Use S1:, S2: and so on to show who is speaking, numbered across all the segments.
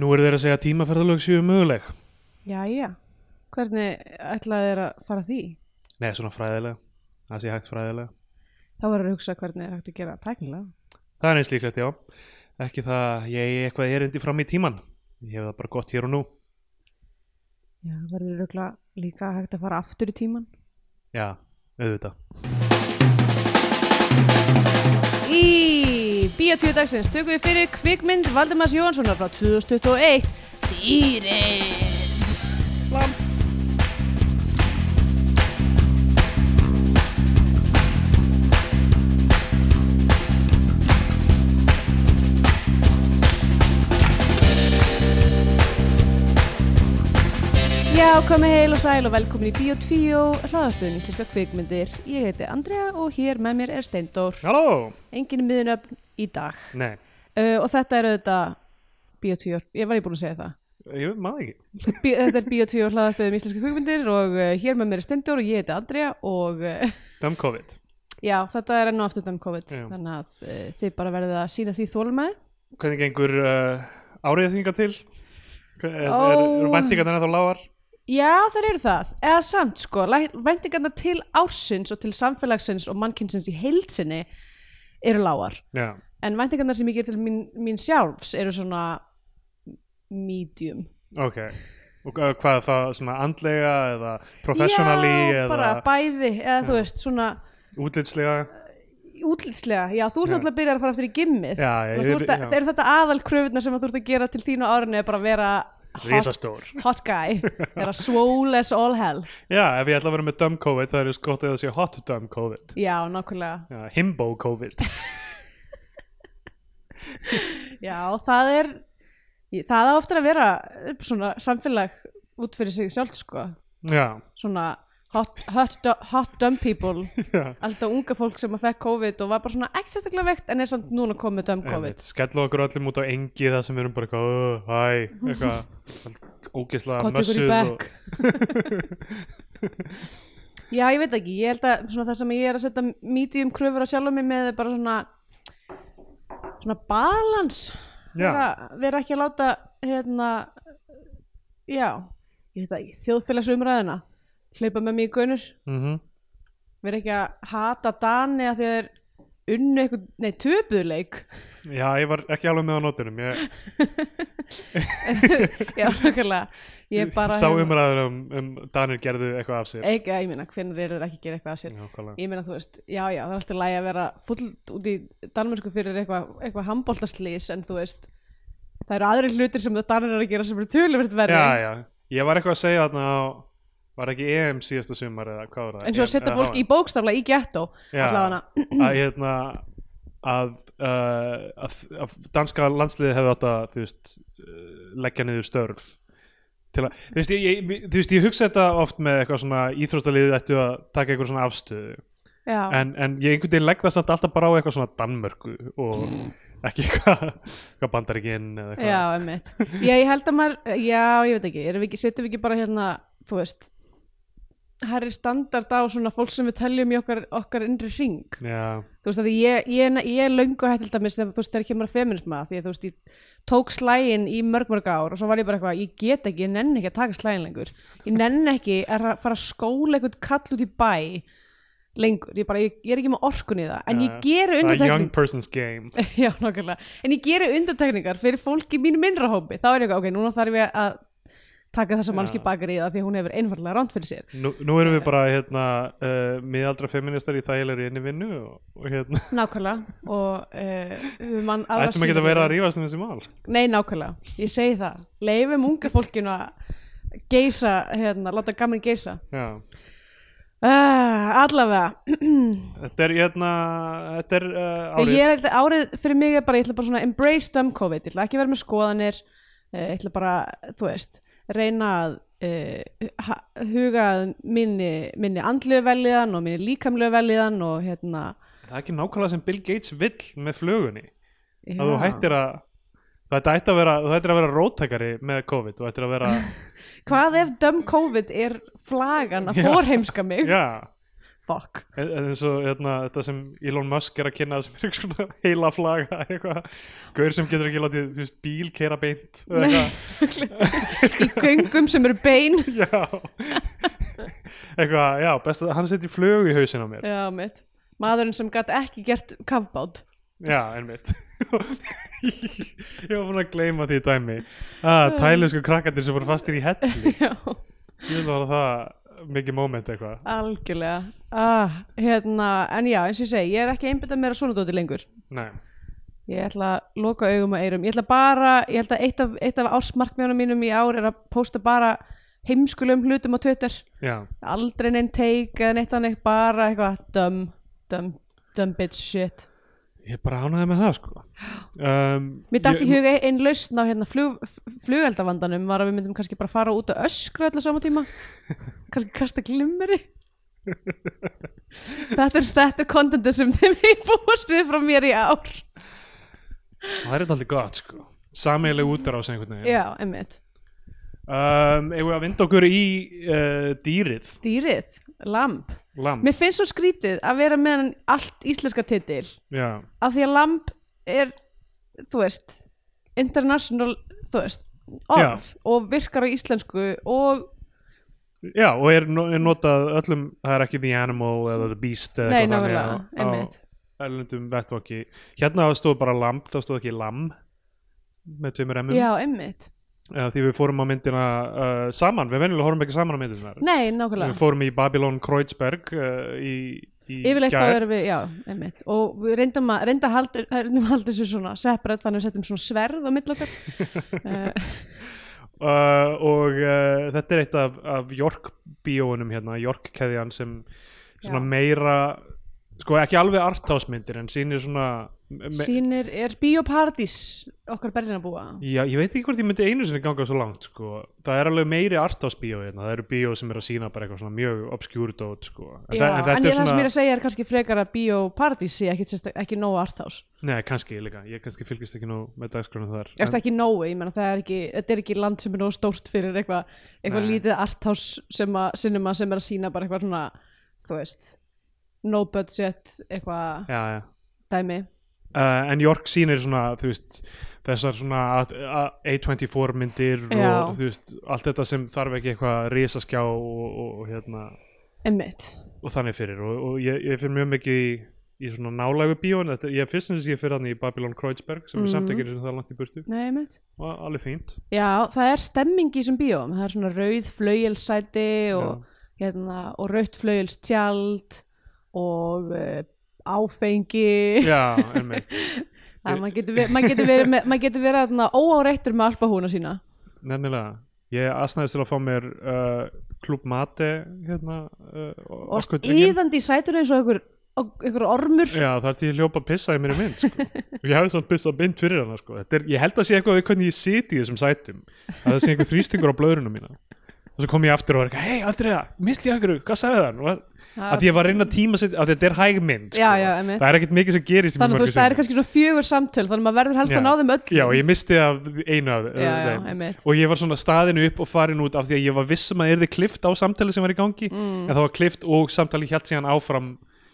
S1: Nú eru þeir að segja að tímaferðalög séu möguleg.
S2: Jæja, hvernig ætlaði þér að fara að því?
S1: Nei, svona fræðilega. Það sé hægt fræðilega.
S2: Þá verður að hugsa hvernig er hægt að gera það tæknilega.
S1: Það er neins líklegt, já. Ekki það að ég eigi eitthvað erindi fram í tíman. Ég hef það bara gott hér og nú.
S2: Já, verður rögla líka hægt að fara aftur í tíman.
S1: Já, auðvitað.
S2: Í Bíotvíu dagsins tökum við fyrir kvikmynd Valdemars Jónssonar frá 2021 Dýrin Lam. Já, komið heil og sæl og velkomin í Bíotvíu hlaðarpun íslenska um kvikmyndir Ég heiti Andrea og hér með mér er Steindór
S1: Halló!
S2: engin miðnöfn í dag
S1: Nei,
S2: uh, og þetta er auðvitað Bíotvíór, ég var ég búin að segja það
S1: ég maður ekki.
S2: Bí, þetta er Bíotvíór hlaðarpið um íslenska kvikmyndir og uh, hér með mér er Stendur og ég heiti Andrea og uh,
S1: Dömm COVID.
S2: já, þetta er enn og aftur um COVID
S1: Já.
S2: þannig að uh, þið bara verðið að sína því þólmaði
S1: Hvernig gengur uh, árið þingar til? Hver- Er,
S2: Ó.
S1: oh. er, er væntingarnar ennþá lágar?
S2: já, það eru það, eða samt sko væntingarna til ársins og til samfélagsins og mannkynsins í heildsinni eru lágar
S1: Já,
S2: en væntingarna sem ég ger til mín, mín sjálfs eru svona medium
S1: ok. Og uh, hvað er það, svona andlega eða professionally
S2: já,
S1: eða
S2: bara bæði eða þú veist, svona
S1: útlitslega?
S2: útlitslega, já, þú ert náttúrulega að byrja að fara aftur í gimmið
S1: Já, já,
S2: Og
S1: ég-
S2: þú ert að,
S1: já.
S2: eru þetta aðal kröfunar sem að þú ert að gera til þínu árinu er bara að vera hot,
S1: Rísastór.
S2: hot guy vera swole as all hell
S1: Já, ef ég ætla að vera með dumb COVID, það er skott að það sé hot dumb COVID.
S2: já, nákvæmlega,
S1: Já, himbo COVID.
S2: já, það er það á ofta að vera eh, svona samfélag út fyrir sig sjálft sko,
S1: Já,
S2: svona hot, hot, du- hot dumb people
S1: já.
S2: alltaf unga fólk sem að fekk COVID og var bara svona ekki sérstaklega veikt en er samt núna komið dumb COVID
S1: Einmitt. Skellu okkur öllum út á engi þar sem við erum bara eitthvað, "Ö, hæ, eitthvað, ógeðslega
S2: Kottu ykkur í
S1: mössuð
S2: bekk Já, ég veit ekki, ég held að svona, það sem ég er að setja medium kröfur á sjálfum mig með er bara svona svona balans
S1: Já.
S2: vera, vera ekki að láta hérna já, ég veit ekki, þjóðfélagsumræðuna hlaupa með mig í gaunur
S1: Mm -hmm.
S2: vera ekki að hata Dani að þeir unnu eitthvað, nei, töpuleik
S1: Já, ég var ekki alveg með á nótunum. Ég
S2: já, nákvæmlega ég bara hérna-
S1: sá umræður um, um Danir gerðu eitthvað af sér.
S2: ekki, ég meina, hvernig eru þeir ekki að gera eitthvað að sér
S1: Já, klálega.
S2: ég meina þú veist, já já, það er alltaf lægi að vera full út í Danmörsku fyrir eitthvað eitthva handbóltaslýs en þú veist það eru aðri hlutir sem það Danir eru að gera sem eru töluvert verri
S1: já, já, ég var eitthvað að segja þarna á, var ekki EM síðasta sumar eða hvað var það?
S2: eins og að
S1: EM
S2: setja
S1: eða
S2: fólk
S1: HM?
S2: í bókstafla í gettó
S1: Já.
S2: allavega
S1: að hérna að, uh, að, að danska landsliði hefði átt að þú veist, uh, leggja niður störf til að, þú veist, ég, ég, þú veist, ég hugsa þetta oft með eitthvað svona íþróttaliðið ættu að taka eitthvað svona afstöðu
S2: já,
S1: en, en ég einhvern veginn legg það samt alltaf bara á eitthvað svona Danmörku og ekki eitthvað, eitthvað bandaríkinn eða
S2: já,
S1: eitthvað
S2: emmitt já, ég held að maður, já, ég veit ekki, erum við ekki setjum við ekki bara hérna, þú veist það er standard á svona fólk sem við teljum í okkar, okkar innri hring
S1: Já,
S2: þú veist að ég, ég, ég er löngu hætt til dæmis þegar þú veist þegar kemur að feminisma því að þú veist ég tók slægin í mörg mörg ár og svo var ég bara eitthvað, ég get ekki, ég nenni ekki að taka slægin lengur ég nenni ekki að ra- fara að skóla eitthvað kall út í bæ lengur, ég, bara, ég, ég er ekki með orkun í það en ég
S1: það
S2: geri
S1: er young
S2: undantekningar
S1: person's game
S2: Já, nákvæmlega, en ég geri undantekningar fyrir fólk í mínu minnra hópi, þá er ég eitthvað, ok, núna þarf ég að taka þessa mannski bakar í það því að hún hefur einfallega ránt fyrir sér
S1: Nú, nú erum við bara hérna uh, miðaldra feministar í þægilegri inni vinnu og, og hérna
S2: Nákvæmlega og uh, við mann aðra
S1: ættum ekki að
S2: síður-
S1: vera að rífast um þessi mál
S2: Nei, nákvæmlega, ég segi það Leifum unga fólkinu að geisa, hérna, láta gaman geisa
S1: Já,
S2: uh, Allavega
S1: þetta er hérna þetta er uh, árið
S2: ég er, Árið fyrir mig er bara, ég ætla bara svona embrace dumb COVID, ég ætla ekki að vera með skoðanir uh, ég ætla bara, þú veist reyna að uh, huga að minni, minni andlegu velíðan og minni líkamlegu velíðan og hérna
S1: það er ekki nákvæmlega sem Bill Gates vill með flugunni
S2: já.
S1: að þú hættir að þetta ætti að vera, þú ættir að vera róttakari með COVID, þú ættir að vera
S2: Hvað ef dumb COVID er flagan að
S1: Já.
S2: fórheimska mig
S1: já,
S2: fuck
S1: En- en eins og hérna, þetta sem Elon Musk er að kynna sem er einhvers konar heila flaga eitthvað, gaur sem getur ekki látið þú veist, bíl keira beint eða eitthvað,
S2: í göngum sem eru bein
S1: já eitthvað, já, best að hann setji flög í hausin á mér,
S2: já, mitt maðurinn sem gæti ekki gert kafbát
S1: já, einmitt ég var búin að gleyma því dæmi ah, tælusku krakkandir sem voru fastir í helli
S2: já,
S1: til var það mikið moment eitthvað
S2: algjörlega ah, hérna, en já, eins og ég segi ég er ekki einbytta meira svona dóti lengur
S1: nei,
S2: Ég ætla að loka augum og eyrum. Ég ætla bara, ég held að eitt af, eitt af ársmarkmjónum mínum í ár er að posta bara heimskulegum hlutum á Twitter.
S1: já,
S2: Aldrei neinn teik eða neitt annað, bara eitthvað dumb, dumb, dumb bitch shit.
S1: ég bara ánaði með það sko um,
S2: Mér dætti
S1: ég-
S2: í huga einn lausn á hérna flug, flugeldavandanum var að við myndum kannski bara fara út og öskra öll á sama tíma. kannski kasta glimmeri. þetta er þetta kontentið sem þið mér búast við frá mér í ár.
S1: það er þetta aldrei gott sko sameileg útrás einhvern veginn
S2: Já, emmitt.
S1: um, eigum við að vinda okkur í uh, dýrið,
S2: Dýrið, lamp.
S1: lamb
S2: Mér finnst svo skrítið að vera með hann allt íslenska titil
S1: já,
S2: af því að lamp er þú veist, international þú veist, orð og virkar á íslensku og
S1: já, og er, no- er notað öllum, það er ekki the animal eða the beast eða
S2: nei,
S1: eitthvað
S2: nákvæmlega,
S1: á
S2: einmitt
S1: erlendum vettvoki hérna stóð bara lamb, þá stóð ekki lamb með tveimur emmum
S2: Já, einmitt,
S1: uh, því við fórum á myndina uh, saman, við venjulega horfum ekki saman á myndina
S2: nei,
S1: við
S2: nákvæmlega
S1: fórum í Babylon Kreuzberg uh, í, í
S2: Yfirleitt þá
S1: gær.
S2: erum við, já, einmitt og við reyndum að, reynda að halda, reyndum að halda þessu svona separate þannig að við setjum svona sverð á milli okkar uh,
S1: uh, og uh, þetta er eitt af, af York bíóunum hérna, York keðjan sem svona
S2: Já.
S1: meira sko ekki alveg artásmyndir en sýnir svona me,
S2: Sýnir er bioparadís okkar Berlinabúa
S1: já, ég veit ekki hvort ég myndi einu sinni ganga svo langt sko. það er alveg meiri artásbíó hérna. það eru bíó sem er að sína bara eitthvað svona mjög obskjúrt át sko. en,
S2: Já,
S1: það, en þetta er
S2: ég það sem ég er
S1: svona
S2: að segja er kannski frekar að bioparadís sé ekki, sérsta- ekki nógu arthouse
S1: nei, kannski líka, ég kannski fylgist ekki nú með dagskrunum þar
S2: Ég veist ekki nógu, ég menna það er ekki þetta er ekki land sem er nógu stórt fyrir eitthvað eitthvað
S1: Nei.
S2: lítið arthouse sem að sinema sem er að sína bara eitthvað svona þú veist, no budget eitthvað
S1: já, já
S2: dæmi
S1: uh, en York sýnir svona þú veist, þessar svona A- A- A24 myndir
S2: Já.
S1: og þú veist, allt þetta sem þarf ekki eitthvað risaskjá og, og, og, hérna,
S2: emmitt,
S1: og þannig fyrir og, og ég, ég fyrir mjög mikið í, í svona nálægu bíón þetta, ég fyrst sem ég fyrir hann í Babylon Kreuzberg sem
S2: Mhm.
S1: er samt ekki einu sinni það langt í burtu
S2: nei emmitt
S1: og alveg fínt
S2: Já, það er stemming í þessum bíóm það er svona rauð flauilsæti og, hérna, og rautt flauilstjald og uh, áfengi
S1: já, einmitt,
S2: Það, maður getur verið, maður getur verið, með- maður getur verið þarna óáreittur með alpahúna sína
S1: nefnilega ég asnaðist til að fá mér uh, klub mate hérna, uh,
S2: og
S1: orkudrykkinn.
S2: varst íðandi í sætuna eins og einhver, einhver ormur
S1: Já, þar til ég hljópa að pissa í mér mynd sko. og ég hefði samt pissað mynd fyrir hana sko. Þetta er, ég held að sé eitthvað við hvernig ég siti í þessum sætum að það sé einhver þrýstingur á blöðrunum mína og svo kom ég aftur og var eitthvað hei Andrea, misti ég einhverju, hvað sagði það? Og, að ég var að reyna að tíma sér, að þetta er hæg mynd sko.
S2: Já, já, einmitt.
S1: það er ekkert mikið sem gerist í
S2: þannig að
S1: mjög
S2: þú veist það er
S1: mörgum sinnum.
S2: kannski svona fjögur samtöl þannig að maður verður helst að ná þeim öll
S1: Já, ég misti af einu af
S2: Já, já,
S1: þeim
S2: einmitt.
S1: og ég var svona staðinu upp og farin út af því að ég var viss um að erði klift á samtali sem var í gangi
S2: Mm.
S1: en það var klift og samtali hjælt síðan áfram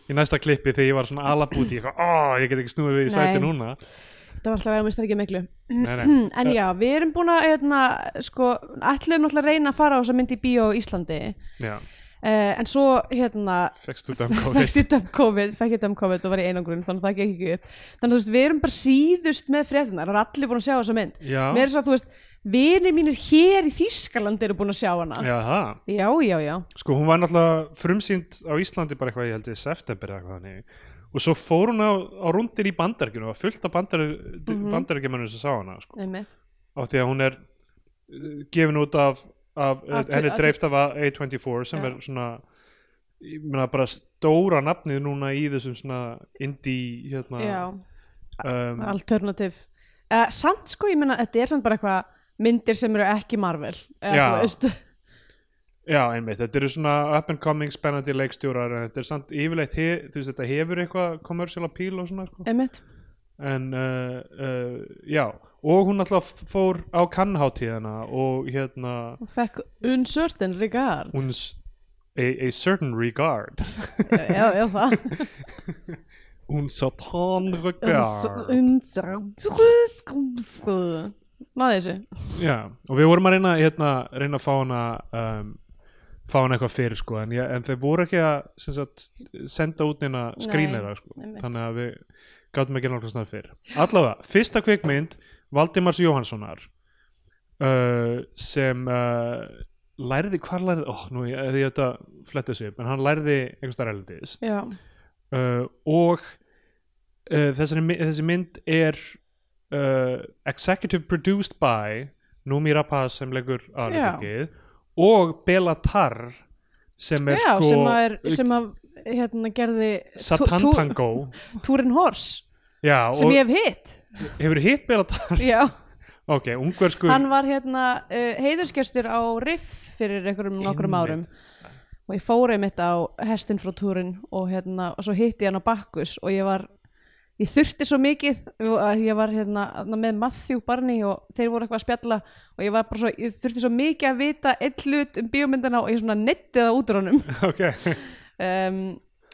S1: í næsta klippi þegar ég var svona alabúti ég, oh, ég get ekki snúið við í sæti
S2: Nei.
S1: núna
S2: það var alltaf að mista ekki miklu
S1: nei, nei.
S2: en já, við erum búin að hérna, sko, ætlum náttúrulega að reyna að fara á þess að myndi í bíó í Íslandi uh,
S1: Já,
S2: en svo hérna
S1: fegst þú dæm
S2: fækst
S1: COVID
S2: ég döm COVID, fækst ég döm COVID og var í einangrun þannig að það gekk ekki upp þannig að þú veist, við erum bara síðust með fréttunar og allir búin að sjá þessa mynd
S1: Já,
S2: mér er svo að þú veist, vinir mínir hér í Þýskaland eru búin að sjá hana
S1: já það
S2: já, já, já,
S1: Sko, hún var náttúrulega frumsýnd á Íslandi bara eitthvað, ég held ég, september eða eitthvað þannig. Og svo fór hún á, á rundir í bandarkinu og var fullt af bandar, mm
S2: Mhm.
S1: sem sá hana, sko.
S2: einmitt
S1: Á því að hún er uh, gefin út af, af eh,
S2: Af-
S1: henni
S2: af-
S1: dreift af A24 sem
S2: Já.
S1: er svona, ég meina bara stóra nafnið núna í þessum svona indie, hérna,
S2: já,
S1: um,
S2: alternativ uh, samt sko, ég meina, þetta er samt bara eitthvað myndir sem eru ekki Marvel eða,
S1: Já.
S2: þú veist,
S1: já, einmitt, þetta eru svona up and coming spennandi leikstjórar en þetta er samt yfirleitt, he, þú veist, þetta hefur eitthvað commercial appeal og svona, sko.
S2: einmitt
S1: en uh, uh, já og hún alltaf fór á kannháttíðina og hérna
S2: og fekk uncertain regard
S1: hún s- a, a certain regard
S2: eða eða það
S1: un certain regard
S2: náði þessu
S1: Já, og við vorum að reyna, hérna, reyna að fá hana um, fá hana eitthvað fyrir sko, en, ég, en þeir voru ekki að sem sagt, senda út neina skrínera sko,
S2: einmitt.
S1: þannig að við gátum ekki nálgast það fyrir. Allavega, fyrsta kvikmynd Valdimars Jóhanssonar uh, sem uh, læriði, hvar læriði ó, nú, ég, ég hef þetta flettið sig upp en hann læriði einhvers þar erlendis
S2: já,
S1: uh, og uh, þessari, mi- þessi mynd er uh, executive produced by Numi Rapaz sem leggur aðlutökið og Bela Tarr sem er
S2: já
S1: sko
S2: sem að, er, sem að hérna, gerði
S1: Satan Tango
S2: Túrin Hors
S1: Já,
S2: sem
S1: og
S2: ég hef hitt
S1: hefur hitt Bela Tarr
S2: já,
S1: ok, ungverskur
S2: hann var hérna uh, heiðurskestur á Riff fyrir einhverjum nokkrum árum
S1: Einmitt.
S2: og ég fór einmitt á hestinn frá túrin og hérna, og svo hitti ég hann á Bakkus og ég var, ég þurfti svo mikið og að ég var hérna þarna með Matthew Barney og þeir voru eitthvað að spjalla og ég var bara svo, ég þurfti svo mikið að vita eitt hlut um bíómyndina og ég svona netti það út úr honum
S1: ok,
S2: um,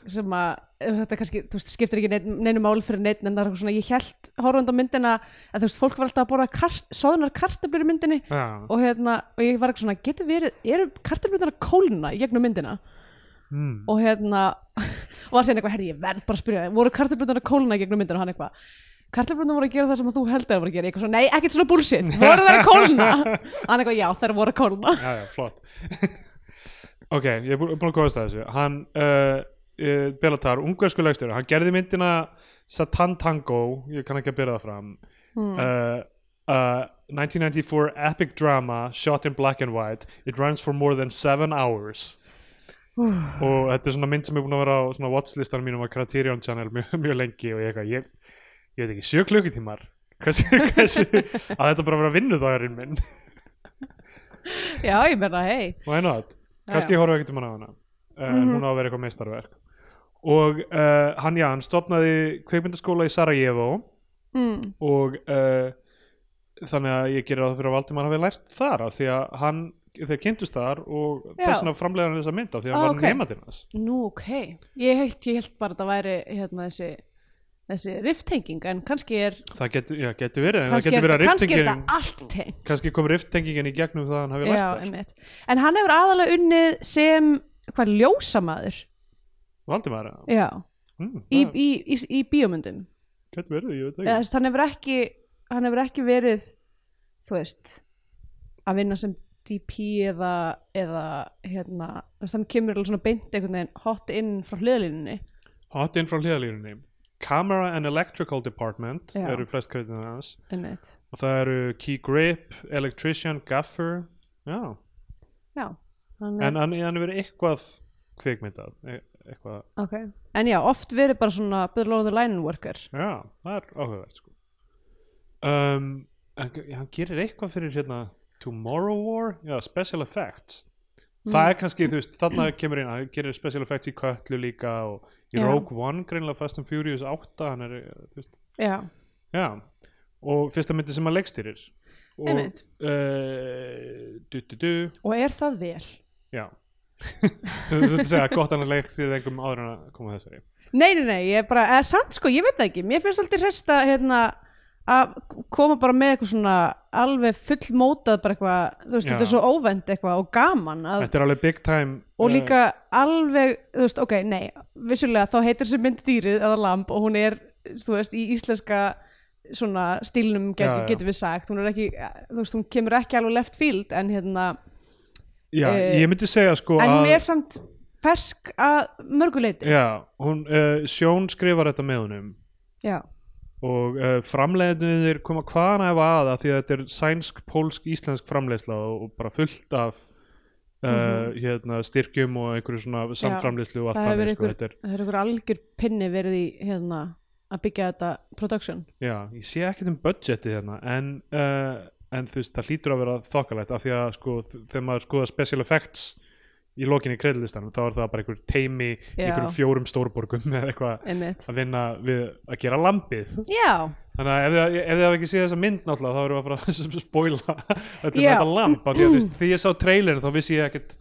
S2: sem að þetta kannski, þú veist, skiptir ekki neinn- neinu máli fyrir neitt en það er eitthvað svona, ég held horfandi á myndina að þú veist, fólk var alltaf að borða kart, soðunar kartablur í myndinni
S1: já,
S2: og hérna, og ég var eitthvað svona, getur verið eru kartablurnar að kólna í gegnum myndina
S1: mm,
S2: og hérna og það segir eitthvað, herri, ég verð bara að spyrja þig, voru kartablurnar að kólna í gegnum myndina og hann eitthvað kartablurnar voru að gera það sem að þú heldur að voru að gera Ég eitthvað svona, nei, ekkert svona bullshit, voru þær að kólna hann eitthvað, já, þær voru að kólna
S1: já, já, flott ok, ég er bú- búin að komast að þessu hann, uh, uh, Bela Tarr ungverskur legstur, hann gerði myndina Satan Tango, ég kann ekki að byrja það fram uh, uh, 1994 epic drama shot in black and white it runs for more than seven hours og þetta er svona mynd sem er búin að vera á svona watchlistanum mínum á Criterion Channel mjög, mjög lengi og ég eitthvað ég, ég veit ekki, sjö klukkutímar hversu, hversu, að þetta bara vera vinnudagarinn minn
S2: já, ég meina, hei,
S1: why not,
S2: Já,
S1: kannski
S2: já. Mhm.
S1: horfum við ekkert um hana á hana en hún á að vera eitthvað meistarverk og uh, hann já, hann stopnaði kveikmyndaskóla í Sarajevo
S2: mm,
S1: og uh, þannig að ég gerir það fyrir að Valdimar hafi lært þar af því að hann, þeir kynntust þar og
S2: Já.
S1: þess vegna framleiða hann þessa mynd af því að hann
S2: Ah,
S1: var
S2: ok.
S1: okay. nefnandinn hans
S2: Nú, ok. Ég held, ég held bara að það væri hérna, þessi, þessi rifttenging, en kannski er,
S1: það getur, já, getur verið, en það
S2: kannski
S1: getur verið
S2: er,
S1: að
S2: kannski er
S1: riftingin
S2: þetta allt tengt.
S1: kannski kom riftingin í gegnum það að hann hafi
S2: Já,
S1: lært þar
S2: einmitt. En hann hefur aðalega unnið sem, hvað, ljósamaður?
S1: Valdimar, já,
S2: Já,
S1: mm,
S2: í,
S1: það
S2: í, í, í bíómyndum.
S1: getur verið, ég veit
S2: Eða,
S1: það
S2: þess, hann, hefur ekki, hann hefur ekki verið, þú veist, að vinna sem DP eða, eða hérna, þess, hann kemur alveg svona beint einhvern veginn hot inn frá hliðalínunni.
S1: ekki hot inn frá hliðalínunni Camera and Electrical Department
S2: Já.
S1: eru flest kredina hans
S2: Einmitt.
S1: og það eru Key Grip, Electrician, Gaffer já,
S2: Já, hann
S1: en hann, hann hefur verið eitthvað kvikmyndað, e- eitthvað
S2: Ok, en já, oft verið bara svona below the line worker
S1: Já, það er áhugavert sko. um, hann, hann gerir eitthvað fyrir hérna Tomorrow War, já, Special Effects Það
S2: Mm.
S1: er kannski, þú veist, þarna kemur inn, hann gerir Special Effects í Kötlu líka og í
S2: Já.
S1: Rogue One, greinlega Fast and Furious 8, hann er, þú veist,
S2: Já,
S1: já og fyrsta myndi sem hann leikstýrir og uh,
S2: Einmitt.
S1: du, du, du,
S2: og er það vel?
S1: já þú veist að segja gott að hann leikstýrir einhverjum áður en að koma að þessari
S2: Nei, nei, nei, ég er bara, eða samt sko, ég veit það ekki Mér finnst alltaf hrest að hérna að koma bara með eitthvað svona alveg fullmótað bara eitthvað þú veist,
S1: Já.
S2: þetta er svo óvend eitthvað og gaman að,
S1: Þetta er alveg big time
S2: og
S1: eh,
S2: líka alveg, þú veist, ok, nei vissulega þá heitir þessi mynd dýrið eða lamb og hún er, þú veist, í íslenska svona stílnum
S1: Já,
S2: getur,
S1: já.
S2: getur við sagt hún er ekki, þú veist, hún kemur ekki alveg left field en hérna,
S1: Já,
S2: eh,
S1: ég myndi segja sko
S2: en hún
S1: að-
S2: er samt fersk að mörguleiti
S1: Já, hún, uh, Sjón skrifar þetta með honum
S2: Já,
S1: og uh, framleiðinir koma hvaðan ef að af því að þetta er sænsk, pólsk, íslensk framleiðsla og, og bara fullt af uh, hérna, styrkjum og einhverju svona samframleiðslu og allt
S2: Mhm. það hefur
S1: þannig, sko,
S2: einhver,
S1: þetta er,
S2: það hefur einhver algjör pinni verið í hérna að byggja þetta production
S1: já, ég sé ekkert um budgetið hérna en, uh, en þú veist, það hlýtur að vera þokkalegt af því að sko, þ- þegar maður skoða special effects í lokinni kreðlistanum þá er það bara einhver teimi í
S2: Já.
S1: einhverjum fjórum stórborgum eða eitthvað
S2: einmitt.
S1: að vinna við að gera lambið
S2: Já,
S1: Þannig að ef þið, ef þið hafa ekki séð þessa mynd náttúrulega þá erum við að fara að spoila þetta er
S2: Já.
S1: þetta lamp af því að þú veist, því ég sá trailerin þá vissi ég ekkert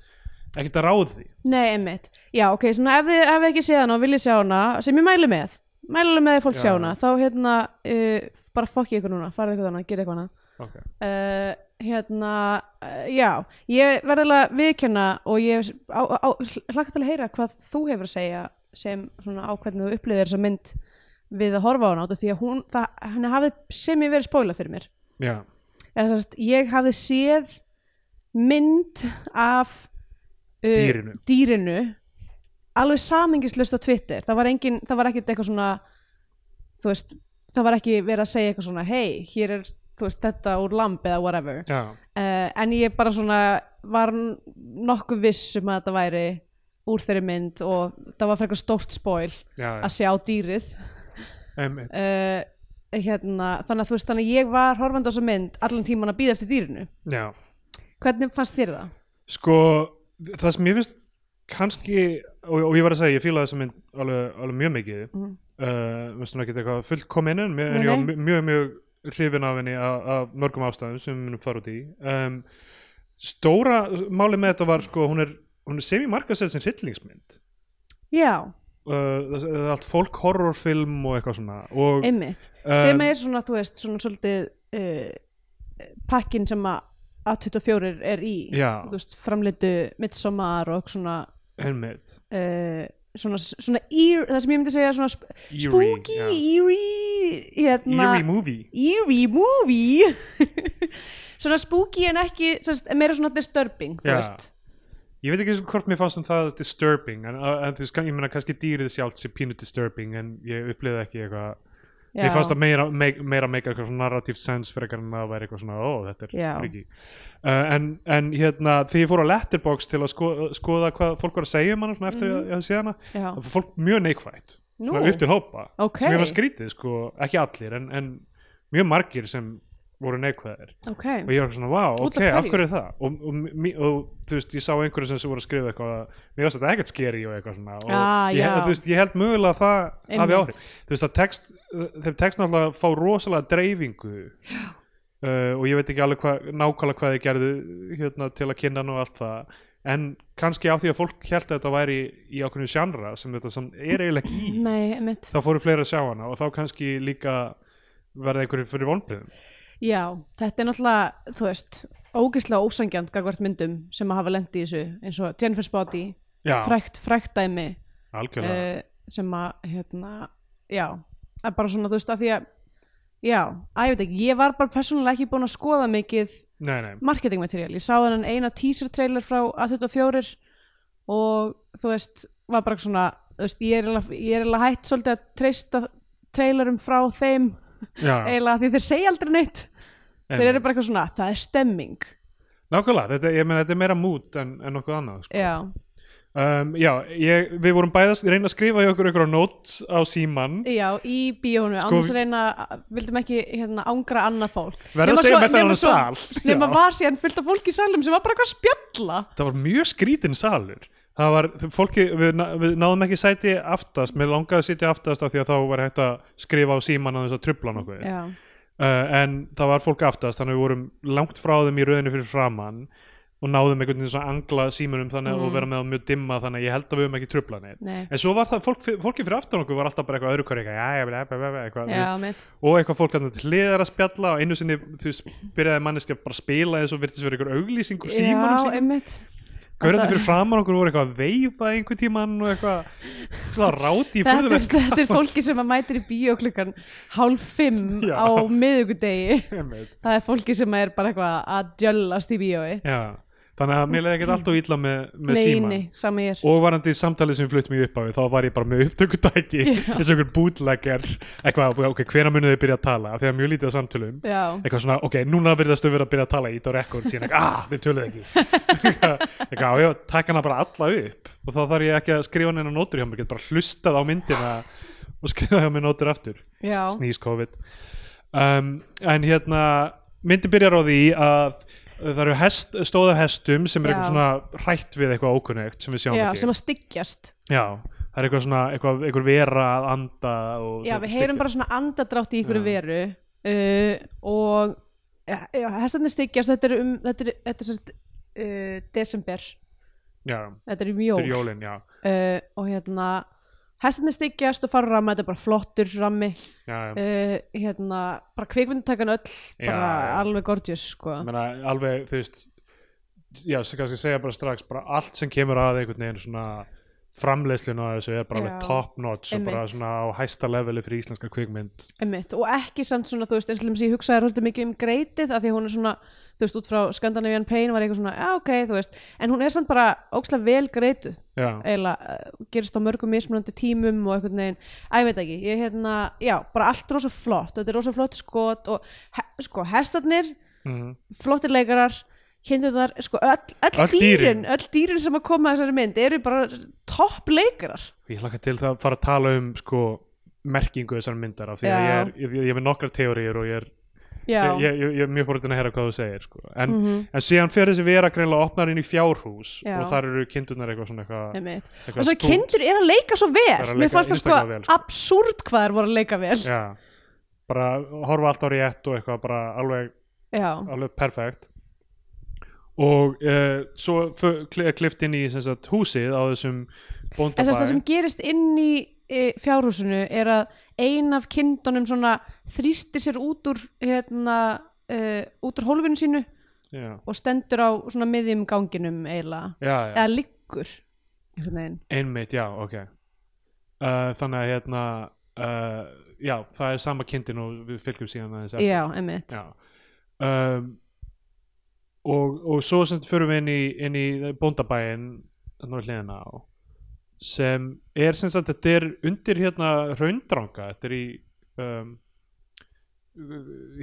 S1: ekkert að ráð því
S2: Nei, einmitt. Já, ok, svona ef þið, ef þið ekki séð hana og viljið sjá hana, sem ég mæli með, mæli alveg með að fólk
S1: Já.
S2: sjá hana, þá hérna, uh, bara fokki ykkur núna, farið ykkur þannig, gera eitthvað hana.
S1: okay.
S2: Uh, hérna, uh, já, ég verðilega viðkjöna og ég á- á- á- hlakka til að heyra hvað þú hefur að segja sem svona á hvernig þú upplifir þessa mynd við að horfa á hana, út af því að hún, það, henni hafið sem ég verið spóla fyrir mér
S1: Já,
S2: eða sérst, ég hafði séð mynd af uh,
S1: Dýrinu.
S2: dýrinu alveg samingislust á Twitter það var, engin, það var ekkit eitthvað svona þú veist, það var ekki verið að segja eitthvað svona hei, hér er þú veist, þetta úr lamb eða whatever uh,
S1: já,
S2: en ég bara svona var n- nokkuð viss um að þetta væri úr þeirri mynd og það var frekar stórt spoil
S1: já, já.
S2: að sjá dýrið
S1: Einmitt.
S2: uh, hérna, þannig að þú veist þannig að ég var horfandi á þessa mynd allan tíman að býða eftir dýrinu
S1: já.
S2: hvernig fannst þér það?
S1: Sko, það sem ég finnst kannski, og, og ég var að segja ég fílaði þessa mynd alveg, alveg mjög mikið mm. uh, veist hún ekki eitthvað fullkomin en mér- en
S2: Nei,
S1: ég var
S2: nei.
S1: mjög, mjög, mjög hrifin af henni af, af mörgum ástæðum sem við munum fara út í um, stóra máli með þetta var sko, hún er, hún er semi-markasett sem hryllingsmynd
S2: Já,
S1: Uh, það það er allt fólk horrorfilm og eitthvað svona og
S2: einmitt
S1: Um,
S2: sem er svona, þú veist, svona svolítið uh, pakkin sem að A24 er í
S1: Já.
S2: þú veist, framleitu midsommar og svona
S1: einmitt
S2: uh, svona, svona eer, það sem ég myndi segja svona sp
S1: Eerie,
S2: spooky,
S1: já.
S2: eerie hérna,
S1: eerie movie
S2: eerie movie svona spooky en ekki sérst, meira svona disturbing, þú
S1: Já.
S2: veist
S1: ég veit ekki eins og hvort mér fannst um það disturbing en, uh, en þú veist, kann- ég meina kannski dýrið sjálft sé pínu disturbing en ég upplifði ekki eitthvað
S2: Já.
S1: mér fannst það meira, meik, meira meika eitthvað svona narratíft sens frekar en að væri eitthvað svona, ó, þetta er
S2: Já.
S1: friki uh, en, en hérna, þegar ég fór á Letterbox til að skoða, skoða hvað fólk var að segja um hana svona eftir að ég hafði séð hana
S2: Mhm. Já.
S1: það var fólk mjög neikvætt
S2: Nú.
S1: svona upp til hópa
S2: Ok.
S1: sem ég var skrítið, sko, ekki allir en, en mjög margir sem voru neikvæðir
S2: ok,
S1: og ég var eitthvað svona, vá,
S2: Út
S1: ok,
S2: af hverju?
S1: af hverju er það og, og, og, og þú veist, ég sá einhverju sem sem voru að skrifa eitthvað að mér varst þetta ekkert skeri og eitthvað svona og
S2: Ah,
S1: ég,
S2: já.
S1: þú veist, ég held mögulega að það hafi
S2: Einmitt.
S1: áhrif þú veist, að text, þeim text náttúrulega fá rosalega dreifingu uh, og ég veit ekki alveg hva, nákvæmlega hvað þið gerðu hérna, til að kynna hann og allt það en kannski á því að fólk held að þetta væri í ákveðinu sjannra sem þetta sem er eiginlega ekki í
S2: nei, einmitt
S1: þá fóru fleiri að sjá hana og þá kannski líka verða einhverjum fyrir vonbrigðum
S2: Já, þetta er náttúrulega, þú veist, ógeðslega ósangjönd gagvart myndum sem að hafa lendi í þessu eins og Jennifer's Body,
S1: Já,
S2: frækt, frækt dæmi
S1: algjörlega
S2: uh, sem að, hérna, já, að bara svona, þú veist, að því að, já, að ég veit ekki, ég var bara persónulega ekki búin að skoða mikið
S1: Nei, nei,
S2: marketingmaterial, ég sá þennan eina teaser trailer frá A24 og þú veist, var bara svona, þú veist, ég er eiginlega- ég er eiginlega hætt svolítið að treysta trailerum frá þeim,
S1: já,
S2: eiginlega því þeir segja aldrei neitt þeir
S1: einmitt.
S2: eru bara eitthvað svona, það er stemming
S1: Nákvæmlega, þetta, ég meina þetta er meira mút en, en nokkuð annað sko.
S2: já,
S1: um, Já, ég, við vorum bæðast reyna að skrifa í okkur einhverja nót á síman
S2: já í bíónu sko,
S1: Sko,
S2: annars reyna, vildum ekki hérna, angra annað fólk
S1: Verða að
S2: Nema
S1: segja
S2: svo-
S1: með þennan
S2: nema svo-
S1: sal. sko.
S2: nema
S1: Já.
S2: var síðan fullt af fólki í salum sem var bara eitthvað að spjalla
S1: Það var mjög skrítin salur Það var, fólki, við, ná- við náðum ekki sæti aftast, mér langaði að sitja aftast af því að þá var hægt að skrifa á síman að þess að trubla nokkuð
S2: já,
S1: uh, en það var fólk aftast þannig að við vorum langt frá þeim í rauðinu fyrir framann og náðum einhvern veginn svona angla símunum þannig mm. og vera með það mjög dimma þannig að ég held að við höfum ekki trubla neitt
S2: Nei.
S1: en svo var það, fólk, fólki fyrir aftan okkur var alltaf bara eitthvað öðru hverju eitthvað, jæja, bla, bla, bla, bla, eitthvað, þú
S2: já,
S1: veist.
S2: mitt
S1: og eitthvað fólk hann til hliðar að spjalla og einu sinni þú veist, byrjaði manneskja bara að spila eins og virtist verið einhver auglýsing úr símanum
S2: já,
S1: sínum
S2: einmitt
S1: gaurandi fyrir framann okkur voru eitthvað að veifa einhver tíman og eitthvað svona ráti í
S2: þetta er,
S1: furðuverk
S2: þetta er fólki sem að mætir í bíó klukkan hálf fimm
S1: Já.
S2: á miðugudegi
S1: Einmitt.
S2: það er fólki sem er bara eitthvað að djöllast í bíói
S1: Já. þannig að mér leiði ekkert alltaf illa með, með
S2: nei,
S1: síman
S2: nei, sama ég er
S1: og varandi samtalið sem flutt mér upp á þá var ég bara með upptökutæki eins og einhver bootlegger eitthvað, ok, hvena munu þau byrja að tala af því að mjög lítið á samtölum
S2: Já.
S1: eitthvað svona, ok, núna virðast þau verið að byrja að tala ít á rekord síðan, eitthvað, ah, þau töluðu ekki eitthvað, á, já, takk hana bara alla upp og þá þarf ég ekki að skrifa neina nótur hjá mér, ég get bara hlustað á myndina og skrifa hjá mér nótur aftur
S2: Já.
S1: snýs COVID um, en hérna, myndi byrjar á því að það eru hest, stóða hestum sem er
S2: Já.
S1: eitthvað svona hrætt við eitthvað ókunnugt sem við sjáum
S2: já,
S1: ekki
S2: sem að styggjast
S1: Já, það er eitthvað svona, eitthvað, eitthvað vera að anda og
S2: Já,
S1: það-
S2: við heyrum
S1: styggja.
S2: bara svona andadrátt í ykkur veru uh, og ja, hestarnir styggjast, þetta er um þetta er, þetta er sérst uh, desember
S1: já,
S2: þetta er um
S1: þetta
S2: jól,
S1: er jólin, já,
S2: Uh, og hérna hestinni styggjast og fara ramma, þetta er bara flottur rammi
S1: já, já.
S2: uh, hérna, bara kvikmyndutakan öll bara
S1: Já.
S2: alveg gorgeous sko.
S1: Ég meina, alveg, þú veist já, sem kannski segja bara strax bara allt sem kemur að einhvern veginn svona framleiðsluna á þessu er bara alveg
S2: Já,
S1: top notch og bara
S2: einmitt.
S1: svona á hæsta leveli fyrir íslenska kvikmynd
S2: Einmitt, og ekki samt svona, þú veist, eins og lýmsi, ég hugsaði roldið mikið um greitið af því að hún er svona, þú veist, út frá Scandinavian Pain var eitthvað svona, já ok, þú veist en hún er samt bara ókslega vel greituð
S1: já,
S2: eiginlega, eh, gerist á mörgum mismunandi tímum og einhvern veginn, að ég veit ekki ég hérna, já, bara allt rosa flott þetta er rosa flott skot og he, sko, hestarnir,
S1: Mhm.
S2: flottir leikarar kindurnar, sko, öll, öll,
S1: Öll dýrin.
S2: dýrin öll dýrin sem að koma að þessari mynd eru bara topp leikarar
S1: ég hlakka til það að fara að tala um sko merkingu þessar myndar af því að
S2: Já.
S1: ég er, ég, ég er með nokkrar teóriur og ég er,
S2: já, Mhm.
S1: ég, ég, ég, ég er mjög fórhundin að heyra hvað þú segir sko. en, en síðan fer þessi vera greinlega opnar inn í fjárhús
S2: Já.
S1: og þar eru kindurnar eitthvað svona eitthvað
S2: einmitt
S1: eitthvað
S2: og svo
S1: stút.
S2: kindur er að leika svo
S1: Þær eru
S2: vel
S1: að
S2: mér
S1: leika
S2: fannst það sko,
S1: einstaklega vel, sko.
S2: absúrt hvað þær voru að leika vel já,
S1: já, bara horfa allt á rétt og eitthvað bara alveg alveg perfekt og uh, svo fö- kli- er klift inn í sem sagt, húsið á þessum
S2: en þess að það sem
S1: bóndabæ
S2: gerist inn í e, fjárhúsinu er að ein af kindunum svona þrýstir sér út úr hérna e, út úr hólfinu sínu
S1: já,
S2: og stendur á svona miðjum ganginum eiginlega,
S1: já, já.
S2: eða liggur einhvern veginn
S1: einmitt, já, ok uh, þannig að hérna uh, já, það er sama kindin og við fylgjum síðan aðeins eftir.
S2: já, einmitt,
S1: Já. Um, og, og svo sem fyrir við inn í, inn í bóndabæin þannig að hliðina á sem er sem sagt þetta er undir hérna raundranga þetta er í um,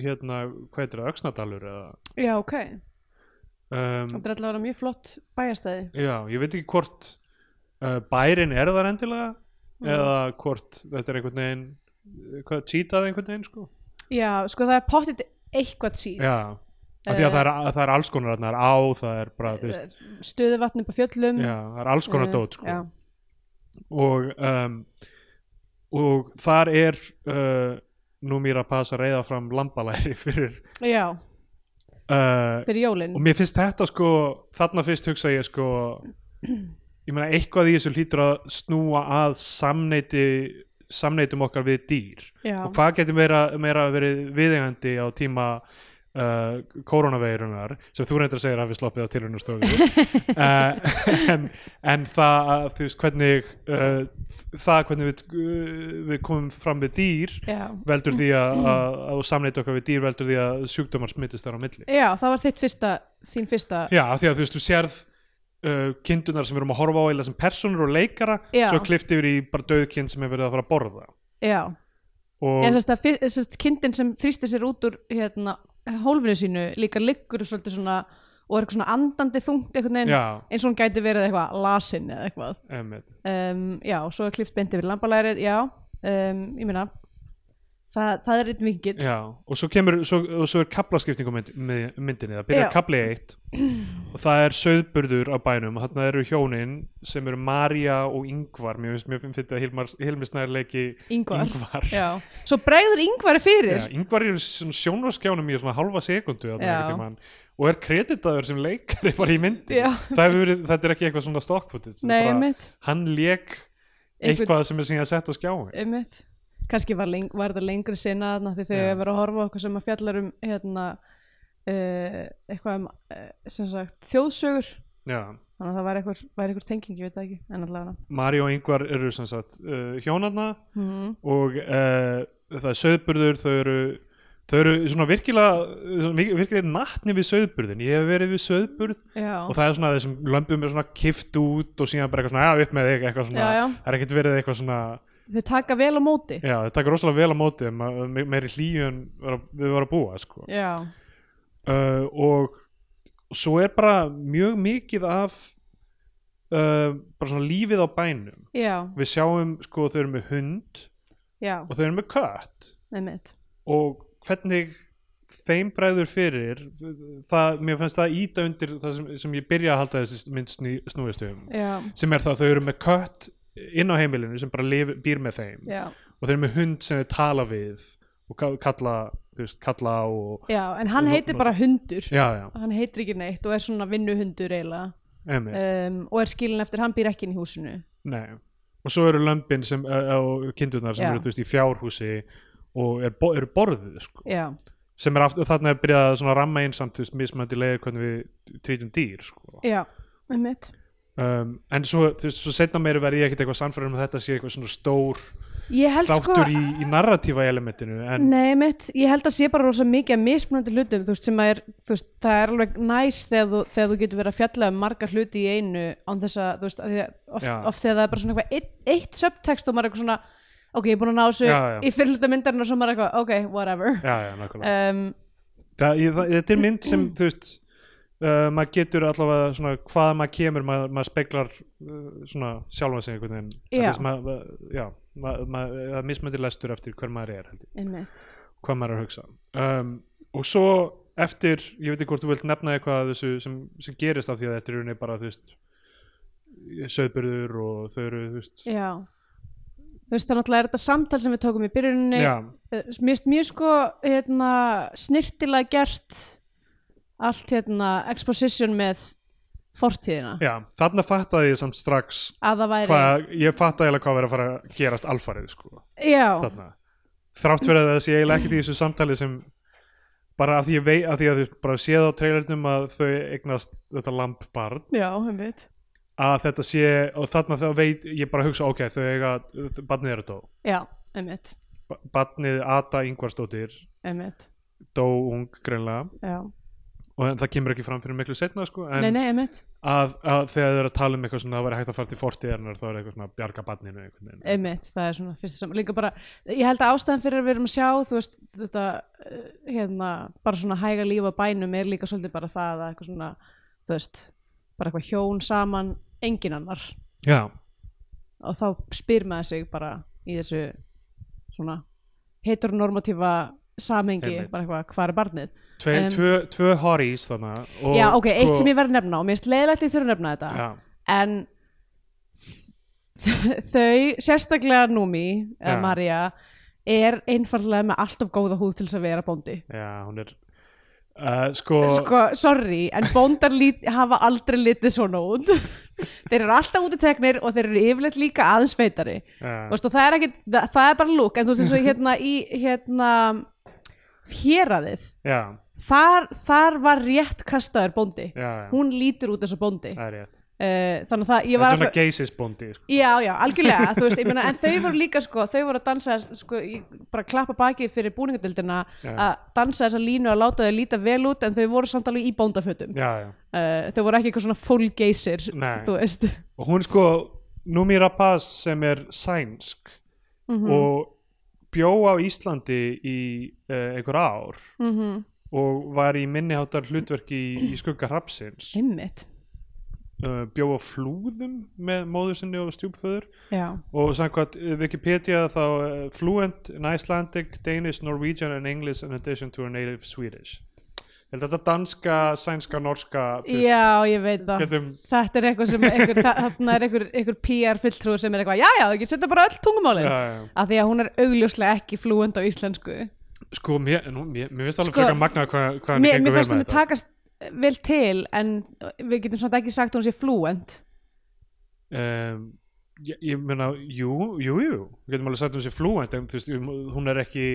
S1: hérna hvað heitir það, Öxnadalur eða
S2: já, ok
S1: um,
S2: þetta er allavega mjög flott bæjastæði
S1: já, ég veit ekki hvort uh, bærin er þar endilega
S2: Mm.
S1: eða hvort þetta er einhvern veginn hvað, cheatað einhvern veginn sko
S2: já, sko það er pottit eitthvað sít
S1: já, af því að það er,
S2: Eh.
S1: að það er alls konar þarna, það er á, það er bara, þú veist
S2: stöðuvatn upp á fjöllum
S1: já, það er alls konar
S2: Eh,
S1: dót sko.
S2: já.
S1: og um, og þar er uh, nú mér að passa að reyða fram lambalæri fyrir
S2: já,
S1: uh,
S2: fyrir jólin
S1: og mér finnst þetta sko þarna fyrst hugsa ég sko ég meina eitthvað í þessu hlýtur að snúa að samneiti samneitum okkar við dýr
S2: já,
S1: og hvað getur meira, meira verið viðeigandi á tíma uh, koronaveirunar sem þú reyndir að segja að við sloppið á tilhörnustofu uh, en, en það að, þú veist hvernig uh, það hvernig við, uh, við komum fram við dýr
S2: já.
S1: veldur því að,
S2: Mm-hmm.
S1: að, að samneita okkar við dýr veldur því að sjúkdómar smittist þar á milli
S2: já, það var þitt fyrsta þín fyrsta
S1: Já, af því að þú veist, þú sérð uh, kindunar sem við erum að horfa á eða sem personur og leikara
S2: Já.
S1: svo klift yfir í bara döðkind sem er verið að fara að borða
S2: já,
S1: og
S2: en þess að fyr- sem sagt, kindin sem þrýstir sér út úr hérna, hólfinu sínu líka liggur svolítið svona og er eitthvað svona andandi þungt einhvern veginn
S1: já,
S2: eins og hún gæti verið eitthvað lasin eða eitthvað
S1: emmitt
S2: um, já, og svo er klift beint yfir lambalærið já, um, ég meina það, það er einn vingill
S1: Já, og svo kemur svo, og svo er kaplaskipting á mynd, mynd- myndinni það byrjar
S2: Já.
S1: kapli eitt og það er söðburður á bænum og þarna eru hjónin sem eru Marja og Yngvar mér finnst mér finnst að Hilmar, Hilmi Snær leiki
S2: Ingvar.
S1: Yngvar
S2: Já. svo bregður yngvari fyrir
S1: Já, Yngvar er svona sjónvarskjánum í svona halva sekundu
S2: Já.
S1: og er kreditaður sem leikari bara í myndinni
S2: Já.
S1: Það hefur verið, þetta er ekki eitthvað svona stokkfutið
S2: nei, einmitt,
S1: hann leik
S2: Einhver-
S1: eitthvað sem er síðan sett á skjáin
S2: einmitt kannski var, leng, var þetta lengri sinna þarna því þau
S1: Já.
S2: hefur verið að horfa á okkur sem að fjallar um hérna uh, eitthvað um uh, sem sagt þjóðsögur
S1: Já,
S2: þannig að það væri einhver, væri einhver tenging, ég veit það ekki en allavega
S1: Marja og Yngvar eru sem sagt uh, hjónarna
S2: mm.
S1: og uh, það er söðburður þau eru, þau eru svona virkilega svona vir- virkilega nattni við söðburðin ég hef verið við söðburð
S2: já,
S1: og það er svona þessum lömbum er svona kift út og síðan bara eitthvað svona, já upp með þig eitthvað svona,
S2: Já, já.
S1: það er ekkert verið eitthvað svona
S2: þau taka vel á móti
S1: já, það takur rosalega vel á móti þeim, að- me- meiri hlýju en var að- við varum að búa sko.
S2: já,
S1: uh, og svo er bara mjög mikið af uh, bara svona lífið á bænum
S2: já,
S1: við sjáum sko þau eru með hund
S2: já,
S1: og þau eru með kött
S2: einmitt
S1: og hvernig þeim bregður fyrir það, mér finnst það íta undir það sem, sem ég byrja að halda þessi mynd sný, snúist um
S2: já,
S1: sem er það að þau eru með kött inn á heimilinu sem bara lif, býr með þeim
S2: já,
S1: og þau eru með hund sem þau tala við og ka- kalla, þú veist, kalla á og,
S2: já, en hann heitir bara hundur
S1: já, já,
S2: hann heitir ekki neitt og er svona vinnuhundur eiginlega
S1: einmitt,
S2: um, og er skilin eftir hann býr ekki inn í húsinu
S1: nei og svo eru lömbin sem, eh, og kindurnar sem
S2: Já.
S1: eru þú veist í fjárhúsi og er, bo- eru borðuð sko.
S2: já,
S1: sem er aftur, þarna er byrjað að svona ramma einsamt þú veist, mismöndi leiðir hvernig við trýtum dýr sko.
S2: já, einmitt
S1: um, en svo, þú veist, svo setna meir verði ég ekkert eitthvað sannfærum að þetta sé eitthvað svona stór
S2: ég held
S1: þáttur í,
S2: sko
S1: í narratífa elementinu en
S2: Nei, mitt, ég held að sé bara rosa mikið að mismunandi hlutum, þú veist, sem að er, þú veist, það er alveg næs þegar þú, þegar þú getur verið að fjalla um marga hluti í einu án þess að, þú veist, að því að oft,
S1: Já.
S2: oft þegar það er bara svona eitthvað eitt, eitt subtext og maður er eitthvað svona, ok, ég er búin að ná þessu
S1: Já, já.
S2: í fyrir hluta myndarinn og svo maður er eitthvað, ok, whatever.
S1: já, já, nákvæmlega
S2: Um,
S1: það, ég, það, þetta er mynd sem þú veist uh, maður getur allavega svona hvað maður kemur, maður, maður speglar uh, svona sjálfa sig einhvern veginn Það er
S2: Já.
S1: þess maður, maður- já, maður, maður, það er mismöndi lestur eftir hver maður er held ég,
S2: einmitt.
S1: hvað maður er að hugsa um, og svo eftir ég veit ekki hvort þú vilt nefna eitthvað af þessu sem, sem gerist af því að þetta er í rauninni bara þú veist söðbyrður og þau eru þú veist
S2: Já. Þú veist, þannig að er þetta samtal sem við tókum í byrjuninni,
S1: já,
S2: Eh, mér finnst mjög sko hérna, snirtilega gert allt hérna exposition með fortíðina
S1: já, þarna fattaði ég samt strax
S2: að það væri
S1: hvað, ég fatta eiginlega hvað verið að fara að gerast alfarið sko,
S2: já,
S1: þarna þrátt fyrir að það sé eiginlega ekkert í þessu samtali sem bara af því ég vei, af því að þau bara séð á trailernum að þau eignast þetta lamp barn
S2: já, einmitt
S1: að þetta sé, og þarna þá veit ég bara hugsa, ok, þau eiga barnið er að dó,
S2: já, einmitt,
S1: Ba- barnið Ata Ingvarsdóttir
S2: einmitt
S1: dó ung greinlega
S2: já.
S1: og en það kemur ekki fram fyrir miklu setna sko, en
S2: nei, nei, einmitt,
S1: Að, að þegar þau eru að tala um eitthvað svona að það væri hægt að fara til fortíðarnar þá er eitthvað svona að bjarga barninu einhvern veginn.
S2: einmitt það er svona fyrst saman, líka bara ég held að ástæðan fyrir að við erum að sjá þú veist, þetta eh, hérna, bara svona hæga lífa bænum er líka svolítið bara það að eitthvað svona, þú veist bara eitthvað hjón saman, engin annar
S1: Já,
S2: og þá spyr maður sig bara í þessu svona heteronormatífa samhengi,
S1: Einmitt.
S2: bara eitthvað, hvað er barnið
S1: Tve,
S2: Um,
S1: tvö, tvö horís þarna og, sko-
S2: já, ok, eitt sem ég verið að nefna og mér finnst leiðilegt ég þurfa að nefna þetta
S1: já,
S2: en þau, sérstaklega Númi, ja.
S1: Já.
S2: Maria er einfallega með allt of góða húð til þess að vera bóndi
S1: já, hún er uh, sko,
S2: sko, sorry, en bóndar lít, hafa aldrei litið svona út þeir eru alltaf út í teknir og þeir eru yfirleitt líka aðeins feitari
S1: Já.
S2: Þú veist, og það er, ekki, það, það er bara lúk en þú veist eins og hérna í hérna héraðið
S1: já,
S2: þar, þar var rétt kastaður bóndi
S1: já, já
S2: hún lítur út eins og bóndi uh,
S1: það er rétt,
S2: þannig að það, ég
S1: þetta
S2: var
S1: er svona geysisbóndi sko.
S2: Já, já, algjörlega, þú veist, ég meina, en þau voru líka, sko, þau voru að dansa, sko, ég bara klappa baki fyrir búningadildina
S1: Já.
S2: að dansa þessa línu að láta þau líta vel út, en þau voru samt alveg í bóndafötum.
S1: já, já,
S2: Uh, þau voru ekki eitthvað svona fólgeisir,
S1: Nei.
S2: þú veist.
S1: og hún sko Númi Rapaz sem er sænsk
S2: Mhm.
S1: og bjó á Íslandi í uh, einhver ár
S2: Mhm.
S1: og var í minniháttar hlutverki í, í skugga hrapsins
S2: Einmitt,
S1: uh, bjó á flúðum með móður sinni og stjúpföður
S2: já,
S1: og samkvæmt uh, Wikipedia þá uh, fluent in Icelandic, Danish, Norwegian and English in addition to her native Swedish Ég held að þetta danska, sænska, norska þú veist,
S2: já, ég veit það.
S1: getum,
S2: Þetta er eitthvað sem, einhver, þa- þarna er einhver, einhver PR-fylltrú sem er eitthvað, já, já, þau getur setja bara öll tungumálin.
S1: já, já, já.
S2: Af því að hún er augljóslega ekki flúend á íslensku.
S1: sko mér, nú, mér, mér finnst alveg
S2: Sko,
S1: frekar magnað hvað, hvað hann
S2: Mér,
S1: gengur
S2: mér
S1: vel
S2: fannst
S1: með
S2: henni
S1: þetta
S2: takast vel til, en við getum svona ekki sagt að hún sé flúend.
S1: um, ég, ég meina, jú, jú, jú við getum alveg sagt um sér fluent en, þú veist, um, hún er ekki,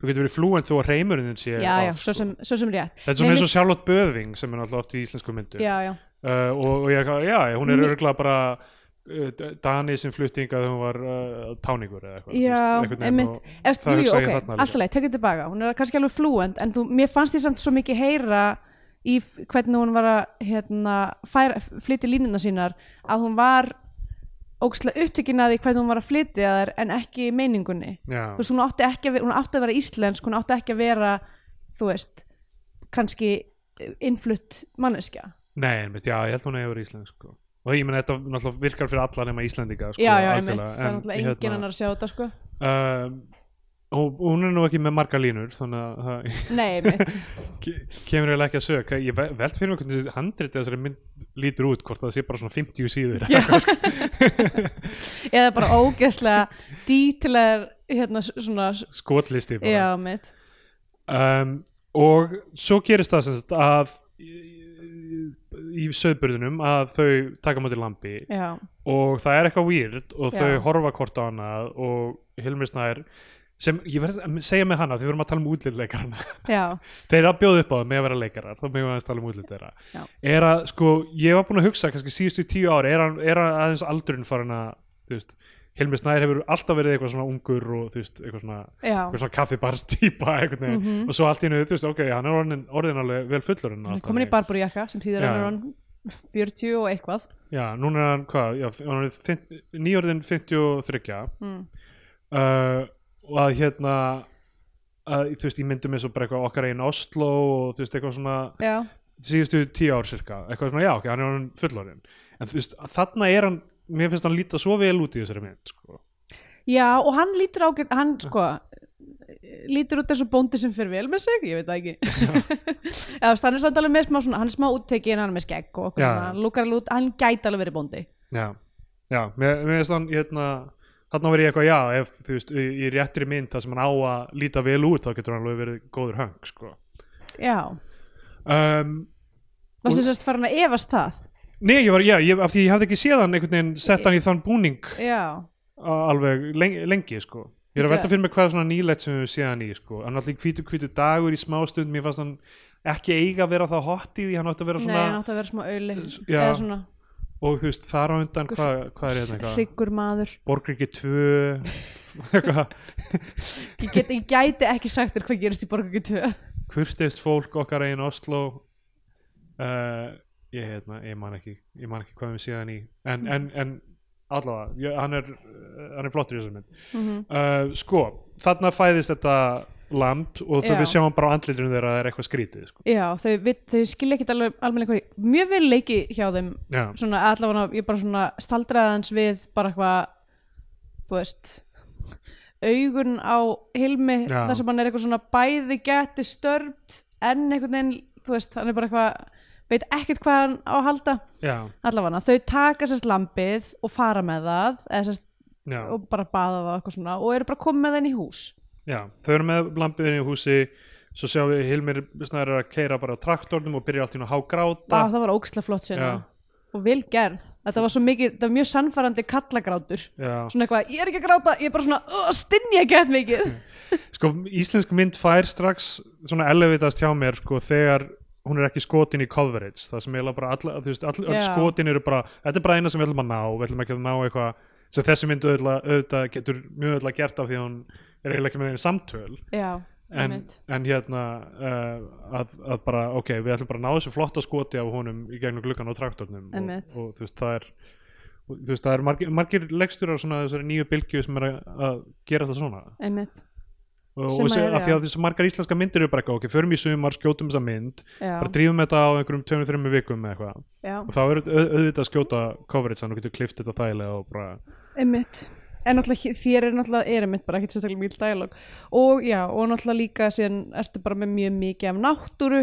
S1: þú getur verið fluent þó að reymurinn þinn sé
S2: já, já,
S1: off,
S2: svo
S1: sko.
S2: sem, svo sem rétt
S1: þetta er
S2: Nei,
S1: svona eins
S2: mér-
S1: og Charlotte Böðing sem er náttúrulega oft í íslensku myndu
S2: já, já,
S1: uh, og, og ég, já, já, hún er örgulega bara uh, D- Dani sem flutti hingað þegar hún var uh, táningur eða eitthvað þú
S2: já,
S1: veist, einhvern veginn
S2: einmitt
S1: og-
S2: Efst,
S1: það
S2: jú,
S1: hugsa ég
S2: ok,
S1: þarna líka.
S2: alltaf leið, tekið tilbaka hún er kannski alveg flúend, en þú, mér fannst ég samt svo mikið heyra í f- hvernig hún var að hérna, færa, flytja línuna sínar að hún var ógstlega upptekin að því hvernig hún var að flytja þær en ekki meiningunni
S1: já,
S2: þú veist, hún átti, ekki, að ve- hún átti að vera íslensk hún átti ekki að vera, þú veist kannski innflutt manneskja
S1: nei, einmitt, já, ég held hún hefur íslensk sko. og ég meina þetta náttúrulega virkar fyrir alla nema Íslendinga sko,
S2: já, já,
S1: algjörlega,
S2: einmitt, það er
S1: en,
S2: náttúrulega enginn
S1: hérna,
S2: annar að sjá þetta sko
S1: um, og og hún er nú ekki með marga línur þannig að það
S2: nei, einmitt
S1: ke- kemur eiginlega ekki að sök ég ve- velt fyrir mig hvernig handrið þessari mynd lítur út hvort það sé bara svona 50 síður
S2: Já. eða bara ógeðslega dítilegar hérna s- svona s-
S1: skotlisti bara
S2: já mitt
S1: um, og svo gerist það sem sagt að í- í söðburðunum að þau taka á móti lambi
S2: já,
S1: og það er eitthvað weird og þau
S2: Já.
S1: horfa hvort á annað og Hilmi Snær sem ég verð að segja með hana því við vorum að tala um útlitleikarana
S2: já,
S1: þeir eru að bjóða upp á það með að vera leikarar þá meðum við aðeins tala um útlit þeirra
S2: Já.
S1: er að sko, ég var búin að hugsa kannski síðustu tíu ári, er, hann, er hann aðeins aldurinn farin að, þú veist Hilmi Snær hefur alltaf verið eitthvað svona ungur og þú veist, eitthvað svona,
S2: já
S1: eitthvað svona kaffibars típa eitthvað, mm
S2: Mhm.
S1: og svo allt í hennu, þú veist, ok, hann er orðin, orðin alveg vel fullur en
S2: hann er komin í barburjakka sem
S1: Já.
S2: hýðir hann er hann 40 og eitthvað
S1: Já, núna er hann, hvað, já, hann er fimm- nýorðin 53
S2: mm.
S1: uh, og að hérna að, þú veist, ég myndum eins og bara eitthvað okkar einn Oslo og þú veist, eitthvað svona
S2: já,
S1: síðustu tíu ár cirka, eitthvað svona, já, ok, hann er hann fullorinn en þú veist, þarna er hann mér finnst hann líta svo vel út í þessari mynd sko.
S2: já, og hann lítur ágætt hann sko lítur út eins og bóndi sem fyrir vel með sig ég veit það ekki já, þú veist, hann er samt alveg með smá svona, hann er smá útteki en hann er með skegg og eitthvað
S1: Já.
S2: svona, hann lúkar alveg út hann gæti alveg verið bóndi
S1: já, já, mér, mér finnst hann hérna, þarna verið eitthvað, já ef, þú veist, í, í réttri mynd þar sem hann á að líta vel út, þá getur hann alveg verið góður höng, sko
S2: já,
S1: um,
S2: varstu
S1: Og-
S2: sérst farin að efast það
S1: nei, ég var, já, ég, af því ég hafði ekki séð hann einhvern veginn, sett hann í þann búning
S2: já,
S1: a- alveg lengi, lengi sko. ég er að velta fyrir mig hvað er svona nýlegt sem við séð hann í sko. hann er allir hvítu hvítu dagur í smástund mér fannst hann ekki eiga að vera það hot í því hann átti að vera
S2: nei, hann
S1: svona
S2: átti að vera smá auðli
S1: Já.
S2: eða svona
S1: og þú veist þar á undan
S2: Einhver-
S1: hvað hva er hérna eitthvað
S2: hryggur maður
S1: Borgriki 2 eitthvað
S2: ég, get, ég gæti ekki sagt þér hvað gerist í borgarki 2
S1: kurteist fólk okkar einn Oslo uh, ég, hérna, ég man ekki ég man ekki hvað við séð hann í en, en, en allavega ég, hann, er, uh, hann er flottur í þessum mynd uh, sko, þarna fæðist þetta land og þau
S2: Já.
S1: við sjáum bara á andlitunum þeirra að það er eitthvað skrítið sko.
S2: já, þau, við, þau skilja ekkit alveg almenlega hvað mjög vel leiki hjá þeim
S1: já,
S2: svona allavega ég bara svona staldraði hans við bara eitthvað þú veist augun á Hilmi
S1: Já.
S2: þar sem hann er eitthvað svona bæði geti störmt en einhvern veginn þú veist hann er bara eitthvað veit ekkert hvað hann á að halda
S1: já,
S2: allavega þau taka sérst lambið og fara með það eða sérst
S1: já,
S2: og bara baða það og eitthvað svona og eru bara komið með það inn í hús
S1: já þau eru með lampiðin í húsi svo sjáum við Hilmir snæður að keira bara á traktornum og byrja allt í einu að hágráta
S2: Vá, það var ógislega flott sinna
S1: Já.
S2: og vel gerð þetta var svo mikið, þetta var mjög sannfærandi kallagrátur
S1: já.
S2: svona eitthvað, ég er ekki að gráta, ég er bara svona "Ugh, stinn ég gett mikið
S1: sko, íslensk mynd fær strax svona elevitast hjá mér sko, þegar hún er ekki skotin í coverage það sem eiginlega bara alla, þú veist, all, all
S2: Já.
S1: skotin eru bara, þetta er bara eina sem við ætlum að ná við ætlum ekki að ná eitthvað sem þessi mynd auðvitað, auðvitað getur mjög auðvitað gert af því að hún er eiginlega ekki með einu samtöl
S2: Já,
S1: en,
S2: einmitt.
S1: en hérna uh, að, að bara, ok, við ætlum bara að ná þessu flotta skoti af honum í gegnum gluggan á traktornum og,
S2: Einmitt.
S1: og þú veist, það er og, þú veist, það er margir, margir leikstjórar svona þessari nýju bylgju sem er að, að gera þetta svona
S2: einmitt
S1: og, og
S2: Sem að
S1: sem,
S2: er,
S1: að því
S2: já.
S1: að þessu margar íslenska myndir eru bara eitthvað, ok, förum í sumar, skjótum þessa mynd
S2: Já,
S1: bara drífum þetta á einhverjum 2-3 vikum eða eitthvað
S2: já,
S1: og þá er au- auðvitað að skjóta coverage þannig að þú getur klift þetta þægilega og bara
S2: einmitt En náttúrulega hér- þér er náttúrulega, er einmitt bara ekkert sérstaklega mjög dælog Og já, og náttúrulega líka síðan ertu bara með mjög mikið af náttúru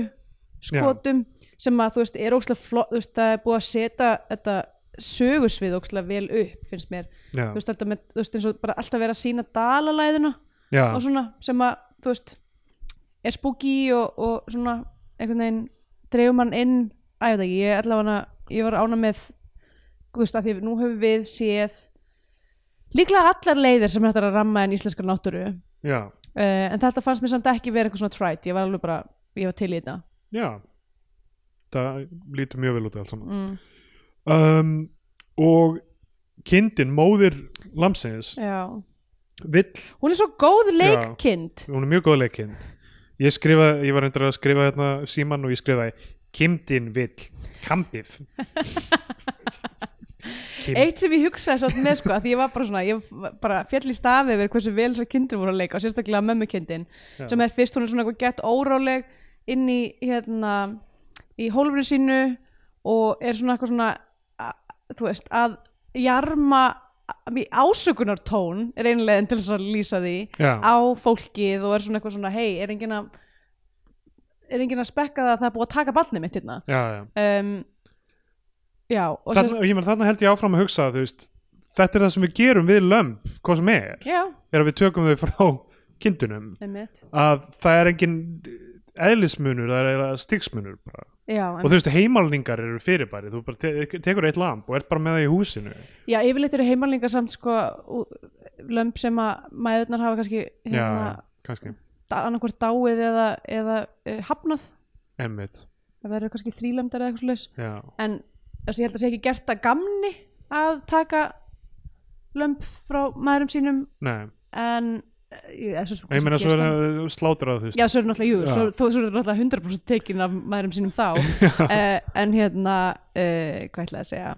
S2: skotum sem að þú veist, er ókslega flott, þú veist, það er búið að setja þetta sögusvið ókslega vel upp, finnst mér Þú
S1: já,
S2: veist, þetta með, þú veist, eins og bara alltaf vera að sína dalalæðina
S1: já,
S2: og svona sem að, þú veist er spooky og, og svona einhvern veginn dreifum hann inn að ég veit ekki, ég er allavega ég var ána með, þú veist, að því nú höfum við séð líklega allar leiðir sem þetta er að ramma en íslenska náttúru uh,
S1: já,
S2: en þetta fannst mér samt ekki vera eitthvað svona trætt ég var alveg bara, ég var til í þetta
S1: já það lítur mjög vel út í allt saman
S2: mm.
S1: um, og kindin, móðir lamsins
S2: já
S1: vill,
S2: hún er svo góð leikkind
S1: hún er mjög góð leikinn ég skrifa, ég var endur að skrifa hérna síman og ég skrifaði kindin vill, kampið Kim-
S2: eitt sem ég hugsaði satt með sko, að því ég var bara svona ég var bara fjall í stafi yfir hversu vel þessar kindur voru að leika og sérstaklega mömmukindin
S1: Já.
S2: sem er fyrst hún er svona eitthvað gett óráleg inn í hérna í hólfinu sínu og er svona eitthvað svona a- þú veist, að jarma í ásökunartón er einlegin til þess að lýsa því
S1: Já.
S2: á fólkið og er svona eitthvað svona hei, er enginn að er enginn að spekka það að það er búið að taka barnið mitt hérna
S1: já, já
S2: um, já, og
S1: þarna, ég menn, þarna held ég áfram að hugsa þú veist, þetta er það sem við gerum við lömb hvað sem er,
S2: já,
S1: er að við tökum þau frá kindunum,
S2: einmitt
S1: að það er engin eðlismunur, það er eiginlega stigsmunur bara.
S2: já,
S1: og þú veist, heimalningar eru fyrirbæri þú bara te tekur eitt lamp og ert bara með það í húsinu
S2: Já, yfirleitt eru heimalningar samt sko ú- lömb sem að maðurnar hafa kannski hérna,
S1: já, kannski,
S2: annarkvort dáið eða, eða uh, hafnað
S1: emmitt
S2: það verður kannski þrílömbdar eða eitthvað slags
S1: já,
S2: en þess að ég held að sé ekki gert að gamni að taka lömb frá maðurum sínum
S1: nei,
S2: en eh, ég, eh, svo,
S1: og ég meina svo er það eh, slátrað, þú veist
S2: Já, svo er náttúrulega, jú,
S1: Já.
S2: svo, þó, svo er náttúrulega 100% tekin af maðurum sínum þá uh, en hérna, uh, hvað ætlaði að segja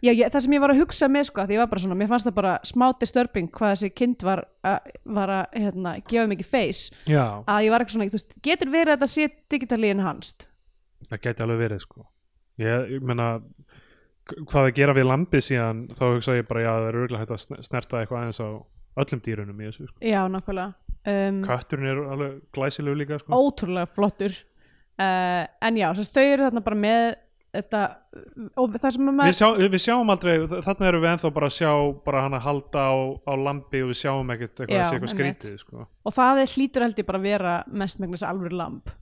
S2: Já, ég, það sem ég var að hugsa með sko, því ég var bara svona, mér fannst það bara smá disturbing hvað þessi kind var, a, var að hérna, gefa mikið face
S1: já,
S2: að ég var ekki svona, þú veist, getur verið að þetta sé digitalíin hanst
S1: það gæti alveg verið sko ég, ég meina k- hvað að gera við lampið síðan þá hugsa ég bara, já, það er örgulega hægt að sn- snerta eitthvað aðeins á öllum dýrunum í þessu sko.
S2: Já, nákvæmlega um,
S1: katturinn er alveg glæsilegu líka sko.
S2: ótrúlega flottur uh, en já, þess að þau eru þarna bara með þetta og það sem að
S1: við,
S2: maður
S1: sjá, við sjáum aldrei, þ- þarna erum við ennþá bara að sjá bara hann að halda á, á lampi og við sjáum ekkert eitthvað
S2: Já,
S1: að sé eitthvað
S2: einmitt.
S1: skrítið sko.
S2: og það er hlýtur held ég bara að vera mestmengnis alvöru lamp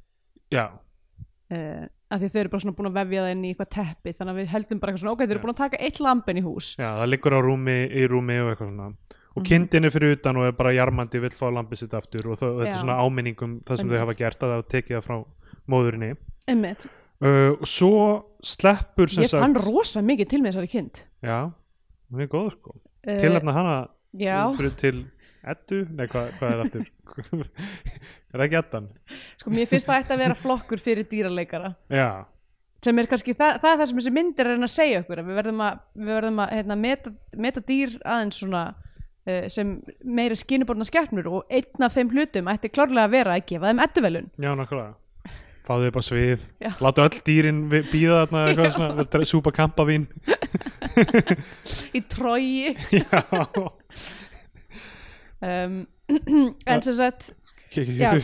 S1: já,
S2: uh, af því þau eru bara svona búin að vefja það inn í eitthvað teppi þannig að við heldum bara eitthvað svona, ok, þau eru
S1: Já.
S2: búin að taka eitt lamp inn í hús
S1: já, það liggur á rúmi í rúmi og eitthvað svona
S2: Mhm.
S1: og kindin er fyrir utan og er bara jarmandi vill fá lampið sitt aftur og það, þetta er
S2: Já.
S1: svona áminningum það sem þau
S2: Einmitt.
S1: hafa gert að það hafa tekið það frá móðurinni
S2: Einmitt.
S1: uh, og svo sleppur sem
S2: ég fann rosa mikið til með þessari kind
S1: já, hún er góð sko
S2: Eh,
S1: tilefna hana
S2: já,
S1: fyrir til Eddu, nei hvað, hvað er aftur er það ekki Eddan
S2: sko mér finnst það ætti að vera flokkur fyrir dýraleikara
S1: já,
S2: sem er kannski, það, það er það sem þessi myndir er að reyna að segja okkur, að við verðum að, við verðum að hérna, meta, meta dýr aðeins svona uh, sem meira skinuborna skepnur og einn af þeim hlutum ætti klárlega að vera að gefa þeim edduvelun
S1: já nákvæmlega fáðu upp á svið,
S2: Já.
S1: láta öll dýrin við- bíða þarna eitthvað svona, dre- súpa kampavín
S2: í trói
S1: já
S2: um, en sem sagt Já.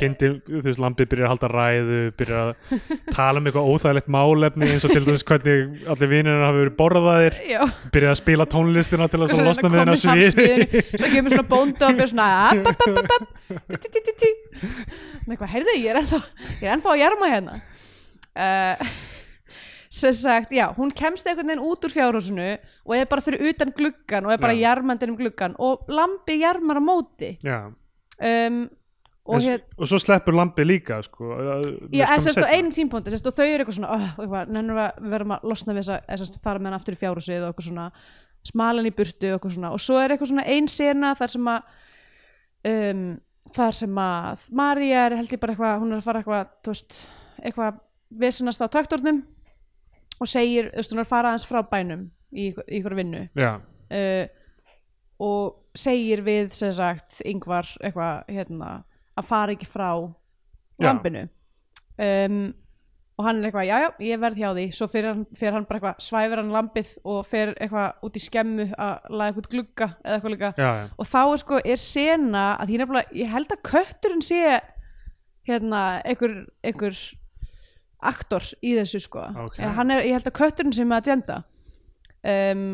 S1: kindin, þú veist, lambið byrjar að halda ræðu byrjar að tala um eitthvað óþægilegt málefni eins og til dæmis hvernig allir vinnirinn hafi verið borðaðir
S2: já,
S1: byrjar að spila tónlistina til þess að losna með hennar
S2: komið af
S1: svið
S2: sviðinu, svo kemur svona bónda og mér svona app, app, app, app, app, tí, tí, tí, tí, tí. með eitthvað, heyrðu, ég er ennþá ég er ennþá að jarma hérna uh, sem sagt, já hún kemst einhvern veginn út úr fjárhúsinu og er bara fyrir utan gluggan og er bara
S1: Já.
S2: jarmandi um gluggan og lambi jarmar á móti
S1: já
S2: um, og
S1: En s-
S2: hér
S1: og svo sleppur lampið líka sko, að-
S2: Já,
S1: með skömmu
S2: en sérst á
S1: seinna.
S2: einum tímpóndi sérst, og þau eru eitthvað svona "Ugh", og eitthvað, nennum við að við verðum að losna við þess að sérst, fara með hann aftur í fjárhúsið og eitthvað svona smalan í burtu og eitthvað svona og svo er eitthvað svona ein sena þar sem að um, þar sem að Marja er held ég bara eitthvað hún er að fara eitthvað, þú veist, eitthvað vesenast á traktornum og segir, þú veist, hún er að fara aðeins frá bænum í, ykkur- í ykkur vinnu
S1: Já,
S2: uh, og segir við sem sagt yngvar eitthvað hérna að fara ekki frá
S1: Já.
S2: lampinu um, og hann er eitthvað já já ég verð hjá því svo fyrir hann, fyrir hann bara eitthvað svæfir hann lampið og fyrir eitthvað út í skemmu að laga eitthvað glugga eða eitthvað líka
S1: já, já,
S2: og þá er sko er sena að því nefnilega ég held að kötturinn sé hérna einhver, einhver aktor í þessu sko
S1: Ok.
S2: Eða hann er, ég held að kötturinn sé með agenda um,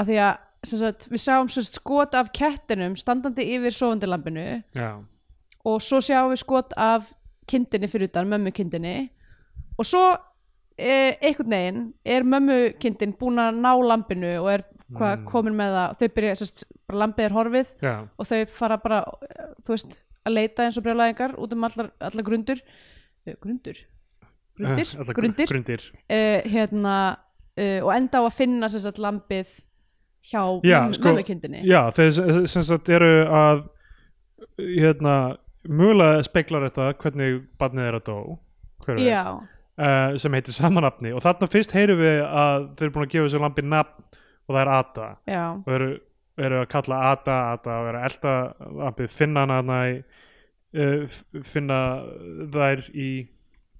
S2: að því að sem sagt, við sjáum sem sagt, skot af kettinum standandi yfir sofandi lampinu
S1: já,
S2: og svo sjáum við skot af kindinni fyrir utan, mömmu kindinni og svo eh, einhvern veginn er mömmu kindin búin að ná lampinu og er hvað
S1: Hmm.
S2: komin með það þau byrja, sérst, bara lampið er horfið
S1: Mm. já,
S2: og þau fara bara, eh, þú veist að leita eins og brjálæðingar út um allar, allar grundur Eh, grundur? Grundir?
S1: Eh, allar gr-
S2: grundir?
S1: grundir.
S2: uh, hérna uh, og enda á að finna sem sagt lampið hjá
S1: Já,
S2: mömmu-
S1: sko,
S2: mömmukindinni
S1: Já, þeir sem sagt eru að hérna, mjögulega speiklar þetta hvernig barnið er að dó hver veit,
S2: já,
S1: eh, sem heitir samanafni og þarna fyrst heyrum við að þeir eru búin að gefa þessu lampi nafn og það er Ada
S2: já,
S1: og eru, eru að kalla Ada Ada og eru að elta lampið finna hana hana í, uh, finna þær í,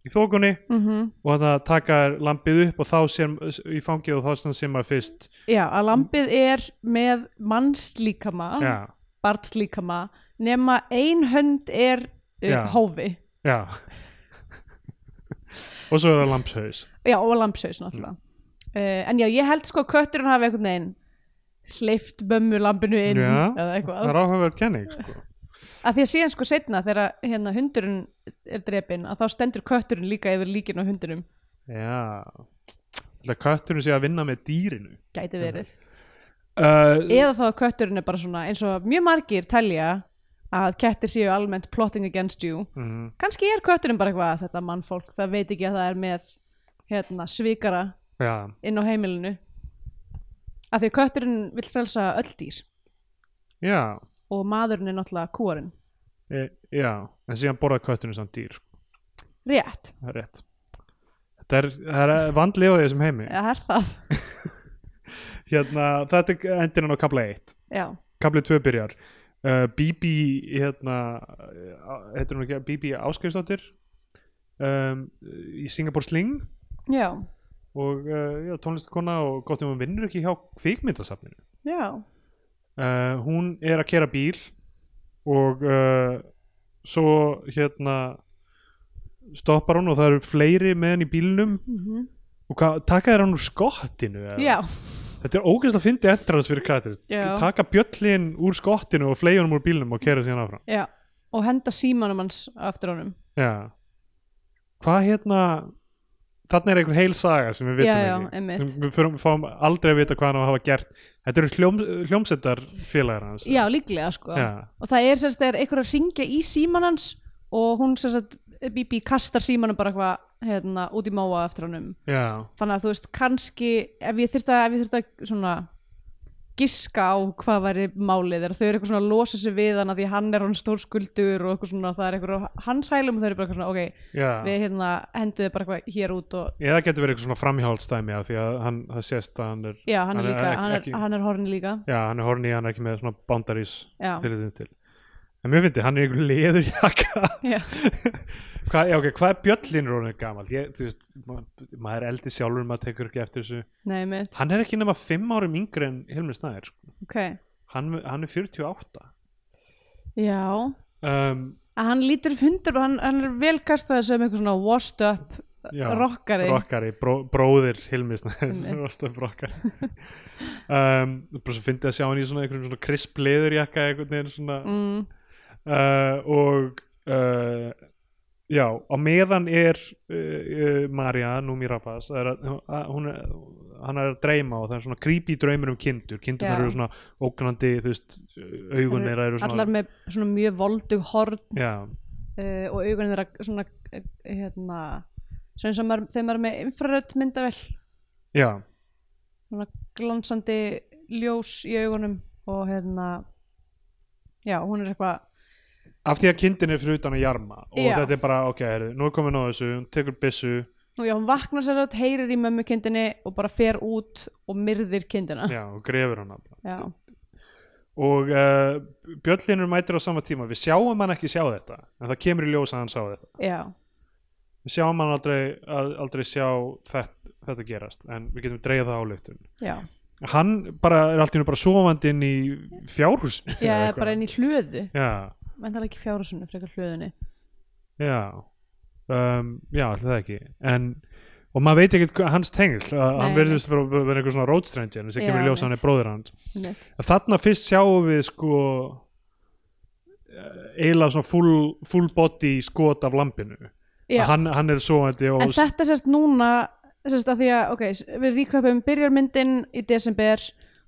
S1: í þókunni
S2: mm
S1: og þannig að taka þær lampið upp og þá sem í fangið og þá sem sem maður fyrst
S2: já að lampið er með mannslíkama
S1: já,
S2: barnslíkama nema ein hönd er
S1: Já.
S2: uh, hófi
S1: já og svo er það lampshaus
S2: já, og lampshaus náttúrulega uh, en já, ég held sko að kötturinn hafi einhvern veginn hleyft mömmu lambinu inn
S1: Já,
S2: eða eitthvað
S1: það er áhugaverð kenning sko.
S2: að því að síðan sko setna þegar hérna, hundurinn er drepinn að þá stendur kötturinn líka yfir líkin á hundurinn
S1: Já Þetta kötturinn sé að vinna með dýrinu
S2: gæti verið
S1: uh,
S2: eða þá að kötturinn er bara svona eins og mjög margir telja að kettir séu almennt plotting against you
S1: mm,
S2: kannski er kötturinn bara eitthvað "Ah, þetta mannfólk það veit ekki að það er með hérna, svikara
S1: Já,
S2: inn á heimilinu af því að kötturinn vill frelsa öll dýr
S1: já
S2: og maðurinn er náttúrulega kúarinn
S1: e, Já, en síðan borða kötturinn samt dýr sko,
S2: rétt,
S1: Það er rétt Þetta er, það er vandlega í þessum heimi
S2: það er það
S1: Hérna, þetta er endurinn á kabla 1
S2: já,
S1: Kabli 2 byrjar uh, Bibi, hérna uh, heitir hún ekki, Bibi Áskeiðsdóttir um, í Singapore Sling
S2: já,
S1: og uh, já, tónlistakona og gott um hún vinnur ekki hjá kvikmyndasafninu
S2: já
S1: uh, hún er að kera bíl og uh, svo hérna stoppar hún og það eru fleiri með henni í bílnum
S2: Mhm.
S1: og hvað- taka þér hann úr skottinu eða?
S2: já,
S1: þetta er ógeðslega að fyndi endrans fyrir karakter
S2: Já.
S1: taka bjöllin úr skottinu og fleigi honum úr bílnum og kera síðan áfram
S2: já og henda símanum hans aftur honum
S1: já. hvað hérna þarna er einhver heil saga sem við vitum
S2: já, já,
S1: ekki
S2: einmitt
S1: Við, fyrum, fáum aldrei að vita hvað hann á að hafa gert Þetta eru hljóm, hljómsettar félagar hans
S2: já, líklega sko
S1: Já.
S2: og það er semst þegar einhver að ringja í síman hans og hún semst að Bibi kastar símanum bara eitthvað hérna, út í móa eftir honum
S1: Já,
S2: þannig að þú veist kannski ef ég þyrfti að, ef ég þyrfti að svona giska á hvað væri málið þegar þau eru eitthvað svona að losa sig við hann að því hann er hann stórskuldur og eitthvað svona það er eitthvað á hans hælum og þau eru bara eitthvað svona ok,
S1: já.
S2: við hérna henduðu bara eitthvað hér út og
S1: Eða getur verið eitthvað svona framhjálpsdæmi af því að hann, það sést að hann er
S2: já, hann
S1: Hann
S2: er
S1: er
S2: líka,
S1: ekki-
S2: hann er,
S1: ekki-
S2: hann er horni líka
S1: já, hann er horni, hann er ekki með svona boundaries
S2: já,
S1: til þetta til En mér finnir, hann er einhver leður jakka
S2: já,
S1: Hvað, já, ok, hvað er bjöllin rónir gamall? Ég, þú veist, ma- maður er eldi sjálfur maður tekur ekki eftir þessu
S2: nei mitt
S1: Hann er ekki nema fimm árum yngri en Hilmi Snæðir sko.
S2: ok,
S1: hann, hann er 48
S2: já
S1: um,
S2: að hann lítur hundur, hann, hann er vel kastaði sem eitthvað svona washed up
S1: já,
S2: rockari,
S1: Rockari, bró, bróðir Hilmi Snæðis
S2: Einmitt.
S1: Rostaf Rockari um, bara svo fyndi að sjá hann í svona einhverjum svona krisp leðurjakka einhvern veginn svona
S2: mm,
S1: uh, og uh, já, á meðan er uh, uh, Marja, Númi Rapaz það er að, að- hún er, hann er að dreyma og það er svona creepy draumur um kindur
S2: Já.
S1: kindurnar eru svona ógnandi þú veist, augun
S2: Eru
S1: þeirra eru svona
S2: allar með svona mjög voldug horn
S1: já,
S2: uh, og augunni þeirra svona uh, hérna svo eins og maður, þegar maður er með infrarödd myndavel
S1: já,
S2: svona glansandi ljós í augunum og hérna já, hún er eitthvað
S1: af því að kindin er fyrir utan að jarma og
S2: Já.
S1: þetta er bara, ok, heyrðu, nú er komin á þessu hún tekur byssu,
S2: og já, hún vaknar sér að heyrir í mömmu kindinni og bara fer út og myrðir kindina
S1: já, og grefur hana
S2: já,
S1: og uh, Björnlinur mætir á sama tíma við sjáum hann ekki sjá þetta en það kemur í ljós að hann sá þetta
S2: já,
S1: við sjáum hann aldrei, að, aldrei sjá þetta, þetta gerast en við getum dreigð það áleiktun
S2: já,
S1: hann bara er allt í hennu bara sofandi inn í fjárhús
S2: já bara inn í hlöðu
S1: já,
S2: menn það er ekki fjárhúsinu, frekar hlöðunni
S1: já um, já, alltaf það ekki en, og maður veit ekkert hvað- hans tengl að hann
S2: Nei,
S1: verðist vera, vera einhver svona road stranger sem
S2: Já,
S1: kemur í ljós að hann
S2: einmitt.
S1: er bróðir hans
S2: Nett.
S1: En þarna fyrst sjáum við sko eh, eiginlega svona full, full body skot af lampinu
S2: já,
S1: Að hann, hann er svoandi og
S2: en þetta sérst núna sérst að því að, ok, s- við ríköpum byrjar myndin í desember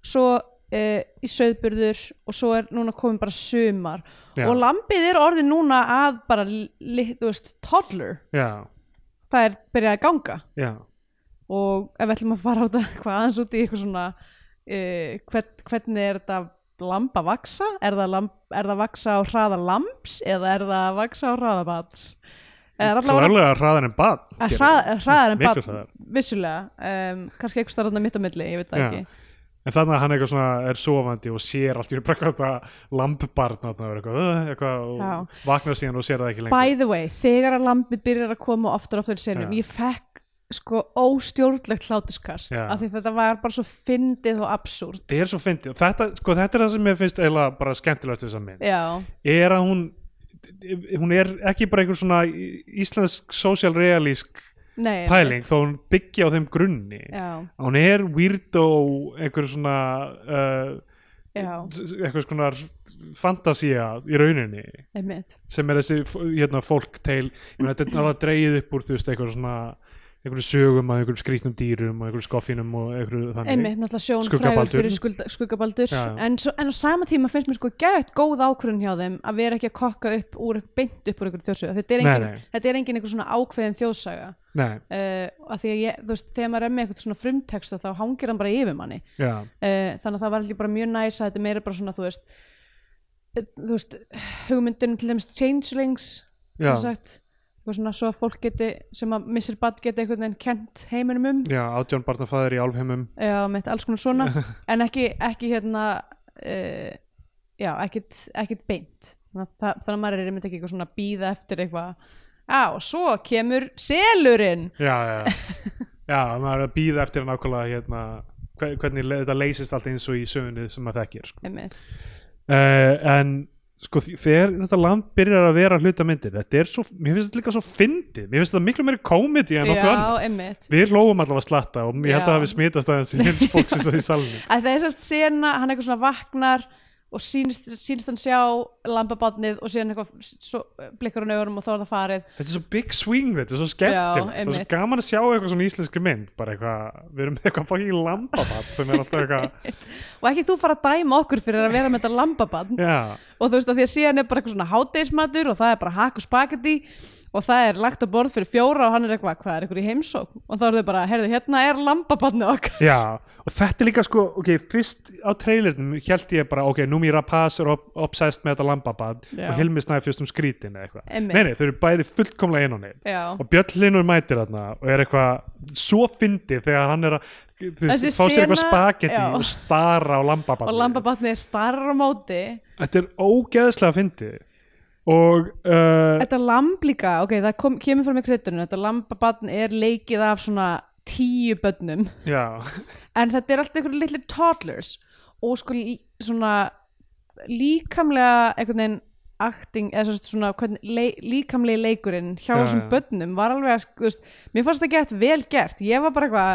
S2: svo uh, í söðburður og svo er núna komin bara sumar
S1: Já.
S2: og lambið er orðið núna að bara, li, þú veist, toddler
S1: já,
S2: það er byrjað að ganga
S1: já,
S2: og ef við ætlum að fara á þetta hvað aðeins út í eitthvað svona uh, hvern, hvernig er þetta lamb að vaksa? Er það, lamb, er það vaksa á hraða lambs eða er það að vaksa á hraða bats? Er allavega
S1: klárlega hraðar en bad
S2: að hraða, hraðar en
S1: Miklu
S2: barn,
S1: hraðar.
S2: vissulega um, kannski eitthvað starfna mitt á milli, ég veit það
S1: Já.
S2: ekki
S1: en þannig að hann eitthvað svona er sofandi og sér allt í einu bara hvað þetta lampbarn þarna er eitthvað, "Ugh", eitthvað og vaknar síðan og sér það ekki lengur
S2: by the way, þegar að lambi byrjar að koma oftar og oftar í senum,
S1: Já.
S2: ég fekk sko óstjórnlegt hlátuskast
S1: Já.
S2: af því þetta var bara svo fyndið og absúrt
S1: þetta er svo fyndið og þetta, sko, þetta er það sem mér finnst eiginlega bara skemmtilegt við þessa mynd
S2: já,
S1: er að hún hún er ekki bara einhver svona í- íslensk social realísk
S2: nei
S1: pæling þó hún byggja á þeim grunni
S2: já,
S1: hún er weirdo einhver svona uh,
S2: já,
S1: einhvers konar fantasía í rauninni
S2: einmitt
S1: sem er þessi f- hérna, fólk til þetta er alveg dreigið upp úr þú veist einhver svona einhverju sögum af einhverjum skrýtnum dýrum og einhverju skoffinum og einhverju þannig
S2: einmitt, náttúrulega sjón
S1: Skuggabaldur.
S2: frægur fyrir skulda, skuggabaldur
S1: Já, já.
S2: En, svo, en á sama tíma finnst mér sko gætt góð ákvörðun hjá þeim að vera ekki að kokka upp úr, beint upp úr einhverju þjóðsögu þetta er
S1: Nei,
S2: engin,
S1: nei.
S2: þetta er engin einhver svona ákveðin þjóðsaga
S1: Nei,
S2: uh, að því að ég, þú veist, þegar maður er með eitthvað svona frumteksta þá hangir hann bara yfir manni
S1: já,
S2: uh, þannig að það var allir bara mjög næs að þetta er meira bara svona, þú veist eh, þú veist, hugmyndunum til þeim changelings
S1: Já.
S2: sem sagt, eitthvað svona svo að fólk geti sem að Mr. Bad geti einhvern veginn kent heiminum um
S1: já, átjón barnafæðir í álfheimum
S2: já, með alls konar svona en ekki, ekki hérna uh, já, ekkit, ekkit beint þannig að, það- þannig að maður er einmitt ekki eitthvað svona að býða eftir eitthvað já, og svo kemur selurinn
S1: Já, já, já Já, maður er að býða eftir nákvæmlega hérna, hve- hvernig le- þetta leysist allt eins og í sögunni sem maður þekkir sko.
S2: einmitt,
S1: uh, en sko þ- þegar þetta land byrjar að vera hluta myndir þetta er svo, mér finnst þetta líka svo fyndið mér finnst þetta miklu meiri komedi en nokkuð annað
S2: já, einmitt
S1: við lófum allavega slatta og ég held að það
S2: Já.
S1: hafi smitast aðeins í hins fólksins í salinu
S2: að það er sérst sena, hann eitthvað svona vaknar og sínst, sínst hann sjá lambabarnið og síðan eitthvað svo, blikkar hann augunum og þá er það farið
S1: þetta er svo big swing þetta er svo skemmtilegt það er svo
S2: einmitt.
S1: gaman að sjá eitthvað svona íslenskri mynd bara eitthvað, við erum með eitthvað fokkin lambabat sem er alltaf eitthvað
S2: og ekki þú fara að dæma okkur fyrir að vera með þetta lambabarn
S1: já,
S2: og þú veist að því að síðan er bara eitthvað svona hádeismatur og það er bara hakk og spagetti og það er lagt á borð fyrir fjóra og hann er eitthvað hvað er eitthvað í heimsók og þá eru þau bara, heyrðu hérna er lambabarnið okkar
S1: já og þetta er líka sko, ok, fyrst á trailernum held ég bara, ok, Númi Rapaz er ob- obsessed með þetta lambabat
S2: Já.
S1: og Hilmi Snæði fyrst um skrítin eða eitthvað
S2: Einmitt.
S1: nei, nei, þau eru bæði fullkomlega inn á neitt
S2: Já.
S1: og Björn Linur mætir þarna og er eitthvað svo fyndið þegar hann er að þú veist,
S2: Þessi
S1: fá sér eitthvað
S2: sena-
S1: spagetti
S2: já.
S1: og stara á lambabat
S2: og lambabarnið starrar á móti
S1: þetta er ógeðslega fyndið og uh,
S2: Þetta lamb líka, ok, það kom, kemur frá mig kreddunum, þetta lambabarn er leikið af svona tíu börnum
S1: já,
S2: en þetta er alltaf einhverju litli toddlers og sko lí- svona líkamlega einhvern veginn acting, eða sem sagt svona hvern, le, líkamlega leikurinn hjá
S1: Já,
S2: þessum
S1: já.
S2: börnum var alveg að, þú veist, mér fannst það gett vel gert, ég var bara eitthvað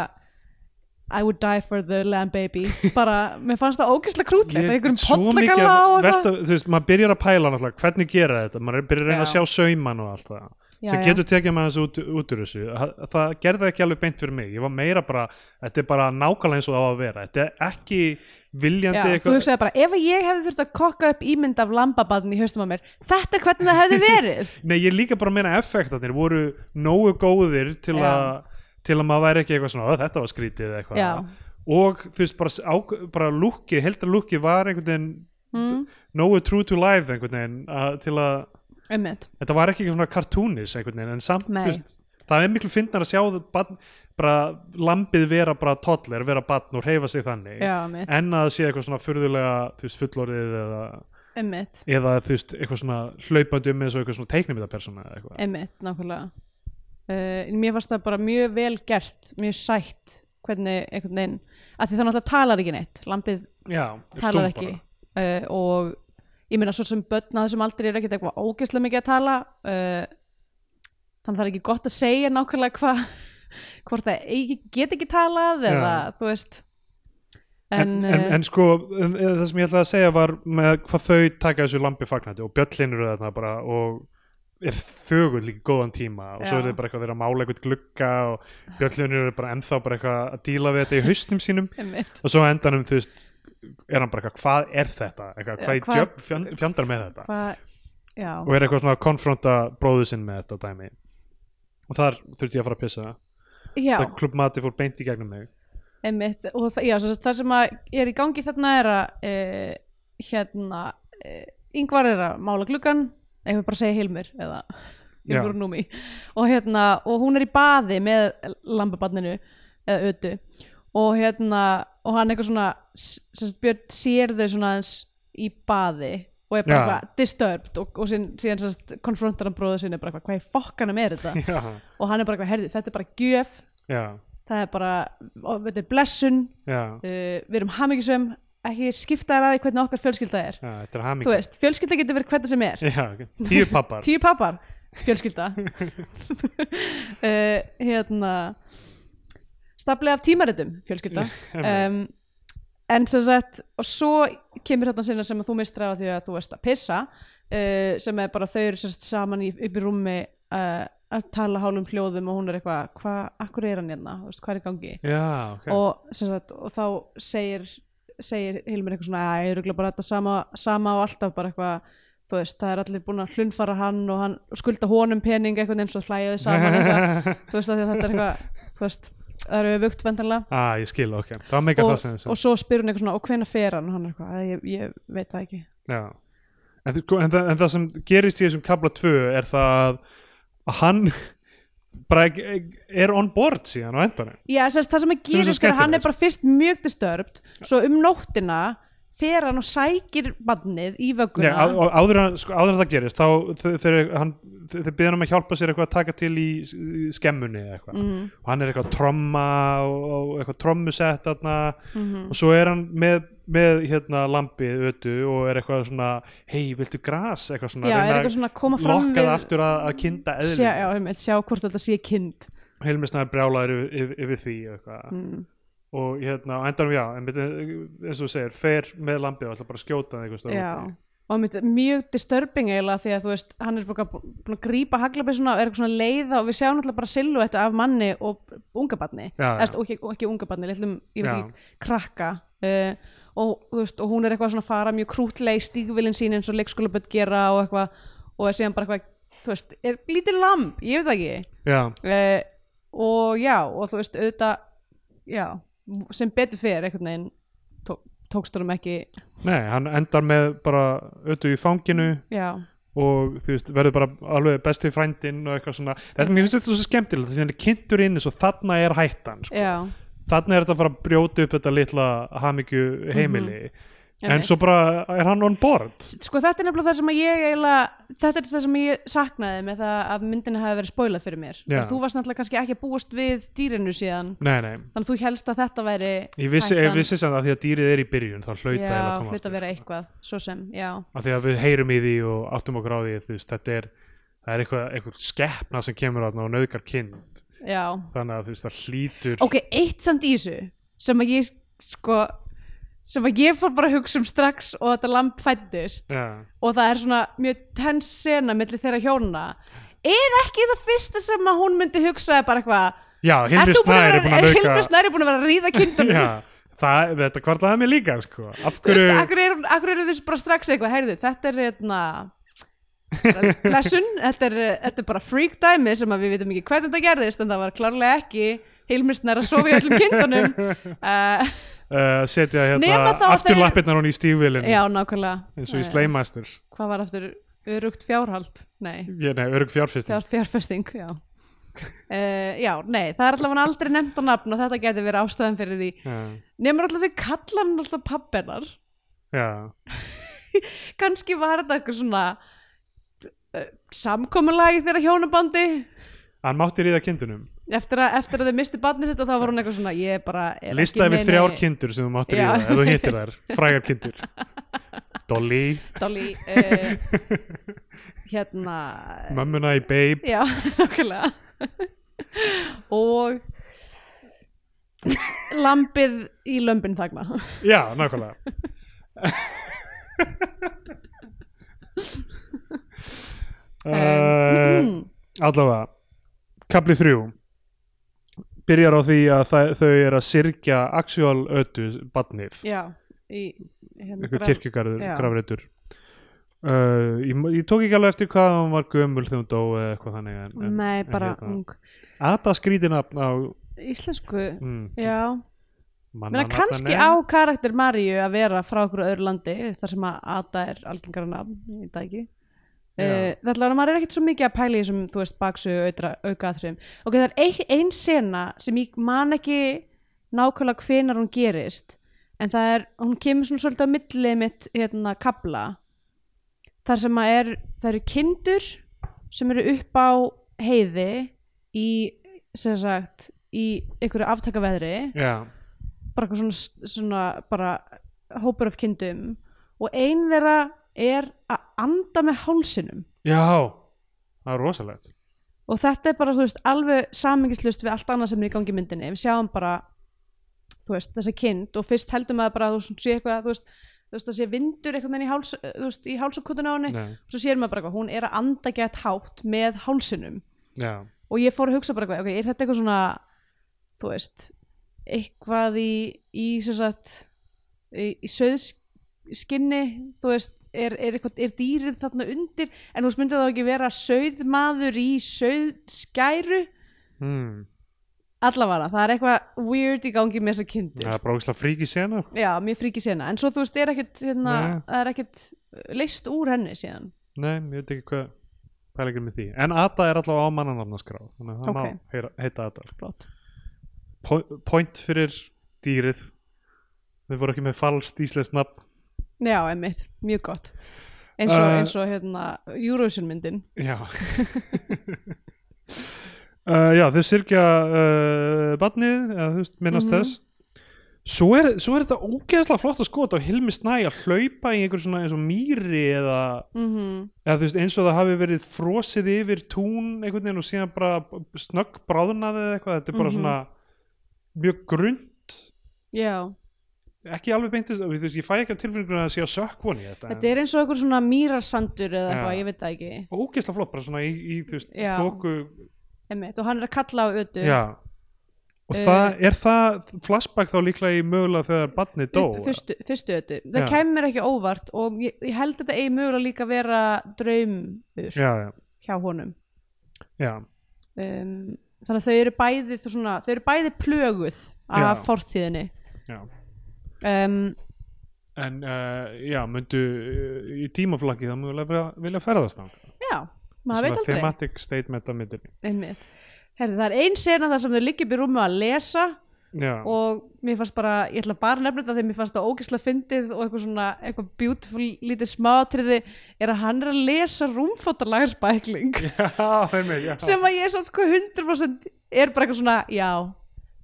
S2: I would die for the lamb baby bara, mér fannst það ógeðslega krútlegt að einhverjum pollagalla á
S1: að
S2: eitthvað.
S1: velta, þú veist, maður byrjar að pæla náttúrulega hvernig gera þetta, maður byrjar að reyna að
S2: Já.
S1: sjá sauman og allt það,
S2: Já,
S1: sem
S2: já.
S1: getur tekið maður þessu út, út úr þessu, það, það gerði ekki alveg beint fyrir mig, ég var meira bara þetta er bara nákvæmlega eins og það á að vera þetta er ekki
S2: Já,
S1: viljandi
S2: þú hugsaði bara, ef ég hefði þurft að kokka upp ímynd af lambabadn í haustum á mér þetta er hvernig það hefði verið
S1: Nei, ég er líka bara að meina effektarnir voru nógu góðir til
S2: Já.
S1: að til að maður væri ekki eitthvað svona, "Ó, þetta var skrítið eða eitthvað
S2: Já.
S1: og þú veist, bara, á, bara lúkið, heldar lúkið var einhvern veginn
S2: Hmm.
S1: nógu true to life einhvern veginn að, til að,
S2: Einmitt.
S1: þetta var ekki svona kartúnis einhvern veginn, en samt,
S2: Nei.
S1: þú veist það er miklu fyndnar að sjá það barn, bara lambið vera bara toddler vera barn og hreyfa sig þannig
S2: Já, mitt.
S1: en að það sé eitthvað svona furðulega þú veist, fullorðið eða,
S2: Einmitt.
S1: eða þú veist, eitthvað svona hlaupandi um eins og eitthvað svona teiknumitapersona eða eitthvað
S2: Einmitt, nákvæmlega uh, Mér fannst það bara mjög vel gert mjög sætt hvernig einhvern veginn að því það náttúrulega talar ekki neitt lambið
S1: Já,
S2: talar ekki uh, og ég meina svo sem börn að þessum aldrei er ekkert eitthvað ógeðslega mikið að tala uh, þannig það er ekki gott að segja nákvæmlega hvað hvort það eigi, get ekki talað eða
S1: Já.
S2: þú veist
S1: En,
S2: en,
S1: en,
S2: eh,
S1: en sko, en, eh, það sem ég ætlaði að segja var með hvað þau taka þessu lampi fagnandi og bjöllinur þarna bara og er þögull líka góðan tíma og svo
S2: Já.
S1: er þau bara eitthvað að vera að mála eitthvað glugga og bjöllinur eru bara ennþá bara eitthvað að díla við þetta í haustnum sínum
S2: einmitt,
S1: og svo á endanum, þú veist, er hann bara eitthvað, hvað er þetta? Eitthvað,
S2: Já,
S1: hvað í
S2: hvað-
S1: djöfn fjand, fjandar með þetta?
S2: hvað já,
S1: og er eitthvað svona að konfronta bróðu sinn með þetta dæmi og þar þurfti ég að fara að pissa
S2: já.
S1: það klubbmati fór beint í gegnum mig
S2: Einmitt, og það, já, svo, það sem að er í gangi þarna er að e, hérna e, yngvar er að mála gluggan eitthvað bara að segja Hilmir eða
S1: Já.
S2: Hilmir og Númi og, hérna, og hún er í baði með lambabarninu eða ötu og hérna og hann eitthvað svona s- sem sagt, Björn sér þau svona aðeins í baði og er bara
S1: Já.
S2: eitthvað disturbed og, og síðan, síðan sem sagt, konfrontar hann bróðu sinni bara eitthvað, hvað í fokkanum er þetta
S1: já,
S2: og hann er bara eitthvað, herði, þetta er bara gjöf
S1: já,
S2: það er bara, og þetta er blessun
S1: já
S2: uh, við erum hamingisum ekki skipta þér að því hvernig okkar fjölskylda er
S1: Já, þetta er hamingi
S2: þú veist, fjölskylda getur verið hvernig sem er
S1: Já, ok. tíu pappar
S2: tíu pappar, fjölskylda uh, hérna staplega af tímaritum fjölskylda um, en sem sagt, og svo kemur þarna sinna sem að þú mistra á eh, því að þú veist að pissa uh, sem er bara þau eru sem sagt, saman í, upp í rúmi uh, að tala hálum hljóðum og hún er eitthvað, hvað, akkur er hann hérna, þú veist, hvað er í gangi
S1: Já, ok
S2: og, sem sagt, og þá segir, segir Hilmir eitthvað svona að ég er bara þetta sama, sama og alltaf bara eitthvað þú veist, það er allir búin að hlunfara hann og hann og skulda honum pening eitthvað eins og hlæja þau saman eitthvað, þú veist, af því að þetta er eitthvað þú veist, það eru við vukt vendanlega
S1: ah, ég skil, ok, það meikar það
S2: og,
S1: sem
S2: og svo spyr hún eitthvað svona, og hvena fer hann og hann er eitthvað, "Æ, ég, ég veit það ekki
S1: Já en, þú- en, það, en það sem gerist í þessum kabla 2 er það að- að hann bara ek- ek- er on board síðan á endanum
S2: Já, sérst, það sem að
S1: er svo
S2: gerist er að hann er
S1: skemmtilegt.
S2: bara fyrst mjög disturbt svo um nóttina fer hann og sækir bannið í
S1: Já,
S2: vögguna
S1: á, á- áður, en- sko, áður en það gerist þá þe- þegar hann þeir byrðan um að hjálpa sér eitthvað að taka til í, s- í skemmunni eða eitthvað
S2: Mhm.
S1: og hann er eitthvað að tromma og, og eitthvað trommusett þarna
S2: Mhm.
S1: og svo er hann með, með hérna lampið ötu og er eitthvað svona hei, viltu gras? eitthvað svona,
S2: Já,
S1: reyna
S2: er
S1: að
S2: eitthvað svona að koma fram
S1: lokka það aftur að, að kinda eðlum
S2: sjá, já, einmitt, sjá hvort þetta sé kind
S1: heilmisnaður brjálaður yfir, yfir, yfir því og eitthvað
S2: Mhm.
S1: og hérna á endanum já einmitt, eh, eins og þú segir, fer með lambið og ætla bara að skjóta það einhvers staðar
S2: Já.
S1: úti.
S2: og einmitt, mjög disturbing eiginlega því að þú veist, hann er bara búin að grípa haglabessuna og er eitthvað svona að leiða og við sjáum alltaf bara silluettu af manni og ungabarni
S1: Já, já.
S2: Eðst, og, ekki, og ekki ungabarni, litlum, ég veit
S1: Já.
S2: ekki, krakka uh, og, þú veist, og hún er eitthvað svona að fara mjög krútleg stígvilin sín eins og leikskólaböld gera og eitthvað og er síðan bara eitthvað þú veist, er lítið lamb, ég veit það ekki
S1: já,
S2: uh, og já og þú veist auðvitað já, sem betur fyrir einhvern veginn tók, tókst honum ekki
S1: nei, hann endar með bara ötu í fanginu
S2: já,
S1: og þú veist, verður bara alveg besti frændinn og eitthvað svona þetta er mér finnst þetta svo skemmtilegt því hann er kynntur inn svo þarna er hættan sko.
S2: já,
S1: þarna er þetta að fara að brjóta upp þetta litla hamingju heimili
S2: Mhm.
S1: en
S2: Einmitt.
S1: svo bara er hann on board
S2: sko þetta er nefnilega það sem að ég eiginlega þetta er það sem ég saknaði með það að myndinni hafi verið spoilað fyrir mér
S1: Já.
S2: Og þú varst náttúrulega kannski ekki að búast við dýrinu síðan
S1: nei, nei,
S2: þannig að þú helst að þetta væri
S1: ég vissi, ég
S2: hættan.
S1: vissi sem það að því að dýrið er í byrjun þá hlauta
S2: já,
S1: að koma
S2: hluta að vera eitthvað, svo sem já,
S1: af því að við heyrum í því og áttum okkur á því þú veist, þetta er, það er eitthvað, eitthvað skeppna sem kemur þarna og nauðgar kind
S2: já
S1: þannig að þú veist, það hlýtur
S2: ok, eitt samt í þessu sem að ég sko sem að ég fór bara að hugsa um strax og þetta lamp fættist
S1: ja.
S2: og það er svona mjög tens sena millir þeirra hjóna er ekki það fyrsta sem að hún myndi hugsa er bara eitthvað
S1: já,
S2: Ert
S1: Hilmi
S2: þú búin að
S1: Snær er
S2: vera-
S1: búin að
S2: er Hilmir
S1: nauðga
S2: Snær er búin að vera að ríða kindunum
S1: já, það, þetta kvartlaði mér líka sko. af
S2: Þú veist,
S1: hverju
S2: akkur, er, akkur eru þessu bara strax eitthvað heyrðu, þetta er hérna blessun, þetta er, þetta er bara freak dæmi sem að við vitum ekki hvernig þetta gerðist en það var klárlega ekki heilmisnar að sofa í öllum kindunum uh,
S1: uh, setja hérna
S2: Nema þá að
S1: afturlappirnar hún í stífvilin
S2: já, nákvæmlega
S1: eins og í
S2: Eh,
S1: Slaymasters
S2: hvað var aftur, örugt fjárhald nei,
S1: ég, nei, örg fjárfisting
S2: fjár, fjárfesting já. Uh, já, nei, það er allavega aldrei nefnt á nafn og þetta geti verið ástæðan fyrir því
S1: já,
S2: nefnir alltaf þau kalla hann alltaf pappennar
S1: já,
S2: kannski var þetta eitthvað svona uh, samkominlagi þeirra hjónabandi
S1: hann mátti ríða kindunum
S2: eftir að, eftir að þau misti barnið sitt og þá var hún eitthvað svona ég bara er
S1: listaði
S2: ekki
S1: við þrjár kindur sem þú mátti
S2: Já.
S1: ríða ef þú hittir þær, frægar kindur Dolly,
S2: Dolly uh, hérna
S1: mömmuna í Babe
S2: já, nokkulega og lambið í lömbin þagna
S1: Já, nákvæmlega
S2: Um, mm,
S1: uh, Allavega Kapli þrjú Byrjar á því að það, þau eru að syrgja Axial ötu badnir
S2: já í, hérna,
S1: einhver
S2: graf-
S1: kirkjugarður,
S2: já.
S1: grafreitur uh, ég, ég tók ekki alveg eftir hvað hún var gömul þegar hún dó eða eitthvað þannig en, en,
S2: nei,
S1: en
S2: bara
S1: hérna,
S2: ung
S1: Ada skrítinafn á
S2: íslensku,
S1: mm,
S2: já Menna,
S1: mannanafnanefnd.
S2: kannski á karakter Maríu að vera frá okkur öðru landi þar sem að Ada er algengara nafn í dagi
S1: Já.
S2: uh, Það er að maður er ekkert svo mikið að pæla í þessum þú veist baksu aukaðatrum Ok, það er ein, ein sena sem ég man ekki nákvæmlega hvenar hún gerist en það er, hún kemur svona svolítið á milli mitt hérna kabla þar sem að er, það eru kindur sem eru upp á heiði í, sem sagt í einhverju aftakaveðri
S1: Já,
S2: bara eitthvað svona, svona bara hópur af kindum og ein þeirra er að anda með hálsinum
S1: já Það er rosalegt
S2: og þetta er bara, þú veist, alveg samingislust við allt annað sem er í gangi í myndinni við sjáum bara, þú veist, þessi kind og fyrst heldum að bara, þú veist, hún sé eitthvað þú veist, þú veist, það sé vindur einhvern veginn í háls þú veist, í hálsakotun á henni
S1: Nei.
S2: og svo sér maður bara eitthvað, hún er að anda gett hátt með hálsinum
S1: já,
S2: og ég fór að hugsa bara eitthvað, ok, er þetta eitthvað svona þú veist, eitthvað í, í sem sagt í, í söðskinni þú veist, er, er eitthvað er dýrið þarna undir, en þú veist myndið þá ekki vera söðmaður í söðskæru,
S1: mm.
S2: allavega það er eitthvað weird í gangi með þessa kindir
S1: það er bara ógislega fríki sena
S2: Já, mér fríkir sena, en svo þú veist, er ekkert hérna,
S1: Nei.
S2: það er ekkert leist úr henni síðan
S1: nei, ég veit ekki hvað pælingin með því, en Ada er allavega á mannanarnaskrá þannig að það
S2: Ok.
S1: má heyra, heita Ada
S2: Flott.
S1: po point fyrir dýrið við vorum ekki með falskt íslensk nafn
S2: Já, emmitt, mjög gott eins
S1: Uh,
S2: og, eins og hérna, Eurovision myndin
S1: já uh, já, þau syrkja uh, badnið, eða þú veist, minnast
S2: Mhm.
S1: þess Svo er, svo er þetta ógeðslega flott að skoða á Hilmi Snæ að hlaupa í einhver svona eins og mýri eða
S2: mm
S1: eða þú veist eins og það hafi verið frosið yfir tún einhvern veginn og síðan bara snögg bráðnaði eða eitthvað þetta er bara
S2: Mhm.
S1: svona mjög grund
S2: Já,
S1: ekki alveg beintist, þú veist ég fæ ekki á tilfinninguna að sé að sökkvon í þetta
S2: þetta er eins og einhver svona mýrarsandur eða
S1: Já.
S2: eitthvað, ég veit það ekki
S1: en ógeðslega flott bara svona í, í þú veist
S2: Já.
S1: þóku,
S2: emmitt, og hann er að kalla á ötu
S1: já og
S2: Eh.
S1: það, er það flashback þá líklega í mögulega þegar barni dó
S2: Upp- fyrstu, fyrstu ötu,
S1: Já.
S2: það kæmi mér ekki óvart og ég, ég held þetta eigi mögulega líka að vera draumur
S1: já, já,
S2: hjá honum
S1: já,
S2: um, þannig að þau eru bæði þú svona, þau eru bæði plöguð af
S1: Já.
S2: fortíðinni
S1: já
S2: um,
S1: en uh, já, myndu uh, í tímaflakki þá mögulega vilja- vilja ferðast þá
S2: já, maður veit aldrei
S1: thematic statement að myndinni
S2: einmitt Herri, það er ein sena þar sem þau liggja upp í rúmi að lesa
S1: já,
S2: og mér fannst bara, ég ætla bara að nefna þetta þegar mér fannst það ógeðslega fyndið og eitthvað svona, eitthvað beautiful lítið smáatriði er að hann er að lesa rúmfóttarlagarsbækling
S1: já, einmitt, já.
S2: sem að ég er samt sko 100% er bara eitthvað svona, já,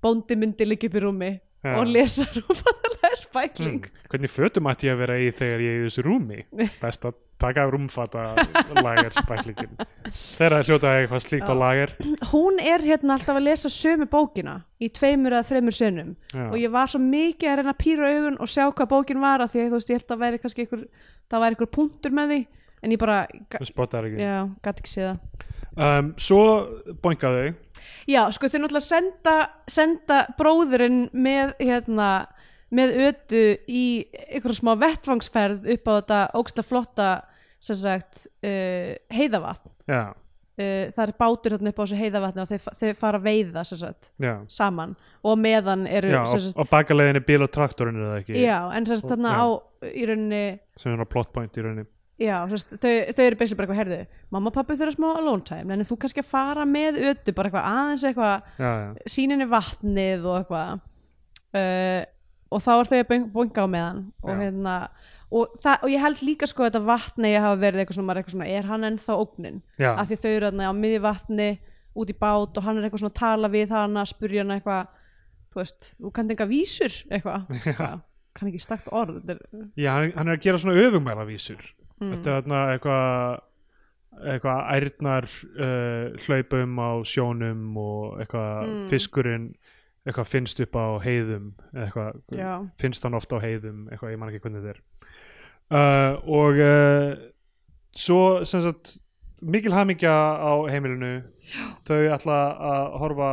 S2: bóndi myndi liggja upp í rúmi
S1: Já.
S2: og lesa rúmfóttarlagarsbækling
S1: Mm. Hvernig fötum ætti ég að vera í þegar ég er í þessu rúmi? Best að taka rúmfata lager spæklingin. Þeirra hljóta að eiga eitthvað slíkt á lager.
S2: hún er hérna alltaf að lesa sömu bókina í tveimur eða þreimur sönum
S1: Já.
S2: og ég var svo mikið að reyna að pýra augun og sjá hvað bókin var af því að þú veist ég held að væri kannski einhver, það væri einhver punktur með því en ég bara, ga-
S1: Við spottar ekki.
S2: já, gæti ekki séð það
S1: Um, svo boinga þau.
S2: já, sko þau náttúrulega senda, senda bróðurinn með hérna með ötu í einhverja smá vettvangsferð upp á þetta ógsta flotta sem sagt uh, heiðavatn
S1: Já,
S2: uh, það er bátur hérna upp á þessu heiðavatni og þeir, þeir fara að veiða sem sagt
S1: já.
S2: saman og á meðan eru
S1: Já,
S2: sem
S1: og,
S2: sagt,
S1: og bakaleiðinni bíl og traktorinn er það ekki
S2: já, en sem sagt þarna
S1: já.
S2: á í rauninni,
S1: sem er á plot point í rauninni
S2: já, sem sagt, þau, þau eru beislega bara eitthvað herðu, mamma og pappi þau eru smá alone time en þú kannski að fara með ötu bara eitthvað aðeins eitthvað,
S1: já, já.
S2: síninni vatnið og eitthvað uh, og þá er þau að böng- bunga á meðan og
S1: Já.
S2: hérna og, það, og ég held líka sko að þetta vatni ég hafa verið eitthvað svona, maður er eitthvað svona, er hann ennþá ógnin
S1: Já.
S2: af því þau eru þarna á miði vatni út í bát og hann er eitthvað svona að tala við hana spurja hana eitthvað þú veist, þú kannt enga vísur eitthvað Eitthvað, kann ekki stakt orð þetta er, mm.
S1: Já, hann, hann er að gera svona öfumælavísur
S2: Mhm.
S1: Þetta er þarna eitthvað eitthvað ærnar uh, hlaupum á sjónum og eitthvað
S2: Mhm.
S1: fiskurinn eitthvað finnst upp á heiðum eða eitthvað
S2: Já.
S1: finnst hann oft á heiðum eitthvað ég man ekki hvernig þetta er uh, og uh, svo sem sagt mikil hamingja á heimilinu Já. þau ætla að horfa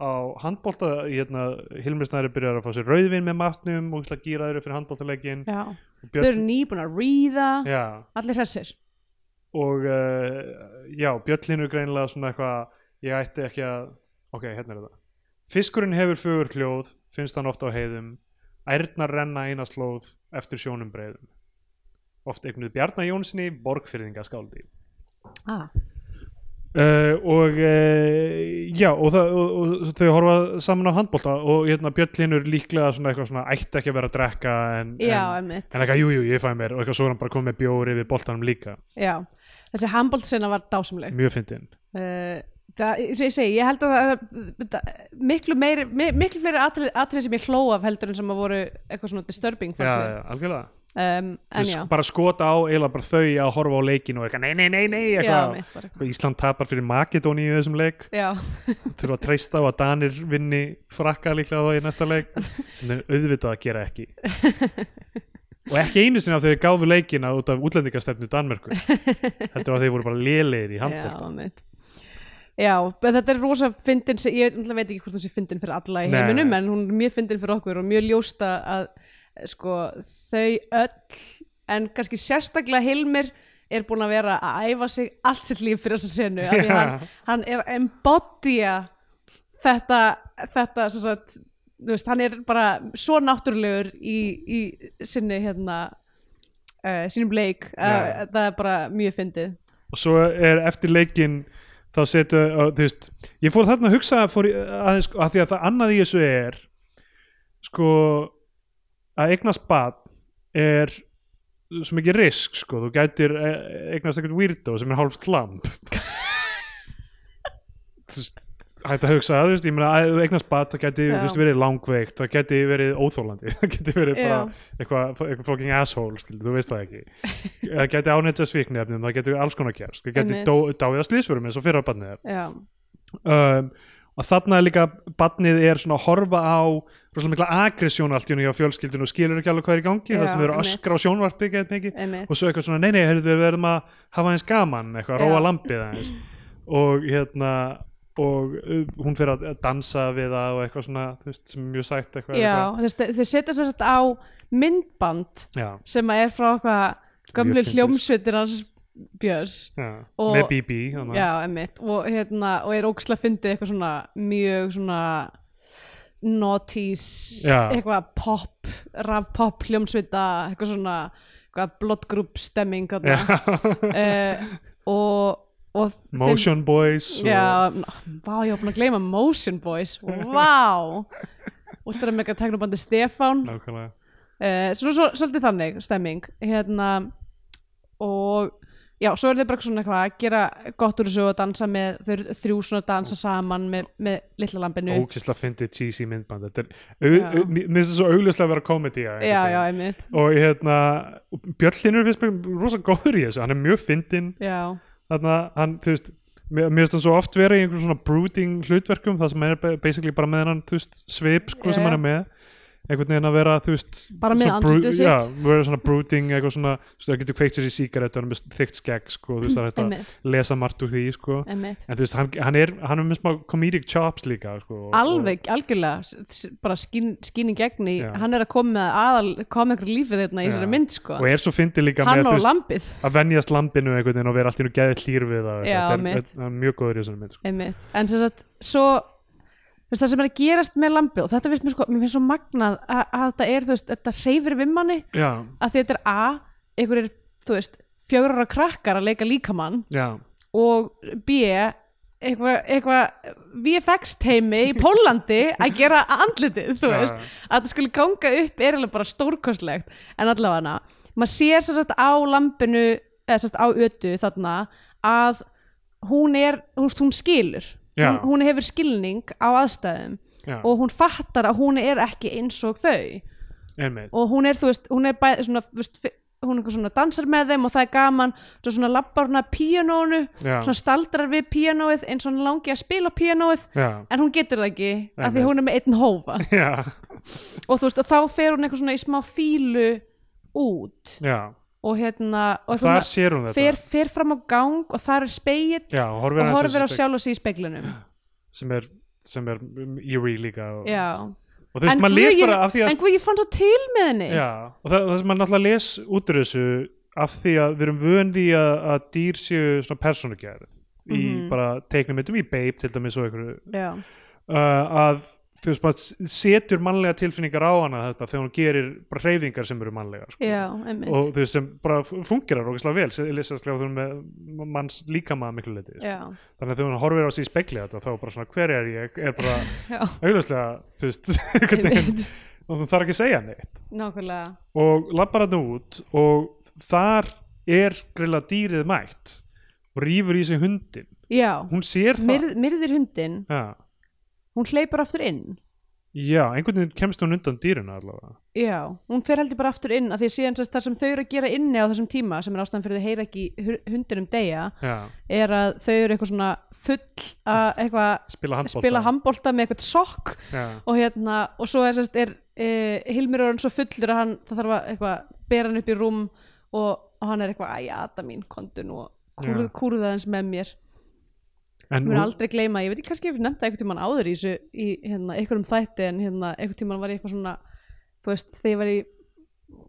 S1: á handbólta hérna, Hilmi Snæri byrjar að fá sér rauðvin með matnum og ætla að gýra þeirra fyrir handbóltaleikin
S2: já, þau eru nýbúin að ríða
S1: Já,
S2: allir hressir
S1: og uh, já, bjöllinu greinilega svona eitthvað, ég ætti ekki að ok, hérna er þetta fiskurinn hefur fögur hljóð, finnst hann oft á heiðum ærnar renna eina slóð eftir sjónum breiðum oft eignuð Bjarnar Jónssoni borgfyrðingaskáldi
S2: ah.
S1: uh, og uh, já, og, það, og, og þau horfa saman á handbólta og hérna bjöllinur líklega svona eitthvað svona ætti ekki að vera að drekka en,
S2: já,
S1: en,
S2: emmitt
S1: en eitthvað, jú, jú, ég fæ mér og eitthvað svo er hann bara komið með bjóri við boltanum líka
S2: já. þessi handbóltsina var dásamleg
S1: mjög fyndin
S2: uh, það, eins og ég segi, ég held að það, það, miklu meiri mi- miklu fleiri atrið, atrið sem ég hló af heldur en sem að voru eitthvað svona disturbing
S1: já,
S2: fannst mér.
S1: já, algjörlega
S2: um,
S1: Þau
S2: en já,
S1: sk- bara skota á eiginlega bara þau að horfa á leikin og eitthvað nei, nei, nei, nei
S2: já,
S1: eitthvað.
S2: mitt bara eitthvað.
S1: Eitthvað Ísland tapar fyrir Makedóni í þessum leik
S2: já,
S1: þurfa að treysta á að Danir vinni frakka líklega þá í næsta leik sem þeir auðvitað að gera ekki og ekki einu sinni að þau gáfu leikina út af útlendingastefnu Danmörku heldur að þeir voru bara lélegir í handbólta
S2: já, mitt Já, en þetta er rosa fyndin sem, ég náttúrulega veit ekki hvort hún sé fyndin fyrir alla í
S1: Nei,
S2: heiminum
S1: nei.
S2: en hún er mjög fyndin fyrir okkur og mjög ljósta að eh, sko, þau öll en kannski sérstaklega Hilmir er búin að vera að æfa sig allt sitt líf fyrir þessa senu af því
S1: Já.
S2: hann, hann er að embodya þetta, þetta sem sagt, þú veist, hann er bara svo náttúrulegur í, í sinni hérna uh, sínum leik
S1: Já.
S2: uh, það er bara mjög fyndið
S1: og svo er eftir leikin þá setja, uh, þú veist ég fór þarna að hugsa fór, í- aðeins, sko, að því að það annað í þessu er sko að eignast bad er svo mikið risk sko, þú gætir eh, eignast einhvern weirdo sem er hálft lamp þú veist hægt að hugsa, þú veist, ég meina að ef þú eignast bad það gæti,
S2: Já.
S1: þú veist, verið langveikt það gæti verið óþólandi, það gæti verið bara
S2: Já.
S1: eitthvað eitthva fucking asshole skilur, þú veist það ekki það gæti ánættu svíknefnum, það gæti alls konar gerst það gæti
S2: Einmitt.
S1: dó, dáið að slísförum eins og fyrra barnið er
S2: Já,
S1: um, og þarna er líka barnið er svona að horfa á rosalega mikla agressjón allt í henni á fjölskyldinu og skilur ekki alveg hvað er í gangi
S2: Já,
S1: það sem eru að
S2: einmitt.
S1: öskra á sjónvarpi gæti mikið
S2: einmitt
S1: og svo eitthvað svona, nei nei, heyrðu, við verðum að hafa eins gaman, eitthvað, róa
S2: Já.
S1: lampið aðeins og hérna og uh, hún fyrir að dansa við það og eitthvað svona, þú veist, sem er mjög sætt eitthvað,
S2: Já, þess, þeir setja sér þetta á myndband
S1: eitthvað. Já,
S2: sem að er frá eitthvað gömlu
S1: Mjög fyndið.
S2: hljómsveitir hans Björns
S1: já.
S2: Og-
S1: með BB þannig.
S2: Já, emmitt, og, hérna, og er óksla fyndið eitthvað svona mjög svona notis,
S1: Já.
S2: eitthvað pop rafpop hljómsveita eitthvað svona eitthvað blood group stemming þarna uh, og, og þeim-
S1: Motion Boys og,
S2: Já, n- vá, ég var búin að gleyma Motion Boys, vá Úlstæðan með eitthvað tegnubandi Stefán
S1: nákvæmlega
S2: uh, svo, svo, svolítið þannig stemming hérna og já, svo er þið bara svona eitthvað að gera gott úr þessu og dansa með þau eru þrjú svona að dansa saman með, með litla lambinu
S1: ókysla fyndið cheesy minnband þetta er, au- au- mér finnst það svo augljóslega að vera komedi
S2: já, já, einmitt
S1: og hérna Björnlinur finnst mér rosa góður í þessu hann er mjög fyndinn
S2: já,
S1: þarna, hann, þú veist mér mér finnst hann svo oft vera í einhverjum svona brooding hlutverkum þar sem hann er ba- basically bara með hann veist, svip sko, sem
S2: Já.
S1: hann er með einhvern veginn að vera þú veist,
S2: Bara með
S1: svona bru-
S2: andlitið sitt.
S1: já, vera svona brooding eitthvað svona, þú veist, það getur kveikt sér í sígaret hann er með þykkt skegg sko, þú veist, það er hægt
S2: einmitt,
S1: að lesa margt úr því sko.
S2: einmitt
S1: en þú veist, hann, hann er hann er með smá comedic chops líka sko, og-
S2: alveg, algjörlega, s- s- bara skín, skínin gegn í,
S1: Já.
S2: hann er að koma með aðal koma einhver lífið þarna
S1: Já.
S2: í þessari mynd sko.
S1: og er svo fyndið líka
S2: hann
S1: með
S2: og
S1: þú veist,
S2: lambið,
S1: að venjast lambinu einhvern veginn og vera allt í nú geðið hlýr við það og
S2: Já,
S1: eitthvað.
S2: mitt.
S1: þetta er- er mjög góður í þessum mynd sko.
S2: einmitt en sem sagt, svo þú veist, það sem er að gerast með lambið og þetta finnst mér sko, mér finnst svo magnað að, að þetta er, þú veist, þetta hreyfir við manni
S1: já,
S2: að því þetta er A, einhver er, þú veist, fjögur ára krakkar að leika líkamann
S1: já,
S2: og B, eitthvað eitthva VFX teimi í Pólandi að gera andlitið, þú
S1: Já.
S2: veist, að þetta skulle ganga upp er alveg bara stórkostlegt en allavega maður sér sem sagt á lampinu, eða sem sagt á ötu þarna að hún er, þú veist, hún skilur,
S1: Já.
S2: hún, hún hefur skilning á aðstæðum
S1: já,
S2: og hún fattar að hún er ekki eins og þau
S1: einmitt
S2: og hún er, þú veist, hún er bæði svona, þú veist, fi- hún er eitthvað svona dansar með þeim og það er gaman, svo svona labbar hún að píanónu,
S1: Já.
S2: svona staldrar við píanóið eins og hún langi að spila á píanóið
S1: já,
S2: en hún getur það ekki, af því
S1: Einmitt.
S2: hún er með einn hófa
S1: já,
S2: og þú veist, og þá fer hún eitthvað svona í smá fílu út
S1: já
S2: og hérna, og eitthvað
S1: þar
S2: svona
S1: sér hún þetta
S2: fer, fer fram á gang og þar er speill
S1: já, og horfir,
S2: og
S1: aðeins
S2: horfir á
S1: þessu
S2: sjálf og sig í speilunum
S1: spegl- sem er, sem er um, eerie líka og,
S2: já,
S1: og þú veist,
S2: en
S1: maður les
S2: guð,
S1: bara af því
S2: ég-
S1: að
S2: en guð, ég fann svo til með henni
S1: já, og það, það sem maður náttúrulega les út úr þessu af því að við erum vönd í að, að dýr séu svona persónugerð í
S2: Mhm.
S1: bara teiknum myndum í Babe til dæmis og einhverju
S2: já,
S1: uh, að þú veist, maður setur mannlega tilfinningar á hana þetta þegar hún gerir bara hreyfingar sem eru mannlegar sko.
S2: já, einmitt
S1: og þú veist, sem bara fungerar ógeðslega vel, sem- sérstaklega þú með manns líkama að miklu leiti sko.
S2: já,
S1: þannig að þegar hún horfir á sig í spegli þetta þá bara svona hver er ég er bara
S2: já,
S1: augljóslega þú veist einhvern veginn,
S2: einmitt
S1: og þú þarf ekki að segja neitt
S2: Nákvæmlega,
S1: og lappar hann út og þar er grilla dýrið mætt og rýfur í sig hundin
S2: já
S1: hún sér það
S2: Myrð, Myrðir hundin,
S1: ja.
S2: hún hleypur aftur inn
S1: já, einhvern veginn kemst hún undan dýrinu allavega
S2: Já, hún fer heldur bara aftur inn að því að síðan sérst það sem þau eru að gera inni á þessum tíma sem er ástæðan fyrir þau heyra ekki hu- hundinum deyja
S1: já,
S2: er að þau eru eitthvað svona full að eitthvað
S1: spila handbólta
S2: spila handbolta með eitthvað sokk
S1: já,
S2: og hérna og svo er, sérst, er e, Hilmir orðin svo fullur að hann það þarf að eitthvað bera hann upp í rúm og, og hann er eitthvað æja, Adam mín, kondu nú og kúrð,
S1: Já.
S2: kúrða hans með mér
S1: en
S2: Ég mun
S1: hún-
S2: aldrei gleyma, ég veit ekki kannski ef ég nefndi eitthvað tíman áður í þessu, í hérna, einhverjum þætti en hérna, eitthvað tíman var ég eitthvað svona þú veist, þegar ég var í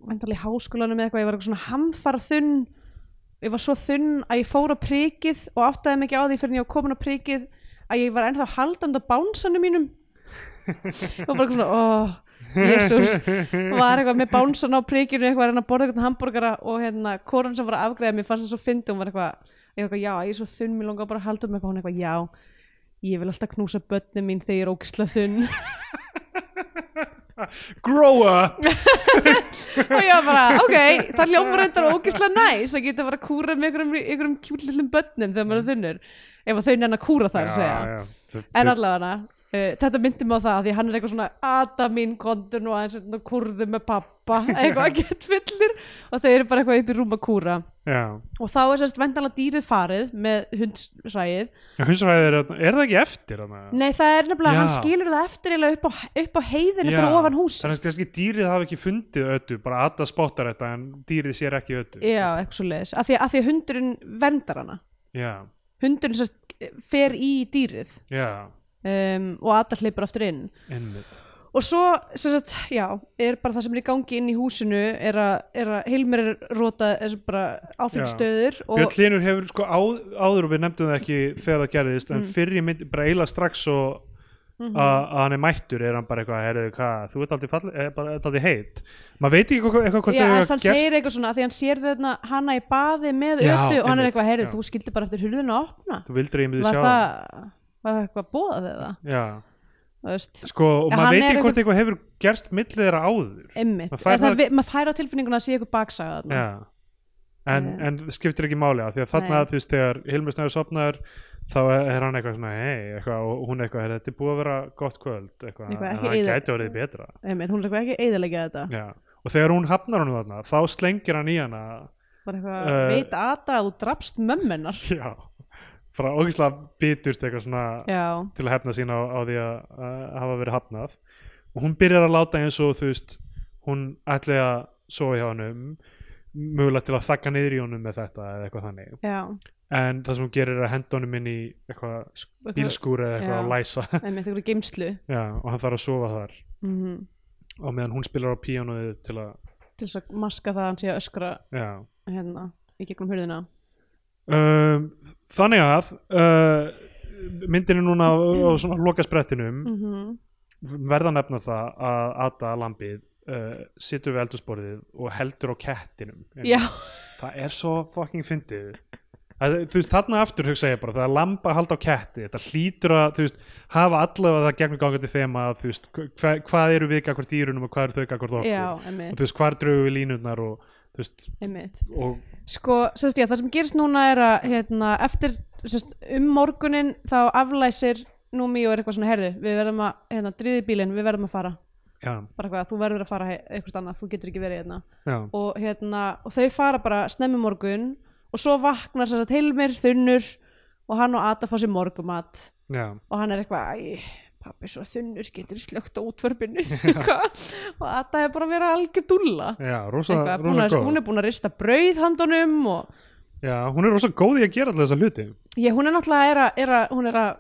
S2: vendarlega í háskólanum eða eitthvað, ég var eitthvað svona hamfara þunn, ég var svo þunn að ég fór á prikið og áttaði mig ekki á því fyrir en ég var komin á prikið að ég var ennþá haldandi á bánsanum mínum og bara eitthvað svona, óh Jésús, var eitthvað með bánsan á prikinu eitthvað að reyna að borða eitthvað hambúrgara og hérna, konan sem var að afgræða mér fannst það svo fyndi hún var eitthvað, ég var eitthvað, já, ég er svo þunn mér langar bara að halda um eitthvað, hún eitthvað, já ég vil alltaf knúsa börnum mín þegar ég er ógisla þunn
S1: grow up
S2: og ég var bara, ok, það hljómar reyndar ógisla næs að geta bara að kúra með einhverjum, einhverjum kjúl lillum börnum þegar maður er þunnur ef að þau nenn að kúra þar, segja En allavega hana, uh, þetta myndi mig á það af því að hann er eitthvað svona Adamín kondur nú aðeins hérna, kurðu með pappa eitthvað að gett fyllir og þau eru bara eitthvað upp í rúm að kúra
S1: já.
S2: og þá er sérst vendanlega dýrið farið með hundsræið
S1: hundsræðið er, þarna- er það ekki eftir þannig
S2: Nei það er nefnilega,
S1: Já.
S2: hann skilur það eftir eiginlega upp á, upp á heiðinu fyrir ofan hús
S1: þannig að kannski dýrið hafi ekki fundið ötu bara Ada spottar þetta en dýrið sér ekki ötu
S2: Já, eitthvað svo leiðis, af því, af því að hundurinn verndar hana
S1: já,
S2: hundurinn sérst fer í dýrið
S1: já,
S2: um, og Adam hleypur aftur inn
S1: einmitt
S2: Og svo, sem sagt, já, er bara það sem er í gangi inn í húsinu er að, er að Hilmir er róta er bara áfengsstöður og
S1: Björn Linur hefur sko á, áður og við nefndum það ekki þegar það gerðist
S2: Mm.
S1: en fyrir ég myndi bara eila strax og
S2: Mhm.
S1: að að hann er mættur er hann bara eitthvað, heyrðu hvað, þú ert aldrei, fall, er bara, ert aldrei heit maður veit ekki eitthvað, eitthvað hvort
S2: já,
S1: það
S2: en
S1: hefur
S2: hann segir eitthvað svona af því hann sér þarna hana í baði með
S1: Já,
S2: öttu og hann er
S1: einmitt,
S2: eitthvað, heyrðu,
S1: já.
S2: þú skildi bara eftir hulðinu að opna
S1: þú vildur ég myndi
S2: var
S1: sjá
S2: það, var það eitthvað bóðað eða
S1: já,
S2: þú veist,
S1: sko, og
S2: En
S1: maður
S2: hann
S1: veit
S2: er
S1: ekki hvort eitthvað hefur gerst millið þeirra áður
S2: einmitt,
S1: Maður fær
S2: Eða það,
S1: það-
S2: vi- maður fær á tilfinninguna að sé eitthvað baksaga þarna
S1: já. En,
S2: Eh.
S1: en það skiptir ekki máli að því að þarna
S2: Nei.
S1: þú veist þegar Hilmir Snæður sopnaður þá er er hann eitthvað svona hei eitthvað og hún eitthvað, "Heyrðu, þetta er búið að vera gott kvöld eitthvað,
S2: Eitthvað,
S1: en
S2: ekki
S1: það
S2: eyða-
S1: gæti orðið betra
S2: einmitt, hún er eitthvað ekki eðalega þetta
S1: Já, og þegar hún hafnar honum þarna þá slengir hann í hana
S2: bara eitthvað,
S1: Eh.
S2: veit Ada að þú drapst mömmennar
S1: já, frá ógislega biturt eitthvað svona
S2: já,
S1: til að hefna sín á, á því að, að hafa verið hafnað og hún byrjar að láta eins og þú veist, hún ætli að sofa hjá hann um mögulega til að þakka niður í honum með þetta eða eitthvað þannig,
S2: já
S1: en það sem hún gerir er að henda honum inn í eitthvað
S2: Eitthvað-
S1: bílskúr eða eitthvað
S2: Já.
S1: að læsa
S2: einmitt, eitthvað geimslu
S1: já, og hann þarf að sofa þar
S2: mm
S1: og meðan hún spilar á píanóið til að
S2: til þess að maska það að hann sé að öskra
S1: já,
S2: hérna í gegnum hurðina
S1: um, þannig að uh, myndin er núna á, á svona lokasprettinum
S2: mm
S1: verða að nefna það að Ada Lambið uh, situr við eldursporðið og heldur á kettinum
S2: já,
S1: það er svo fucking fyndið Það, þú veist, þarna aftur hugsa ég bara, það er lamba að halda á ketti, þetta hlýtur að, þú veist, hafa allavega það gegnum gangandi þema, að, þú veist, hva, hvað eru við gagvart dýrunum og hvað eru þau gagvart okkur,
S2: já,
S1: og
S2: einmitt,
S1: þú veist, hvað drögu við línurnar og, þú veist,
S2: einmitt
S1: og,
S2: sko, sérst ég, það sem gerist núna er að hérna, eftir, sérst, um morgunin þá aflæsir Númi og er eitthvað svona herðu, við verðum að, hérna, driði bílinn við verðum að fara,
S1: já,
S2: bara hvað, þú verður að fara he- eitthvað annað, þú getur ekki verið hérna
S1: já,
S2: og hérna, og þau fara bara snemmi morgun og svo vaknar sérst heilmir, þunnur og hann og Ada fá sér morgumat
S1: já,
S2: og hann er eitthvað æ, pappi svo þunnur getur slögt á útverfinu og Ada er bara að vera algjör dúlla
S1: já, rosa,
S2: Eitthvað, búin
S1: rosa
S2: að-
S1: góð.
S2: hún er búin að rista brauð handunum og
S1: Já, hún er rosa góð í að gera alltaf þessa hluti
S2: ég, hún er náttúrulega er að, er að, hún er að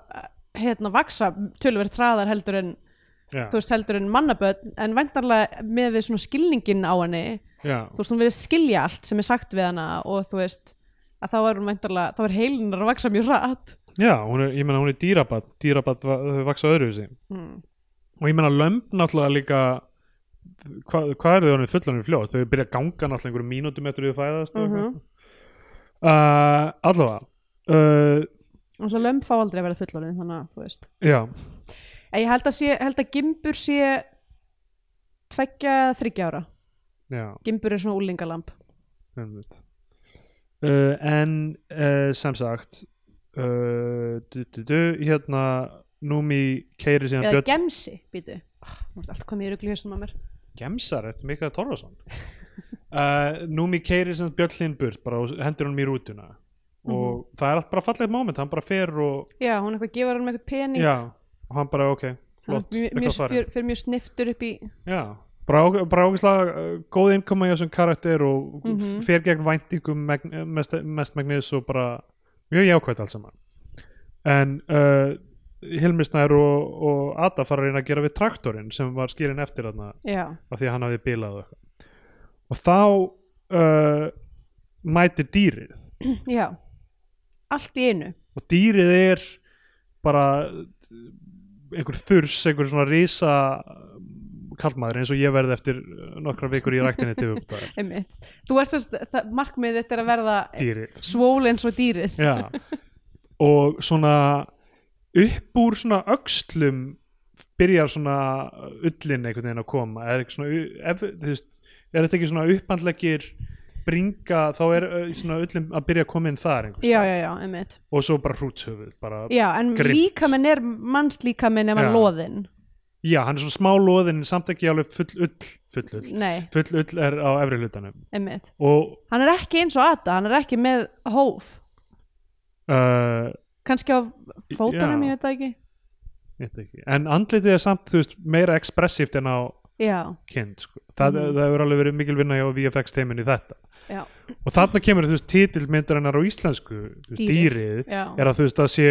S2: hérna vaksa tölverð traðar heldur en
S1: Já,
S2: þú veist heldur en mannaböld en væntanlega með við svona skilningin á henni
S1: já,
S2: þú veist hún verið skilja allt sem er sagt við hana og þú veist að þá er hún væntanlega, þá er heilinar að vaksa mjög rætt
S1: já hún er, ég meina hún er dýrabat dýrabat va- þau vaksa öðruvísi
S2: mm.
S1: og ég meina lömb náttúrulega líka hva, hvað eru þau orðin fullanum fljótt þau byrja að ganga náttúrulega einhverjum mínútum eftir þau fæðast og eitthvað.
S2: Mhm.
S1: uh, allavega uh,
S2: og svo lömb fá aldrei að vera fullorðin þannig að þú veist
S1: já,
S2: En Ég held að, sé, held að gimbur sé tveggja eða þriggja ára.
S1: já
S2: Gimbur er svona úlingalamb.
S1: einmitt. uh, en uh, sem sagt uh, du, du, du, hérna Númi keiri síðan
S2: Eða
S1: Björn
S2: gemsi, býtu. Ah, Nú er allt komið í ruglu hjössum að mér.
S1: Gemsar eftir Mikael Torfason uh, Númi keirir sem sagt Björn Lind burt bara og hendur honum í rútuna og það er allt bara fallegt moment hann bara fer og,
S2: Já, hún eitthvað gefur hann með eitthvað pening.
S1: já, og hann bara ok flott,
S2: mjög,
S1: eitthvað
S2: mjög,
S1: farið
S2: fyrir, fyrir mjög sniftur upp í...
S1: já, bara, ó- bara ógæslega uh, góð innkoma í þessum karakter og mm
S2: Mhm.
S1: fer gegn væntingum megn, mest, mest megnis og bara mjög jákvæmt alls saman en uh, Hilmi Snær og, og Ada fara að reyna að gera við traktorinn sem var skilin eftir þarna
S2: já,
S1: af því að hann hafi bilað og eitthvað og þá uh, mætir dýrið
S2: já allt í einu
S1: og dýrið er bara uh, einhver þurs, einhver svona risa kallmaður eins og ég verði eftir nokkra vikur í ræktinni til uppdæðar
S2: einmitt. þú ert þess að markmið þetta er að verða
S1: dýrið
S2: svól eins og dýrið
S1: Já. og svona upp úr svona öxlum byrjar svona ullin einhvern veginn að koma er, ekki svona, u- ef, þú veist, er þetta ekki svona upphandleggir bringa þá er ö, svona ullin að byrja að koma inn þar einhvers
S2: já,
S1: staðar.
S2: já, já, einmitt
S1: og svo bara hrútshöfuð bara,
S2: já, en
S1: Grimmt.
S2: líkaminn er mannslíkaminn ef hann
S1: Já.
S2: loðinn
S1: já, hann er svona smá loðin en samt ekki alveg full ull full ull,
S2: nei,
S1: full ull er á efri hlutanum
S2: einmitt
S1: og
S2: hann er ekki eins og Ada, hann er ekki með hóf
S1: uh,
S2: kannski á
S1: Já.
S2: fótunum, ég veit það ekki
S1: ég veit ekki. en andlitið er samt þú veist, meira ekspressíft en á
S2: já,
S1: kind sko. það,
S2: Mhm.
S1: það hefur alveg verið mikil vinna hjá VFX teiminu í þetta
S2: já,
S1: og þarna kemur þú veist titilmyndar hennar á íslensku þú veist,
S2: Dýrið.
S1: dýrið
S2: já,
S1: er að þú veist að sé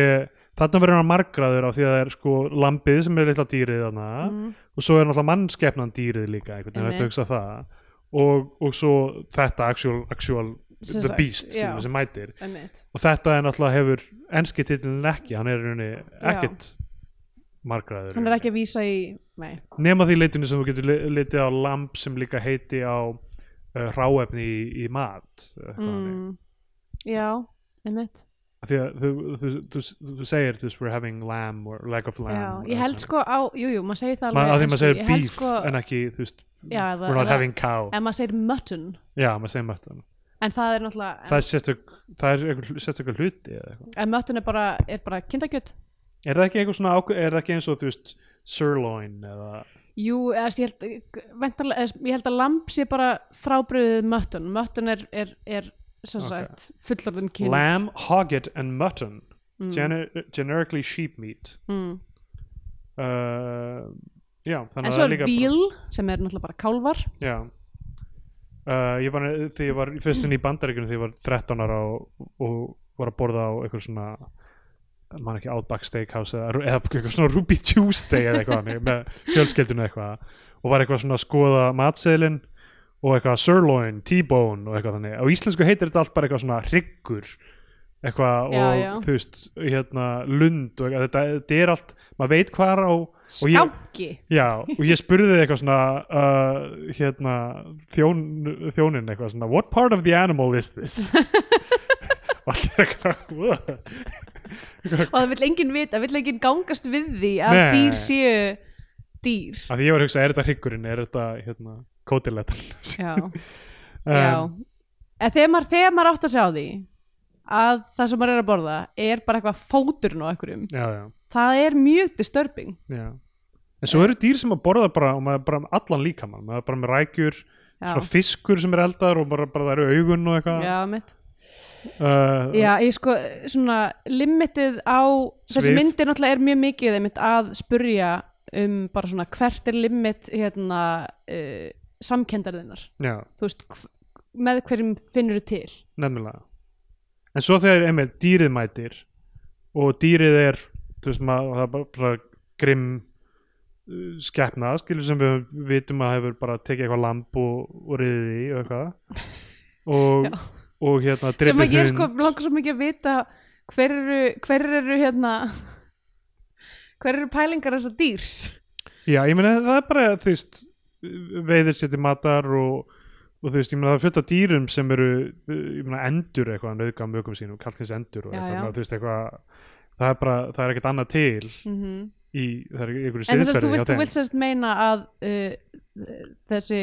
S1: þarna verður hann margraður á því að það er sko lambið sem er litla dýrið þarna
S2: Mhm.
S1: og svo er náttúrulega mannskeppnan dýrið líka einhvern veginn
S2: Einmitt.
S1: hægt að hugsa það og, og svo þetta actual, actual
S2: Sem
S1: the
S2: sagt,
S1: beast
S2: já.
S1: skilur, sem mætir
S2: einmitt
S1: og þetta er náttúrulega hefur enski titilin ekki, hann er í rauninni ekkert margraður
S2: hann er ekki að vísa í, nei,
S1: nema því leitinu sem þú getur li- litið á lamp sem líka heiti á uh, ráefni í, í mat eitthvað þannig.
S2: mm. já, einmitt
S1: Af því að þú, þú, þú, þú, þú segir þú veist, we're having lamb or leg of lamb
S2: já,
S1: og
S2: ég held
S1: eitthvað.
S2: sko á, jú, jú, maður segir það
S1: Ma-
S2: alveg
S1: að því
S2: en
S1: maður
S2: sko,
S1: segir
S2: ég held
S1: beef en ekki þú veist,
S2: Já, eða-
S1: we're not
S2: eða-
S1: having cow
S2: en maður segir mutton
S1: já, maður segir möttan
S2: en það er náttúrulega,
S1: það er sérstök það er einhver- sérstök hluti eða eitthvað.
S2: en mutton er bara, er bara kindakjöt
S1: er það ekki eitthvað svona ákveð er það ekki eins og þú veist sirloin eða
S2: Jú, eða, þú veist, ég, held, ventanlega- eða, ég held að lamb sé bara frábriðið möttun möttun er, er, er sem
S1: Ok.
S2: sagt fullorðin kynnt
S1: lamb, hogget and mutton
S2: Mm.
S1: gener generically sheep meat
S2: mm.
S1: uh, já, þannig
S2: en
S1: að
S2: svo
S1: það
S2: er
S1: er líka
S2: víl sem er náttúrulega bara kálvar
S1: Já uh, Ég var, því ég var fyrst inn í bandaríkunum því ég var 13 ára og, og var að borða á eitthvað svona mann ekki Outback Steakhouse eða, eða eitthvað svona Ruby Tuesday eða eitthvað þannig, með fjölskeldunum eitthvað og var eitthvað svona að skoða matseðlin og eitthvað sirloin, t-bone og eitthvað þannig á íslensku heitir þetta allt bara eitthvað svona hryggur eitthvað
S2: Já,
S1: og
S2: já.
S1: þú veist hérna lund og eitthvað, þetta, þetta er allt maður veit hvar á og ég-
S2: skáki
S1: Já, og ég spurði eitthvað svona uh, hérna þjón, þjónin eitthvað svona What part of the animal is this? og allir eitthvað "Whoa."
S2: og það vill enginn vita, vill enginn gangast við því að
S1: Nei.
S2: dýr séu dýr
S1: Af því ég var að hugsa, er þetta hryggurinn, er þetta hérna, Um, kótiletan
S2: já, já en þegar maður, þegar maður átt að sjá því að það sem maður er að borða er bara eitthvað fóturinn á einhverjum
S1: já, já,
S2: það er mjög disturbing
S1: já En svo eru dýr sem að borða bara og maður er bara með allan líkamann, maður er bara með rækjur
S2: já,
S1: svona fiskur sem er eldar og bara, bara það eru augun og eitthvað
S2: já mitt
S1: uh,
S2: Já, ég sko, svona, limitið á, þessi
S1: Svið.
S2: myndir náttúrulega er mjög mikið einmitt að spurja um bara svona hvert er limit hérna uh, samkendarðinnar,
S1: já,
S2: þú veist, hv- með hverjum finnur þú til?
S1: nefnilega en svo þegar einmitt dýrið mætir og dýrið er þú veist maður, það er bara, bara grimm uh, skepna skilur sem við vitum að hefur bara tekið eitthvað lamp og, og riðið í og eitthvað
S2: Já.
S1: og, og hérna
S2: Sem
S1: drepið
S2: að ég
S1: hund
S2: sko langar svo mikið að vita hver eru, hver eru hérna, hver eru pælingar þessa dýrs?
S1: já ég meina það er bara þú veist veiðir sér til matar og, og þú veist ég meina það er fullt af dýrum sem eru uh, ég meina endur eitthvað að nauðga mögum sínum kallt hins endur og
S2: Já,
S1: eitthvað
S2: já.
S1: maður, þú veist eitthvað það er bara, það er ekkert annað til
S2: Mm
S1: í, það er einhverju
S2: En þess að þú
S1: siðferði
S2: vilt, þú vilt sérst meina að uh, þessi,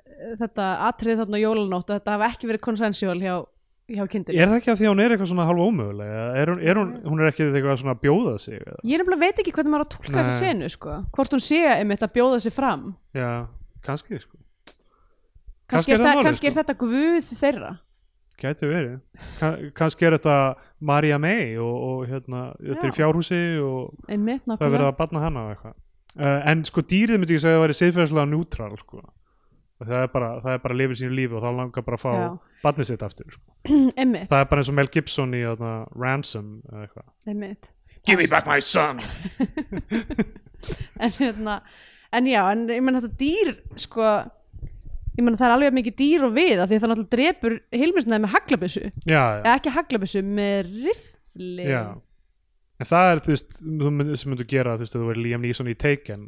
S2: uh, þetta atrið þarna á jólanótt, að þetta hafa ekki verið konsensjól hjá, hjá kindir.
S1: Er það ekki að því að hún er eitthvað svona halva ómögulega? Er hún, er hún, hún er ekki eitthvað svona að bjóða sig? eða?
S2: Ég nefnilega veit ekki hvernig maður á að tólka þessa
S1: Nei.
S2: senu sko. hvort hún sé einmitt að bjóða sig fram
S1: Já, kannski sko. Kannski er
S2: kannski
S1: það
S2: er, það,
S1: málið,
S2: kannski
S1: sko.
S2: er þetta guð þeirra
S1: Gæti verið. Ka- Kannski er þetta Maria May og, og hérna, þetta er í
S2: Já.
S1: fjárhúsi og
S2: einmitt
S1: það er verið Eh,
S2: nákvæmlega
S1: að barna hana og eitthvað. Uh, en sko dýrið myndi ég segja að það væri siðferðislega njútral sko. Og það er bara, það er bara að lifa sínu lífi og þá langar bara að
S2: Já.
S1: fá barnið sitt aftur sko.
S2: Einmitt,
S1: það er bara eins og Mel Gibson í þarna, Ransom eða eitthvað
S2: einmitt.
S1: Give me back my son
S2: En hérna, en já, en ég menn þetta dýr, sko, ég menn það er alveg jafn mikið dýr og við af því að það náttúrulega drepur hilmisnaði með haglabissu.
S1: já, já,
S2: Eða ekki haglabissu, með rifli.
S1: já. en það er þú veist þú mynd, sem myndu gera þú veist ef þú verið Liam Neeson í Taken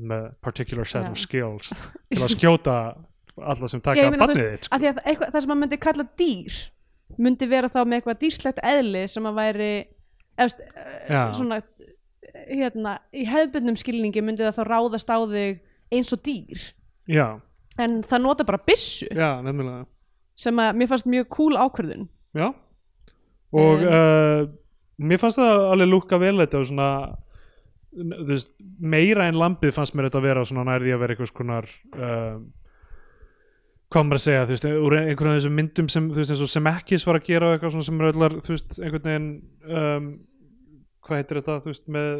S1: með particular set
S2: Já.
S1: of skills til að skjóta alla sem
S2: Já,
S1: taka
S2: ég meina, þú
S1: barnið
S2: veist,
S1: þitt sko.
S2: af því að eitthvað, það sem maður myndi kalla dýr myndi vera þá með eitthvað dýrslegt eðli sem að væri eðst,
S1: Já.
S2: eh, svona hérna, í hefðbundnum skilningi myndi það þá ráðast á þig eins og dýr
S1: já,
S2: en það nota bara byssu
S1: já, nefnilega
S2: sem að mér fannst mjög cool ákvörðun
S1: Já Og
S2: Um,
S1: uh, mér fannst það alveg lúkka vel þetta og svona þú veist, meira en lambið fannst mér þetta að vera svona nærði að vera einhvers konar um, hvað maður að segja þú veist, úr einhvern af þessum myndum sem þú veist, eins og sem ekkis var að gera og eitthvað svona sem er allar, þú veist, einhvern veginn um, hvað heitir þetta, þú veist, með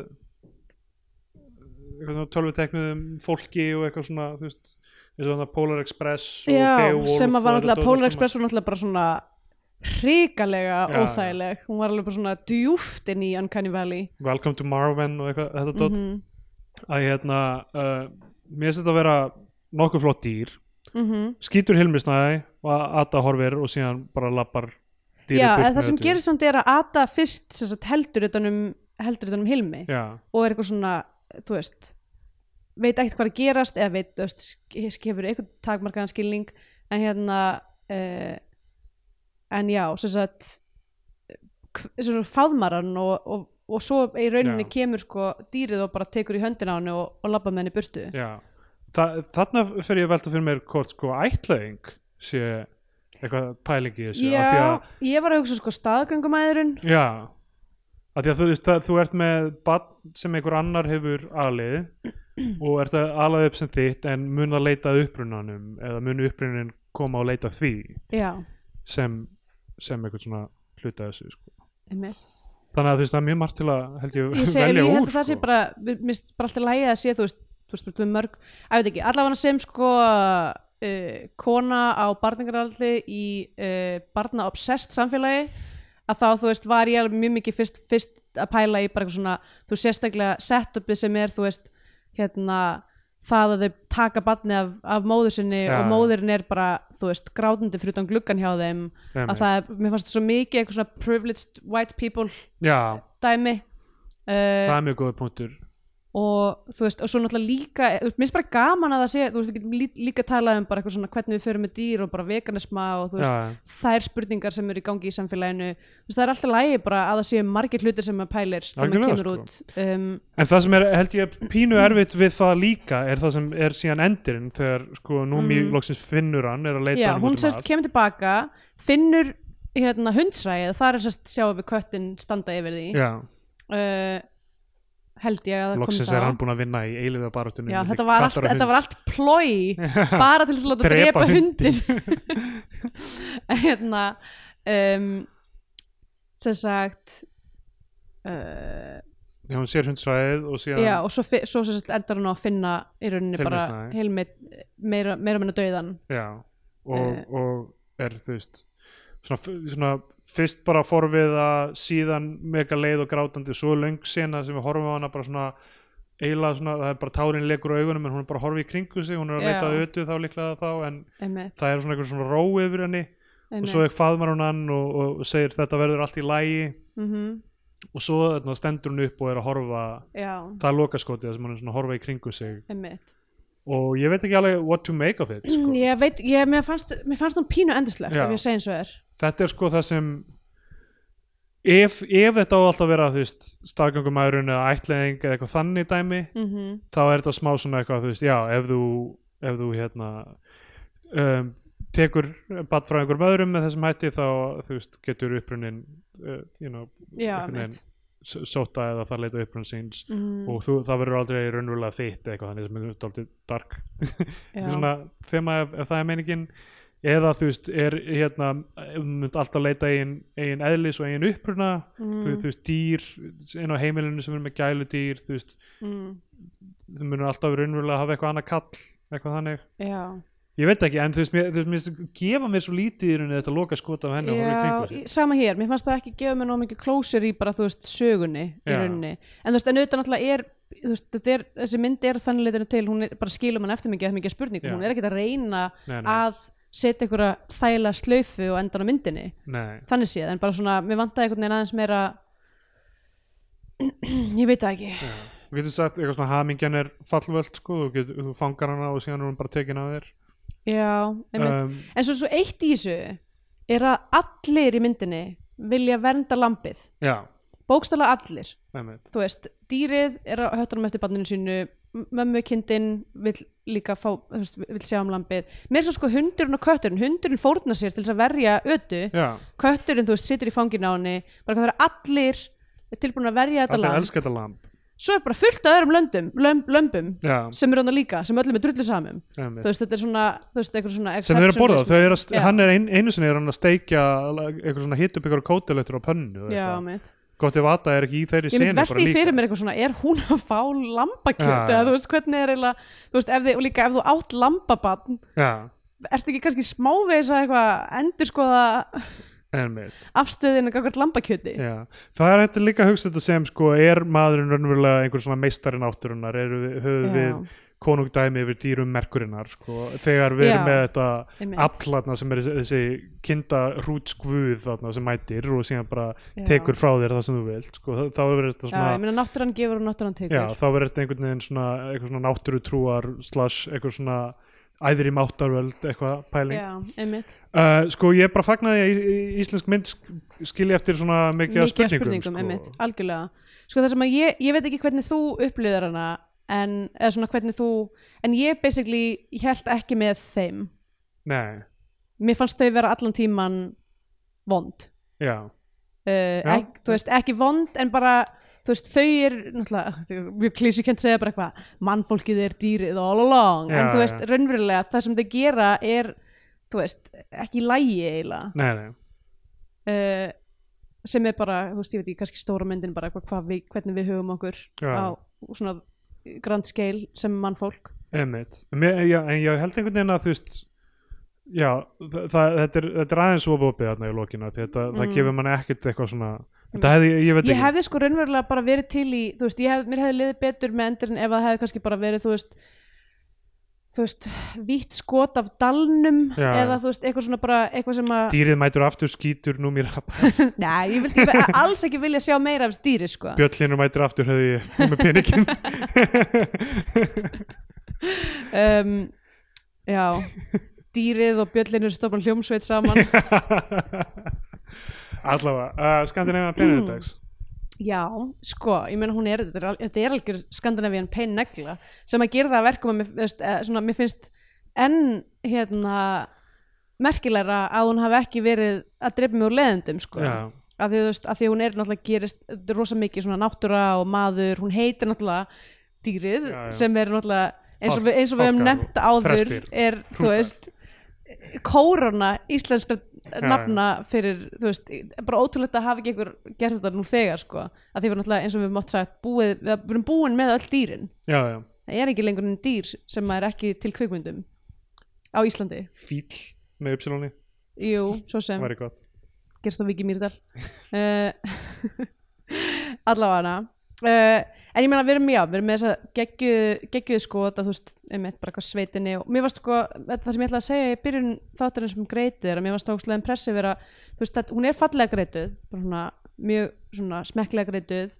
S1: einhvern veginn tölvuteknuðum fólki og eitthvað svona, þú veist eins og þannig Polar Express og Beowulf
S2: sem
S1: og
S2: að var
S1: þetta dót
S2: náttúrulega
S1: allt
S2: Polar
S1: saman.
S2: Express var náttúrulega bara svona hrikalega
S1: Já.
S2: óþægileg hún var alveg bara svona djúft inn í Uncanny Valley
S1: Welcome to Marwen og eitthvað, þetta dót
S2: Mhm,
S1: að hérna uh, mér finnst þetta að vera nokkuð flott dýr
S2: mhm.
S1: skýtur hilmisnæði og Ada horfir og síðan bara lappar dýrið
S2: Já,
S1: burt
S2: eða
S1: með
S2: það sem
S1: þetta.
S2: gerir samt er að Ada fyrst sem sagt, heldur utan um heldur utan um Hilmi
S1: Já,
S2: og er eitthvað svona, þú veist veit ekkert hvað er að gerast eða veit, þú veist, sk- hefur eitthvað takmarkaðan skilning en hérna uh, en já, sem sagt k- sem sagt fáðmaran og, og, og svo í rauninni
S1: Já.
S2: kemur sko dýrið og bara tekur í höndina á henni og, og labba með henni í burtu
S1: já. Þa, þarna fer ég að velta fyrir mér hvort sko ætlaðing sé eitthvað pælingi í þessu af því
S2: Já,
S1: að,
S2: ég var að hugsa sko staðgöngumæðurinn
S1: já að því að þú veist að þú ert með barn sem einhver annar hefur alið og ert að alað upp sem þitt en mun að leita að upprunanum eða mun upprunin koma og leita að því
S2: Já,
S1: sem, sem einhvern svona hluta af þessu sko.
S2: einmitt
S1: þannig að þú veist það er mjög margt til að held ég,
S2: ég, seg,
S1: velja
S2: ég held
S1: úr sko.
S2: að það sé bara mér mér finnst bara alltaf lægið að sé þú veist, þú veist, þú veist mörg, að veit ekki, allavega sem sko uh, kona á barningaraldi í uh, barna obsessed samfélagi að þá þú veist var ég alveg mjög mikið fyrst, fyrst að pæla í bara eitthvað svona þú veist, sérstaklega setupið sem er þú veist hérna það að þau taka barni af, af móður sinni
S1: Já.
S2: og móðurinn er bara, þú veist, grátandi fyrir utan gluggan hjá þeim
S1: Einmitt.
S2: að það, er- mér fannst svo mikið eitthvað svona privileged white people
S1: já,
S2: dæmi uh,
S1: það er mjög góð punktur
S2: og þú veist, og svo náttúrulega líka eh, þú veist, mér finnst bara gaman að það sé, þú veist, við getum lí- líka að tala um bara eitthvað svona hvernig við förum með dýr og bara veganisma og þú
S1: já,
S2: veist, þær spurningar sem eru í gangi í samfélaginu, þú veist, það er alltaf lægi bara að það séu margir hlutir sem maður pælir þegar maður
S1: Algjörlega, sko.
S2: kemur út um,
S1: en það sem er held ég pínu erfitt við það líka er það sem er síðan endurinn þegar sko Númi
S2: Mhm.
S1: loksins finnur hann er að leita
S2: já,
S1: hann út
S2: hún
S1: um
S2: sérst
S1: allt
S2: kemur tilbaka finnur hérna hundsræið þar er sérst sjáum við köttin standa yfir því
S1: já,
S2: uh, held ég að það
S1: loksins
S2: kom
S1: er
S2: það
S1: hann búin að vinna í eiliða barátunum
S2: Já, þetta var, allt, þetta var allt plói bara til þess að láta
S1: Drepa
S2: drepa
S1: hundinn.
S2: hundir en hérna um, sem sagt uh,
S1: já, hún sér hundsvæðið og síðan
S2: já og svo, fi- svo sem sagt endar hún á að finna í rauninni bara
S1: Heilmisnæði.
S2: heilmi, meira, meira menna dauðan
S1: Já, og,
S2: Eh.
S1: og er þú veist svona, svona fyrst bara forviða síðan mega leið og grátandi svo löng sena sem við horfum á hana bara svona eiginlega svona, það er bara tárin legur á augunum en hún er bara að horfa í kringu sig, hún er að
S2: Já.
S1: leita að ötu þá líklega þá en
S2: einmitt,
S1: það er svona einhver svona ró yfir henni og
S2: einmitt.
S1: svo ekki faðmar hún hann og, og segir þetta verður allt í lægi
S2: Mhm,
S1: og svo þarna, stendur hún upp og er að horfa
S2: já,
S1: það er lokaskotið þar sem hún er svona að horfa í kringu sig
S2: einmitt
S1: og ég veit ekki alveg what to make of it sko.
S2: ég veit, ég, mér fannst mér fannst hún pínu endislegt
S1: Já.
S2: ef ég segi eins og er
S1: þetta er sko það sem ef, ef þetta á alltaf að vera þú veist, staðgöngumæðurinn eða ætlaðing eða eitthvað þannig dæmi
S2: mm
S1: þá er þetta smá svona eitthvað þú veist, já, ef þú, ef þú hérna um, tekur bat frá einhverjum öðrum með þessum hætti þá þú veist, getur upprunnin uh, you know,
S2: já,
S1: Einhvern veginn.
S2: einmitt
S1: s- sóta eða það leita upprunn síns
S2: mm,
S1: og þú, það verður aldrei raunverulega þitt eða eitthvað þannig sem er dálítið dark
S2: já,
S1: svona þema ef, ef það er meiningin eða þú veist er hérna ef þú mynd alltaf leita eigin, eigin eðlis og eigin uppruna þú,
S2: mm,
S1: þú veist dýr inn á heimilinu sem er með gælu dýr þú veist
S2: mm,
S1: þú munur alltaf raunverulega hafa eitthvað annað kall eitthvað þannig
S2: já
S1: ég veit ekki, en þú veist, mér, þú veist, mér finnst- gefa mér svo lítið í rauninni þetta loka skota af henni og horfa í
S2: Já,
S1: kringu sig
S2: í- sama hér, mér fannst það ekki gefa mér nóg mikið closure í bara, þú veist, sögunni í
S1: Já.
S2: rauninni, en þú veist, en auðvitað náttúrulega er þú veist, þetta er, þessi mynd er þannig leitinu til, hún er bara skilum hann eftir mikið, mikið af spurningum,
S1: Já.
S2: hún er ekki að reyna
S1: Nei, nei.
S2: að setja einhverja þæla slaufu og endan á myndinni,
S1: Nei,
S2: þannig séð en bara svona, mér vantaði einhvern veginn aðeins meira ég veit það ekki
S1: já. Við getum sagt, eitthvað svona hamingjan er fallvöld, sko, þú, getur, þú fangar hana og síðan er hún bara tekin af þér.
S2: Já, einmitt.
S1: Um,
S2: en svo, svo eitt í þessu er að allir í myndinni vilja vernda lampið
S1: já,
S2: bókstala allir,
S1: einmitt.
S2: þú veist dýrið er á höttunum eftir banninu sínu m- mömmu kindin vill líka fá, þú veist, vill sjá um lampið mér svo sko hundurinn og kötturinn, hundurinn fórna sér til þess að verja ötu
S1: Já,
S2: kötturinn, þú veist, situr í fangin á henni bara hvað það er allir tilbúin að verja þetta
S1: allir
S2: lamp
S1: elska þetta lamp.
S2: svo er bara fullt af öðrum löndum, lömb, lömbum
S1: Já,
S2: sem eru hann líka, sem öllum er drullu samum
S1: einmitt.
S2: þú veist, þetta er svona, þú veist, eitthvað svona
S1: sem þeir eru að borða þau eru að,
S2: Já.
S1: hann er ein, einu sinni er hann að steikja eitthvað svona hitt upp eitthvað kótelöttur á pönnu og
S2: já,
S1: eitthvað.
S2: mitt
S1: gott ef Ada er ekki í þeirri
S2: ég
S1: senu
S2: myndi velti í fyrir mér eitthvað svona, er hún að fá lambakjöt
S1: Já,
S2: eða
S1: já.
S2: þú veist, hvernig er eiginlega þú veist, ef þið, og líka ef þú átt lambabann
S1: já,
S2: ertu ekki kannski smávegis að eitthvað endur skoða
S1: einmitt,
S2: afstöðinu eitthvað lambakjöti
S1: já. það er þetta líka að hugsa þetta sem sko er maðurinn raunverulega einhver svona meistari náttúrunar eru við, höfum
S2: Já.
S1: við konungdæmi yfir dýrum merkurinnar sko, þegar við
S2: Já,
S1: erum með þetta
S2: einmitt.
S1: aflatna sem er þessi, þessi kinda hrútskvuð þarna sem mætir og síðan bara
S2: Já.
S1: tekur frá þér það sem þú vilt sko, þá- þá er þetta
S2: já,
S1: svona
S2: ég meina náttúran gefur og náttúran tekur
S1: Já, þá verður þetta einhvern veginn svona, eitthvað svona náttúrutrúar slash eitthvað svona æðri máttarvöld eitthvað pæling.
S2: já einmitt,
S1: Uh, sko ég bara fagnaði að í- í- íslensk mynd sk- skilji eftir svona mikið af
S2: mikið af
S1: spurningum.
S2: spurningum, einmitt,
S1: sko.
S2: algjörlega sko það sem að ég, ég veit ekki hvernig þú upplýðar hana en, eða svona hvernig þú en ég basically, ég held ekki með þeim
S1: Nei,
S2: mér fannst þau vera allan tíman vond
S1: já,
S2: uh,
S1: Já.
S2: ek, þú veist, ekki vond en bara þú veist, þau er náttúrulega, mjög klísukent segja bara eitthvað mannfólkið er dýrið all along en
S1: Já,
S2: þú veist,
S1: já.
S2: raunverulega, það sem þau gera er, þú veist, ekki lægi eiginlega
S1: nei, nei,
S2: uh, sem er bara, þú veist, ég veit ekki kannski stóra myndin bara hvað, hvað við, hvernig við hugum okkur
S1: Já.
S2: á svona grand scale sem mannfólk
S1: einmitt. Mér, já, en ég held einhvern veginn að þú veist, já, þa það, þetta, er, þetta er aðeins ofopið þarna í lokina, því þetta, það gefur manni ekkert eitthvað svona, þetta hefði, Mm. ég veit
S2: ég
S1: ekki,
S2: hefði sko raunverulega bara verið til í þú veist, ég hef, mér hefði liðið betur með endurinn ef það hefði kannski bara verið, þú veist þú veist, vítt skot af dalnum
S1: Já.
S2: eða þú veist, eitthvað svona bara eitthvað sem að,
S1: dýrið mætur aftur skítur nú mér
S2: nei, ég vil ekki, alls ekki vilja sjá meira af dýri, sko
S1: bjöllinur mætur aftur hefði ég með peningin.
S2: um, já, dýrið og bjöllinur stofan hljómsveit saman
S1: Allavega, uh,
S2: Mm.
S1: Skandinavian Penindags
S2: Já, sko, ég meina hún er þetta er, al- þetta er algjör skandinavían pein negla sem að gera það að verkum að mér, veist, eh, svona, mér finnst enn hérna merkilegra að hún hafi ekki verið að drepa mig úr leðendum sko
S1: Já.
S2: að því, þú veist, að því að hún er náttúrulega gerist þetta er rosa mikið svona náttúra og maður hún heitir náttúrulega dýrið
S1: Já, já.
S2: sem er náttúrulega eins og,
S1: Fál-
S2: við, eins og við hefum
S1: fálkar og
S2: nefnt áður
S1: prestir.
S2: er, þú veist kórona íslenskra
S1: já.
S2: nafna fyrir, þú veist, bara ótrúlegt að hafa ekki einhver gert þetta nú þegar sko að því var náttúrulega eins og við mátt sagt búið, við erum búin með öll dýrin
S1: Já, já
S2: það er ekki lengur enn dýr sem er ekki til kvikmyndum á Íslandi
S1: Fíl með ypsilóni,
S2: jú, svo sem
S1: væri gott
S2: gerst á Viki Mýrdal uh, allavega uh, en ég meina við erum já, við erum með þess að geggjuð geggjuð skot að þú veist, einmitt bara eitthvað sveitinni og mér varst sko, þetta það sem ég ætla að segja í byrjun þáttarins um greitið er að mér varst ákslega impressið vera, þú veist, að, hún er fallega greituð bara svona, mjög svona smekklega greituð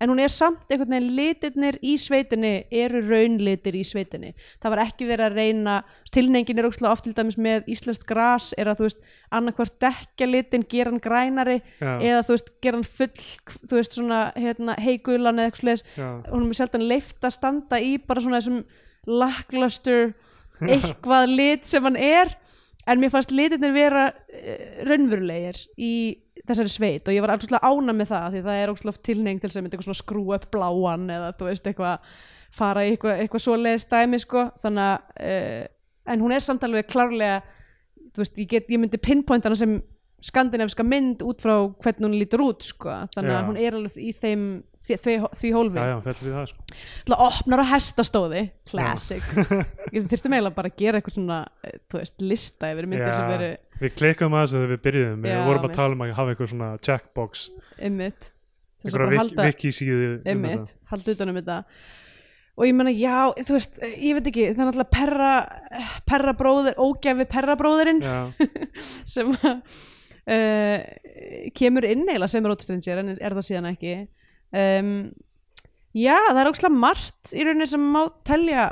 S2: en hún er samt einhvern veginn litirnir í sveitinni eru raunlitir í sveitinni það var ekki verið að reyna tilnengin er ókslega oft til dæmis með íslenskt gras er að þú veist annarkvort dekja litin gera hann grænari
S1: Já.
S2: eða þú veist gera hann full þú veist svona hérna, heikulan eða eitthvað sliðis
S1: Já.
S2: hún er sjaldan leift að standa í bara svona þessum lackluster eitthvað lit sem hann er en mér fannst litirnir vera uh, raunverulegir í þessari sveit og ég var alveg ána með það því það er ógslöf tilneying til sem myndi eitthvað svona skrúa upp bláan eða þú veist eitthvað fara í eitthvað, eitthvað svoleiðis dæmi sko þannig að uh, en hún er samt alveg klárlega þú veist, ég, get, ég myndi pinpoint hana sem skandinavska mynd út frá hvernig hún lítur út sko þannig að
S1: Já.
S2: hún er alveg í þeim því, því, því hólfi
S1: já, já, fellur í það sko.
S2: til að opnar á hestastóði classic, ég þurfti meila bara að gera eitthvað svona, eh, þú veist, lista yfir myndir sem veru
S1: Við klikkum að þessu þegar við byrjuðum
S2: Já,
S1: Við vorum að
S2: mitt.
S1: tala um að hafa einhver svona checkbox
S2: ummitt um þess að bara
S1: einhverja
S2: halda
S1: viki síðu um
S2: ummitt, halda utan um þetta og ég meina, já, þú veist, eh, ég veit ekki það er náttúrulega perra, perra bróðir ógæfi perra bróðirinn
S1: þetta. Já.
S2: sem að uh, kemur inn eiginlega sem Road Stranger en er það síðan ekki um, já það er ókslega margt í rauninni sem má telja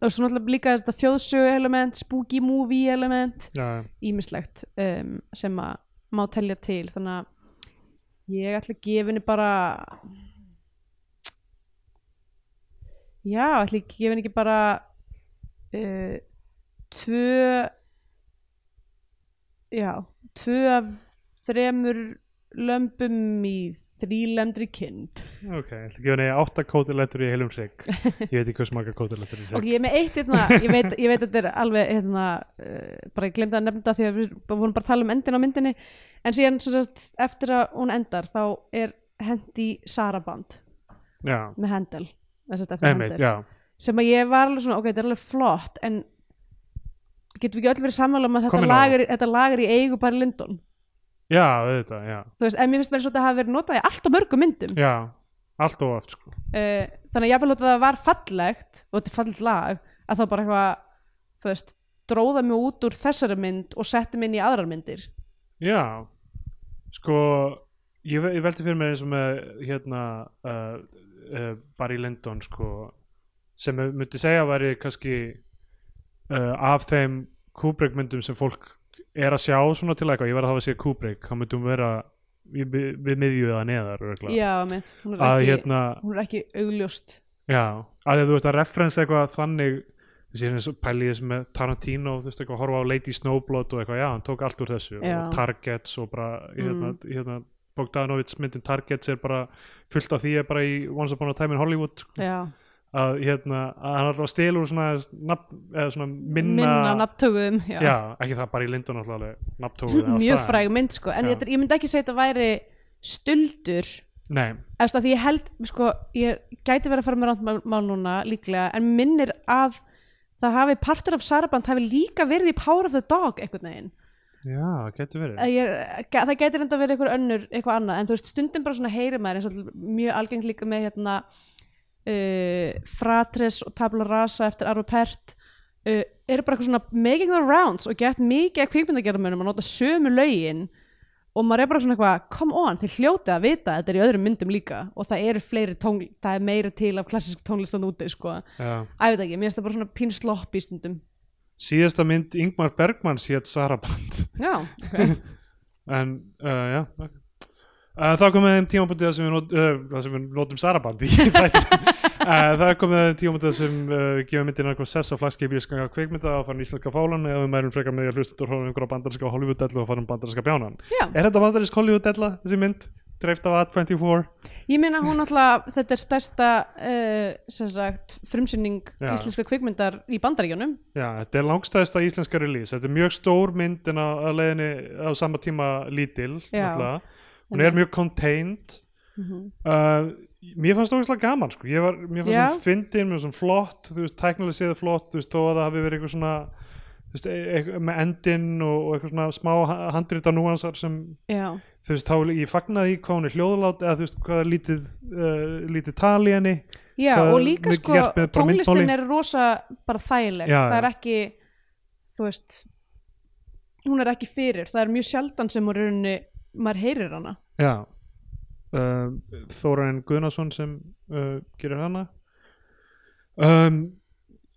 S2: og svo náttúrulega líka þetta þjóðsögu element spooky movie element
S1: Já,
S2: ímislegt um, sem að má telja til þannig að ég ætla að gefa henni bara já, ætla að gefa henni ekki bara uh, tvö já, tvö af þremur lömbum í þrílemdri kind
S1: ok, ég ætla að gefa henni átta kótilettur í heilum hrygg Ég veit ekki hversu marga kótilettur í
S2: ok,
S1: hrygg
S2: ég er með eitt hérna, ég veit, ég veit að þetta er alveg hérna, uh, bara ég glemdi að nefnda því að við vorum bara að tala um endin á myndinni en síðan sem sagt, eftir að hún endar þá er hendi Saraband
S1: Já,
S2: með Handel sem sagt, eftir
S1: einmitt,
S2: Handel.
S1: já
S2: sem að ég var alveg svona, ok, þetta er alveg flott en getum við ekki öll verið sammála um að
S1: Komin á.
S2: þetta lagar, þetta lagar í eigu bara Lindon
S1: Já, auðvitað, já
S2: þú veist, en mér finnst mér svo að þetta hafa verið notað í allt og mörgum myndum
S1: Já, allt og oft sko
S2: uh, þannig að jafnvel að það var fallegt og þetta er fallegt lag að þá bara eitthvað, þú veist dróða mig út úr þessari mynd og setti mig inn í aðrar myndir
S1: Já, sko ég, ve- ég velti fyrir mér eins og með hérna uh, uh, Barry Lyndon sko sem ég myndi segja að væri kannski uh, af þeim Kubrick myndum sem fólk er að sjá svona til eitthvað, ég verð að hafa að segja Kubrick þá myndum vera við, við miðju eða neðar örugglega.
S2: já, mitt, hún er,
S1: að
S2: ekki,
S1: hérna,
S2: hún er ekki augljóst
S1: já að því að þú ert að referensa eitthvað þannig þú veist, ég er eins og pæli í þessum með Tarantino þú veist, eitthvað horfa á Lady Snowblood og eitthvað já, hann tók allt úr þessu
S2: Já. Mm.
S1: og Targets og bara, hérna, hérna Bogdanovits myndin Targets er bara fullt af því er bara í Once Upon a Time in Hollywood
S2: já,
S1: að, hérna, að hann alltaf stelur svona, nafn, eða svona minna,
S2: minna nafntöfum já.
S1: já, ekki það bara í Lindon alltaf nafntófuð
S2: mjög fræg mynd sko en
S1: Já.
S2: ég, þetta- ég myndi ekki segja að þetta væri stuldur
S1: nei,
S2: Eftir að því ég held, sko, ég gæti verið að fara með randmál núna líklega en minnir að það hafi partur af Saraband hafi líka verið í Power of the Dog einhvern veginn
S1: já, getur verið
S2: Að ég, ga- það gæti reynda að vera einhver önnur eitthvað annað en þú veist stundum bara svona heyri maður eins og til- mjög algengt líka með hérna uh, fratres og tabla rasa eftir Arvo Pert uh, eru bara eitthvað svona making the rounds og gett mikið af kvikmyndagerðamönum að nota sömu lögin og maður er bara svona eitthvað come on, þið hljótið að vita að þetta er í öðrum myndum líka og það eru fleiri tónl það er meira til af klassisk tónlistan úti sko,
S1: já.
S2: að ég veit ekki, mér finnst það bara svona pín slopp í stundum
S1: síðasta mynd Ingmar Bergmanns hétt Saraband
S2: já,
S1: en uh, já ok. uh, þá komið þeim tímapunktið þar sem við, not, uh, þar sem við notum Saraband í þættinum. uh, það komið þeim tímapunktið þar sem uh, við gefum myndin einhver sess á flagskipi í skanga kveikmynda og farin íslenska fálan eða við mælum frekar með að hlusta og horfum einhverja bandarinska Hollywood-dellu og farum bandarinska bjánan
S2: já
S1: er þetta bandarinsk Hollywood-della þessi mynd? dreift af A24
S2: Ég meina hún alltaf, þetta er stærsta uh, sem sagt, frumsynning
S1: Já.
S2: íslenska kvikmyndar í bandaríjónum
S1: Já, þetta er langstæðista íslenska release þetta er mjög stór mynd en á, á leiðinni á sama tíma lítil
S2: Já. Mhm.
S1: náttúrulega. hún er mjög contained uh, mér fannst það ógeðslega gaman sko. ég var, mér fannst
S2: Já.
S1: það fyndin, mér fannst það flott þú veist, tæknilega séð flott, þú veist, þó að það hafi verið eitthvað svona þú veist, e- e- með endinn og, og eitthvað svona smá handrita núansar sem
S2: Já,
S1: þú veist, þá ég fagnaði í hvað hún er hljóðlát eða þú veist, hvað er lítið, uh, lítið tal í henni
S2: Já
S1: Hvað er
S2: og líka
S1: mikið
S2: sko
S1: gert með bara
S2: tónlistin
S1: myndmáli?
S2: er rosa bara þægileg
S1: Já,
S2: það er
S1: já.
S2: ekki, þú veist hún er ekki fyrir, það er mjög sjaldan sem hún er unni, maður heyrir hana
S1: Já uh, Þórainn Guðnason sem uh, gerir hana um,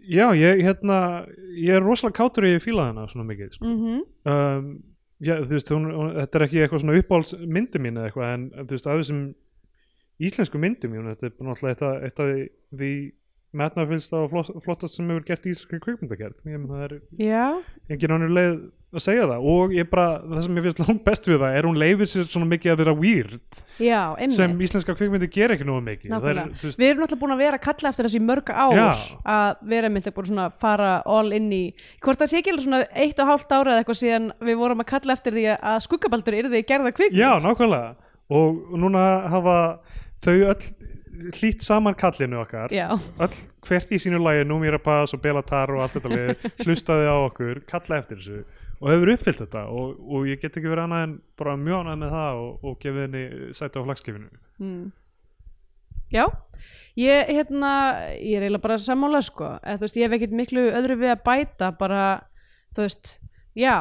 S1: Já, ég hérna ég er rosalega kátur í fílað hana svona mikið sko.
S2: mm
S1: um, já, þú veist, hún, hún, þetta er ekki eitthvað svona uppáhalds myndi mín eða eitthvað en þú veist, af þessum íslensku myndi mín þetta er bara náttúrulega eitt af- eitt af því- því metnafylsta og flott- flottast sem hefur gert í íslenskri kvikmyndagerð ég menn það er
S2: Já,
S1: engin annar leið að segja það og ég bara, það sem ég finnst langt best við það er hún leifir sér svona mikið að vera weird
S2: já, einmitt
S1: sem íslenska kvikmyndi ger ekki nógu mikið það er,
S2: Nákvæmlega.
S1: þú veist,
S2: Við erum náttúrulega búin að vera að kalla eftir þessi mörg ár
S1: Já.
S2: að vera einmitt búin svona að fara all inn í hvort það sé ekki alveg svona eitt og hálft ára eða eitthvað síðan við vorum að kalla eftir því að skuggabaldur yrði gerða kvikmynd
S1: já, nákvæmlega og núna hafa þau öll hlýtt saman kallinu okkar
S2: já,
S1: öll hvert í sínu lagi Númíra Pass og Belatar og allt þetta lið hlustaði á okkur, kalla eftir þessu og hefur uppfyllt þetta og, og ég get ekki verið annað en bara mjög annað með það og, og gefið henni sæti á flagskifinu
S2: mm. já ég, hérna, ég er eiginlega bara sammála sko, eða þú veist, ég hef ekkert miklu öðru við að bæta, bara þú veist, já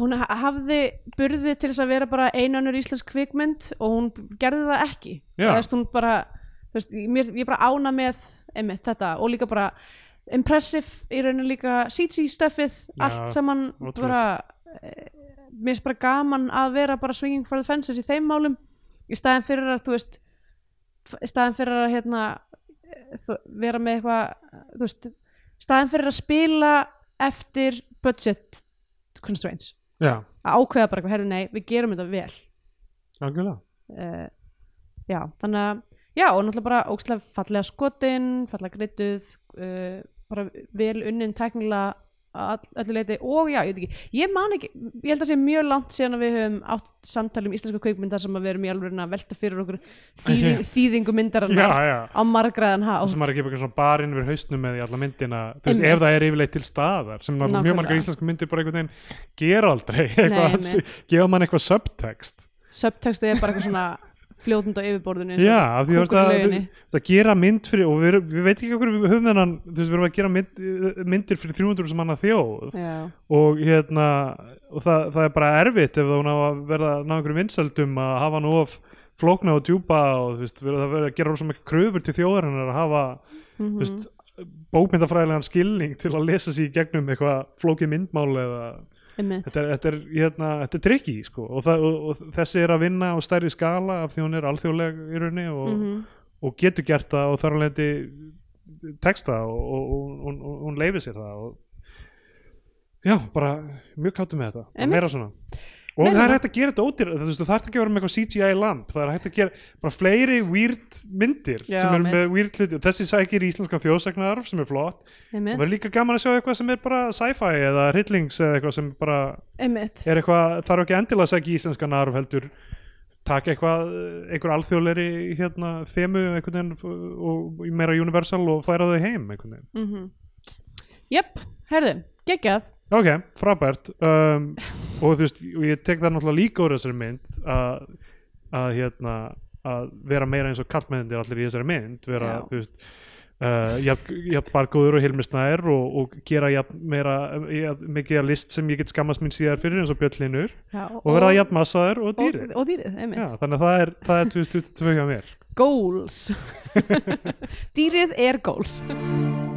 S2: hún ha- hafði burði til þess að vera bara einanur íslensk kvikmynd og hún gerði það ekki
S1: Já.
S2: þú veist, hún bara þú veist, mér, ég bara ána með einmitt þetta og líka bara impressive í rauninu líka CG stuffið
S1: Já,
S2: allt saman
S1: ótrúlegt.
S2: bara eh, mér finnst bara gaman að vera bara swinging for the fences í þeim málum í staðin fyrir að þú veist í staðin fyrir að hérna þú, vera með eitthvað þú veist, í staðin fyrir að spila eftir budget constraints
S1: Já,
S2: að ákveða bara eitthvað, herru nei, við gerum þetta vel
S1: algjörlega
S2: uh, já, þannig að já, og náttúrulega bara ókslega fallega skotin fallega greituð uh, bara vel unnin tæknilega að all- öllu leiti og já, ég veit ekki ég man ekki, ég held að sé mjög langt síðan að við höfum átt samtali um íslenska kveikmyndar sem að við erum í alveg að velta fyrir okkur þýðing, þýðingu
S1: Já,
S2: myndarinnar
S1: já
S2: á margraðan hátt
S1: sem maður er ekki bara svona barinn við hausnum með í alla myndina þú veist,
S2: Einmitt.
S1: ef það er yfirleitt til staðar sem náttúrulega mjög
S2: Nákvæmlega.
S1: margar íslensku myndir bara einhvern veginn gera aldrei eitthvað, að
S2: einmitt.
S1: sé- gefa mann eitthvað subtext
S2: subtextið er bara eitthvað svona fljótund á yfirborðinu eins og
S1: já, af því þú veist
S2: kúkur í
S1: að,
S2: lauginni.
S1: þú- þú veist að gera mynd fyrir og við, erum- við veit ekki okkur við höfum þennan þú veist, við erum að gera mynd, myndir fyrir 300 sem annað þjóð
S2: já,
S1: og hérna og það, það er bara erfitt ef það að verða að ná einhverjum vinsældum að hafa hann of flókna og djúpa og þú veist, verða- það verður að gera rosa mikið kröfur til þjóðarinnar að hafa
S2: mm
S1: þú veist, bókmyndafræðilegan skilning til að lesa sér í gegnum eitthvað flókið myndmál eða þetta er, þetta er, hérna, þetta er trikki sko. og, það, og, og þessi er að vinna á stærri skala af því hún er alþjóðleg í rauninni og,
S2: Mhm.
S1: og getur gert það og þar hún leiti texta og, og, og, og hún leifir sér það og já, bara mjög káttum með þetta
S2: Einmitt.
S1: meira svona og
S2: Meira
S1: það er
S2: svona.
S1: hægt að gera þetta ódýr það, þú veist, það er ekki að vera með eitthvað CGI lamp það er hægt að gera bara fleiri weird myndir sem
S2: Já,
S1: er
S2: einmitt.
S1: með weird hluti þessi sækir í íslenskan þjóðsagnararf sem er flott og verður líka gaman að sjá eitthvað sem er bara sci-fi eða hryllings eða eitthvað sem bara
S2: einmitt
S1: er eitthvað, þarf ekki endilega að segja íslenskan arf heldur taka eitthvað, eh, einhver alþjóðleiri hérna, þemu einhvern veginn f- og í meira universal og færa þau heim einhvern veginn.
S2: mm -hmm. jöpp, herðu, geggjað
S1: Ok, frábært um, og þú veist, og ég tek það náttúrulega líka úr þessari mynd að, að hérna að vera meira eins og kallmennir allir í þessari mynd vera,
S2: Já.
S1: þú veist Uh, jafn, jafn bargóður og hilmisnær og, og gera jafn meira jafn, mikið að list sem ég get skammast mín síðar fyrir eins og bjöllinur
S2: Já,
S1: og verða jafn massaður og
S2: og,
S1: dýrið
S2: og dýrið, einmitt
S1: Já, þannig að það er, það er 2022 hjá mér
S2: goals dýrið er goals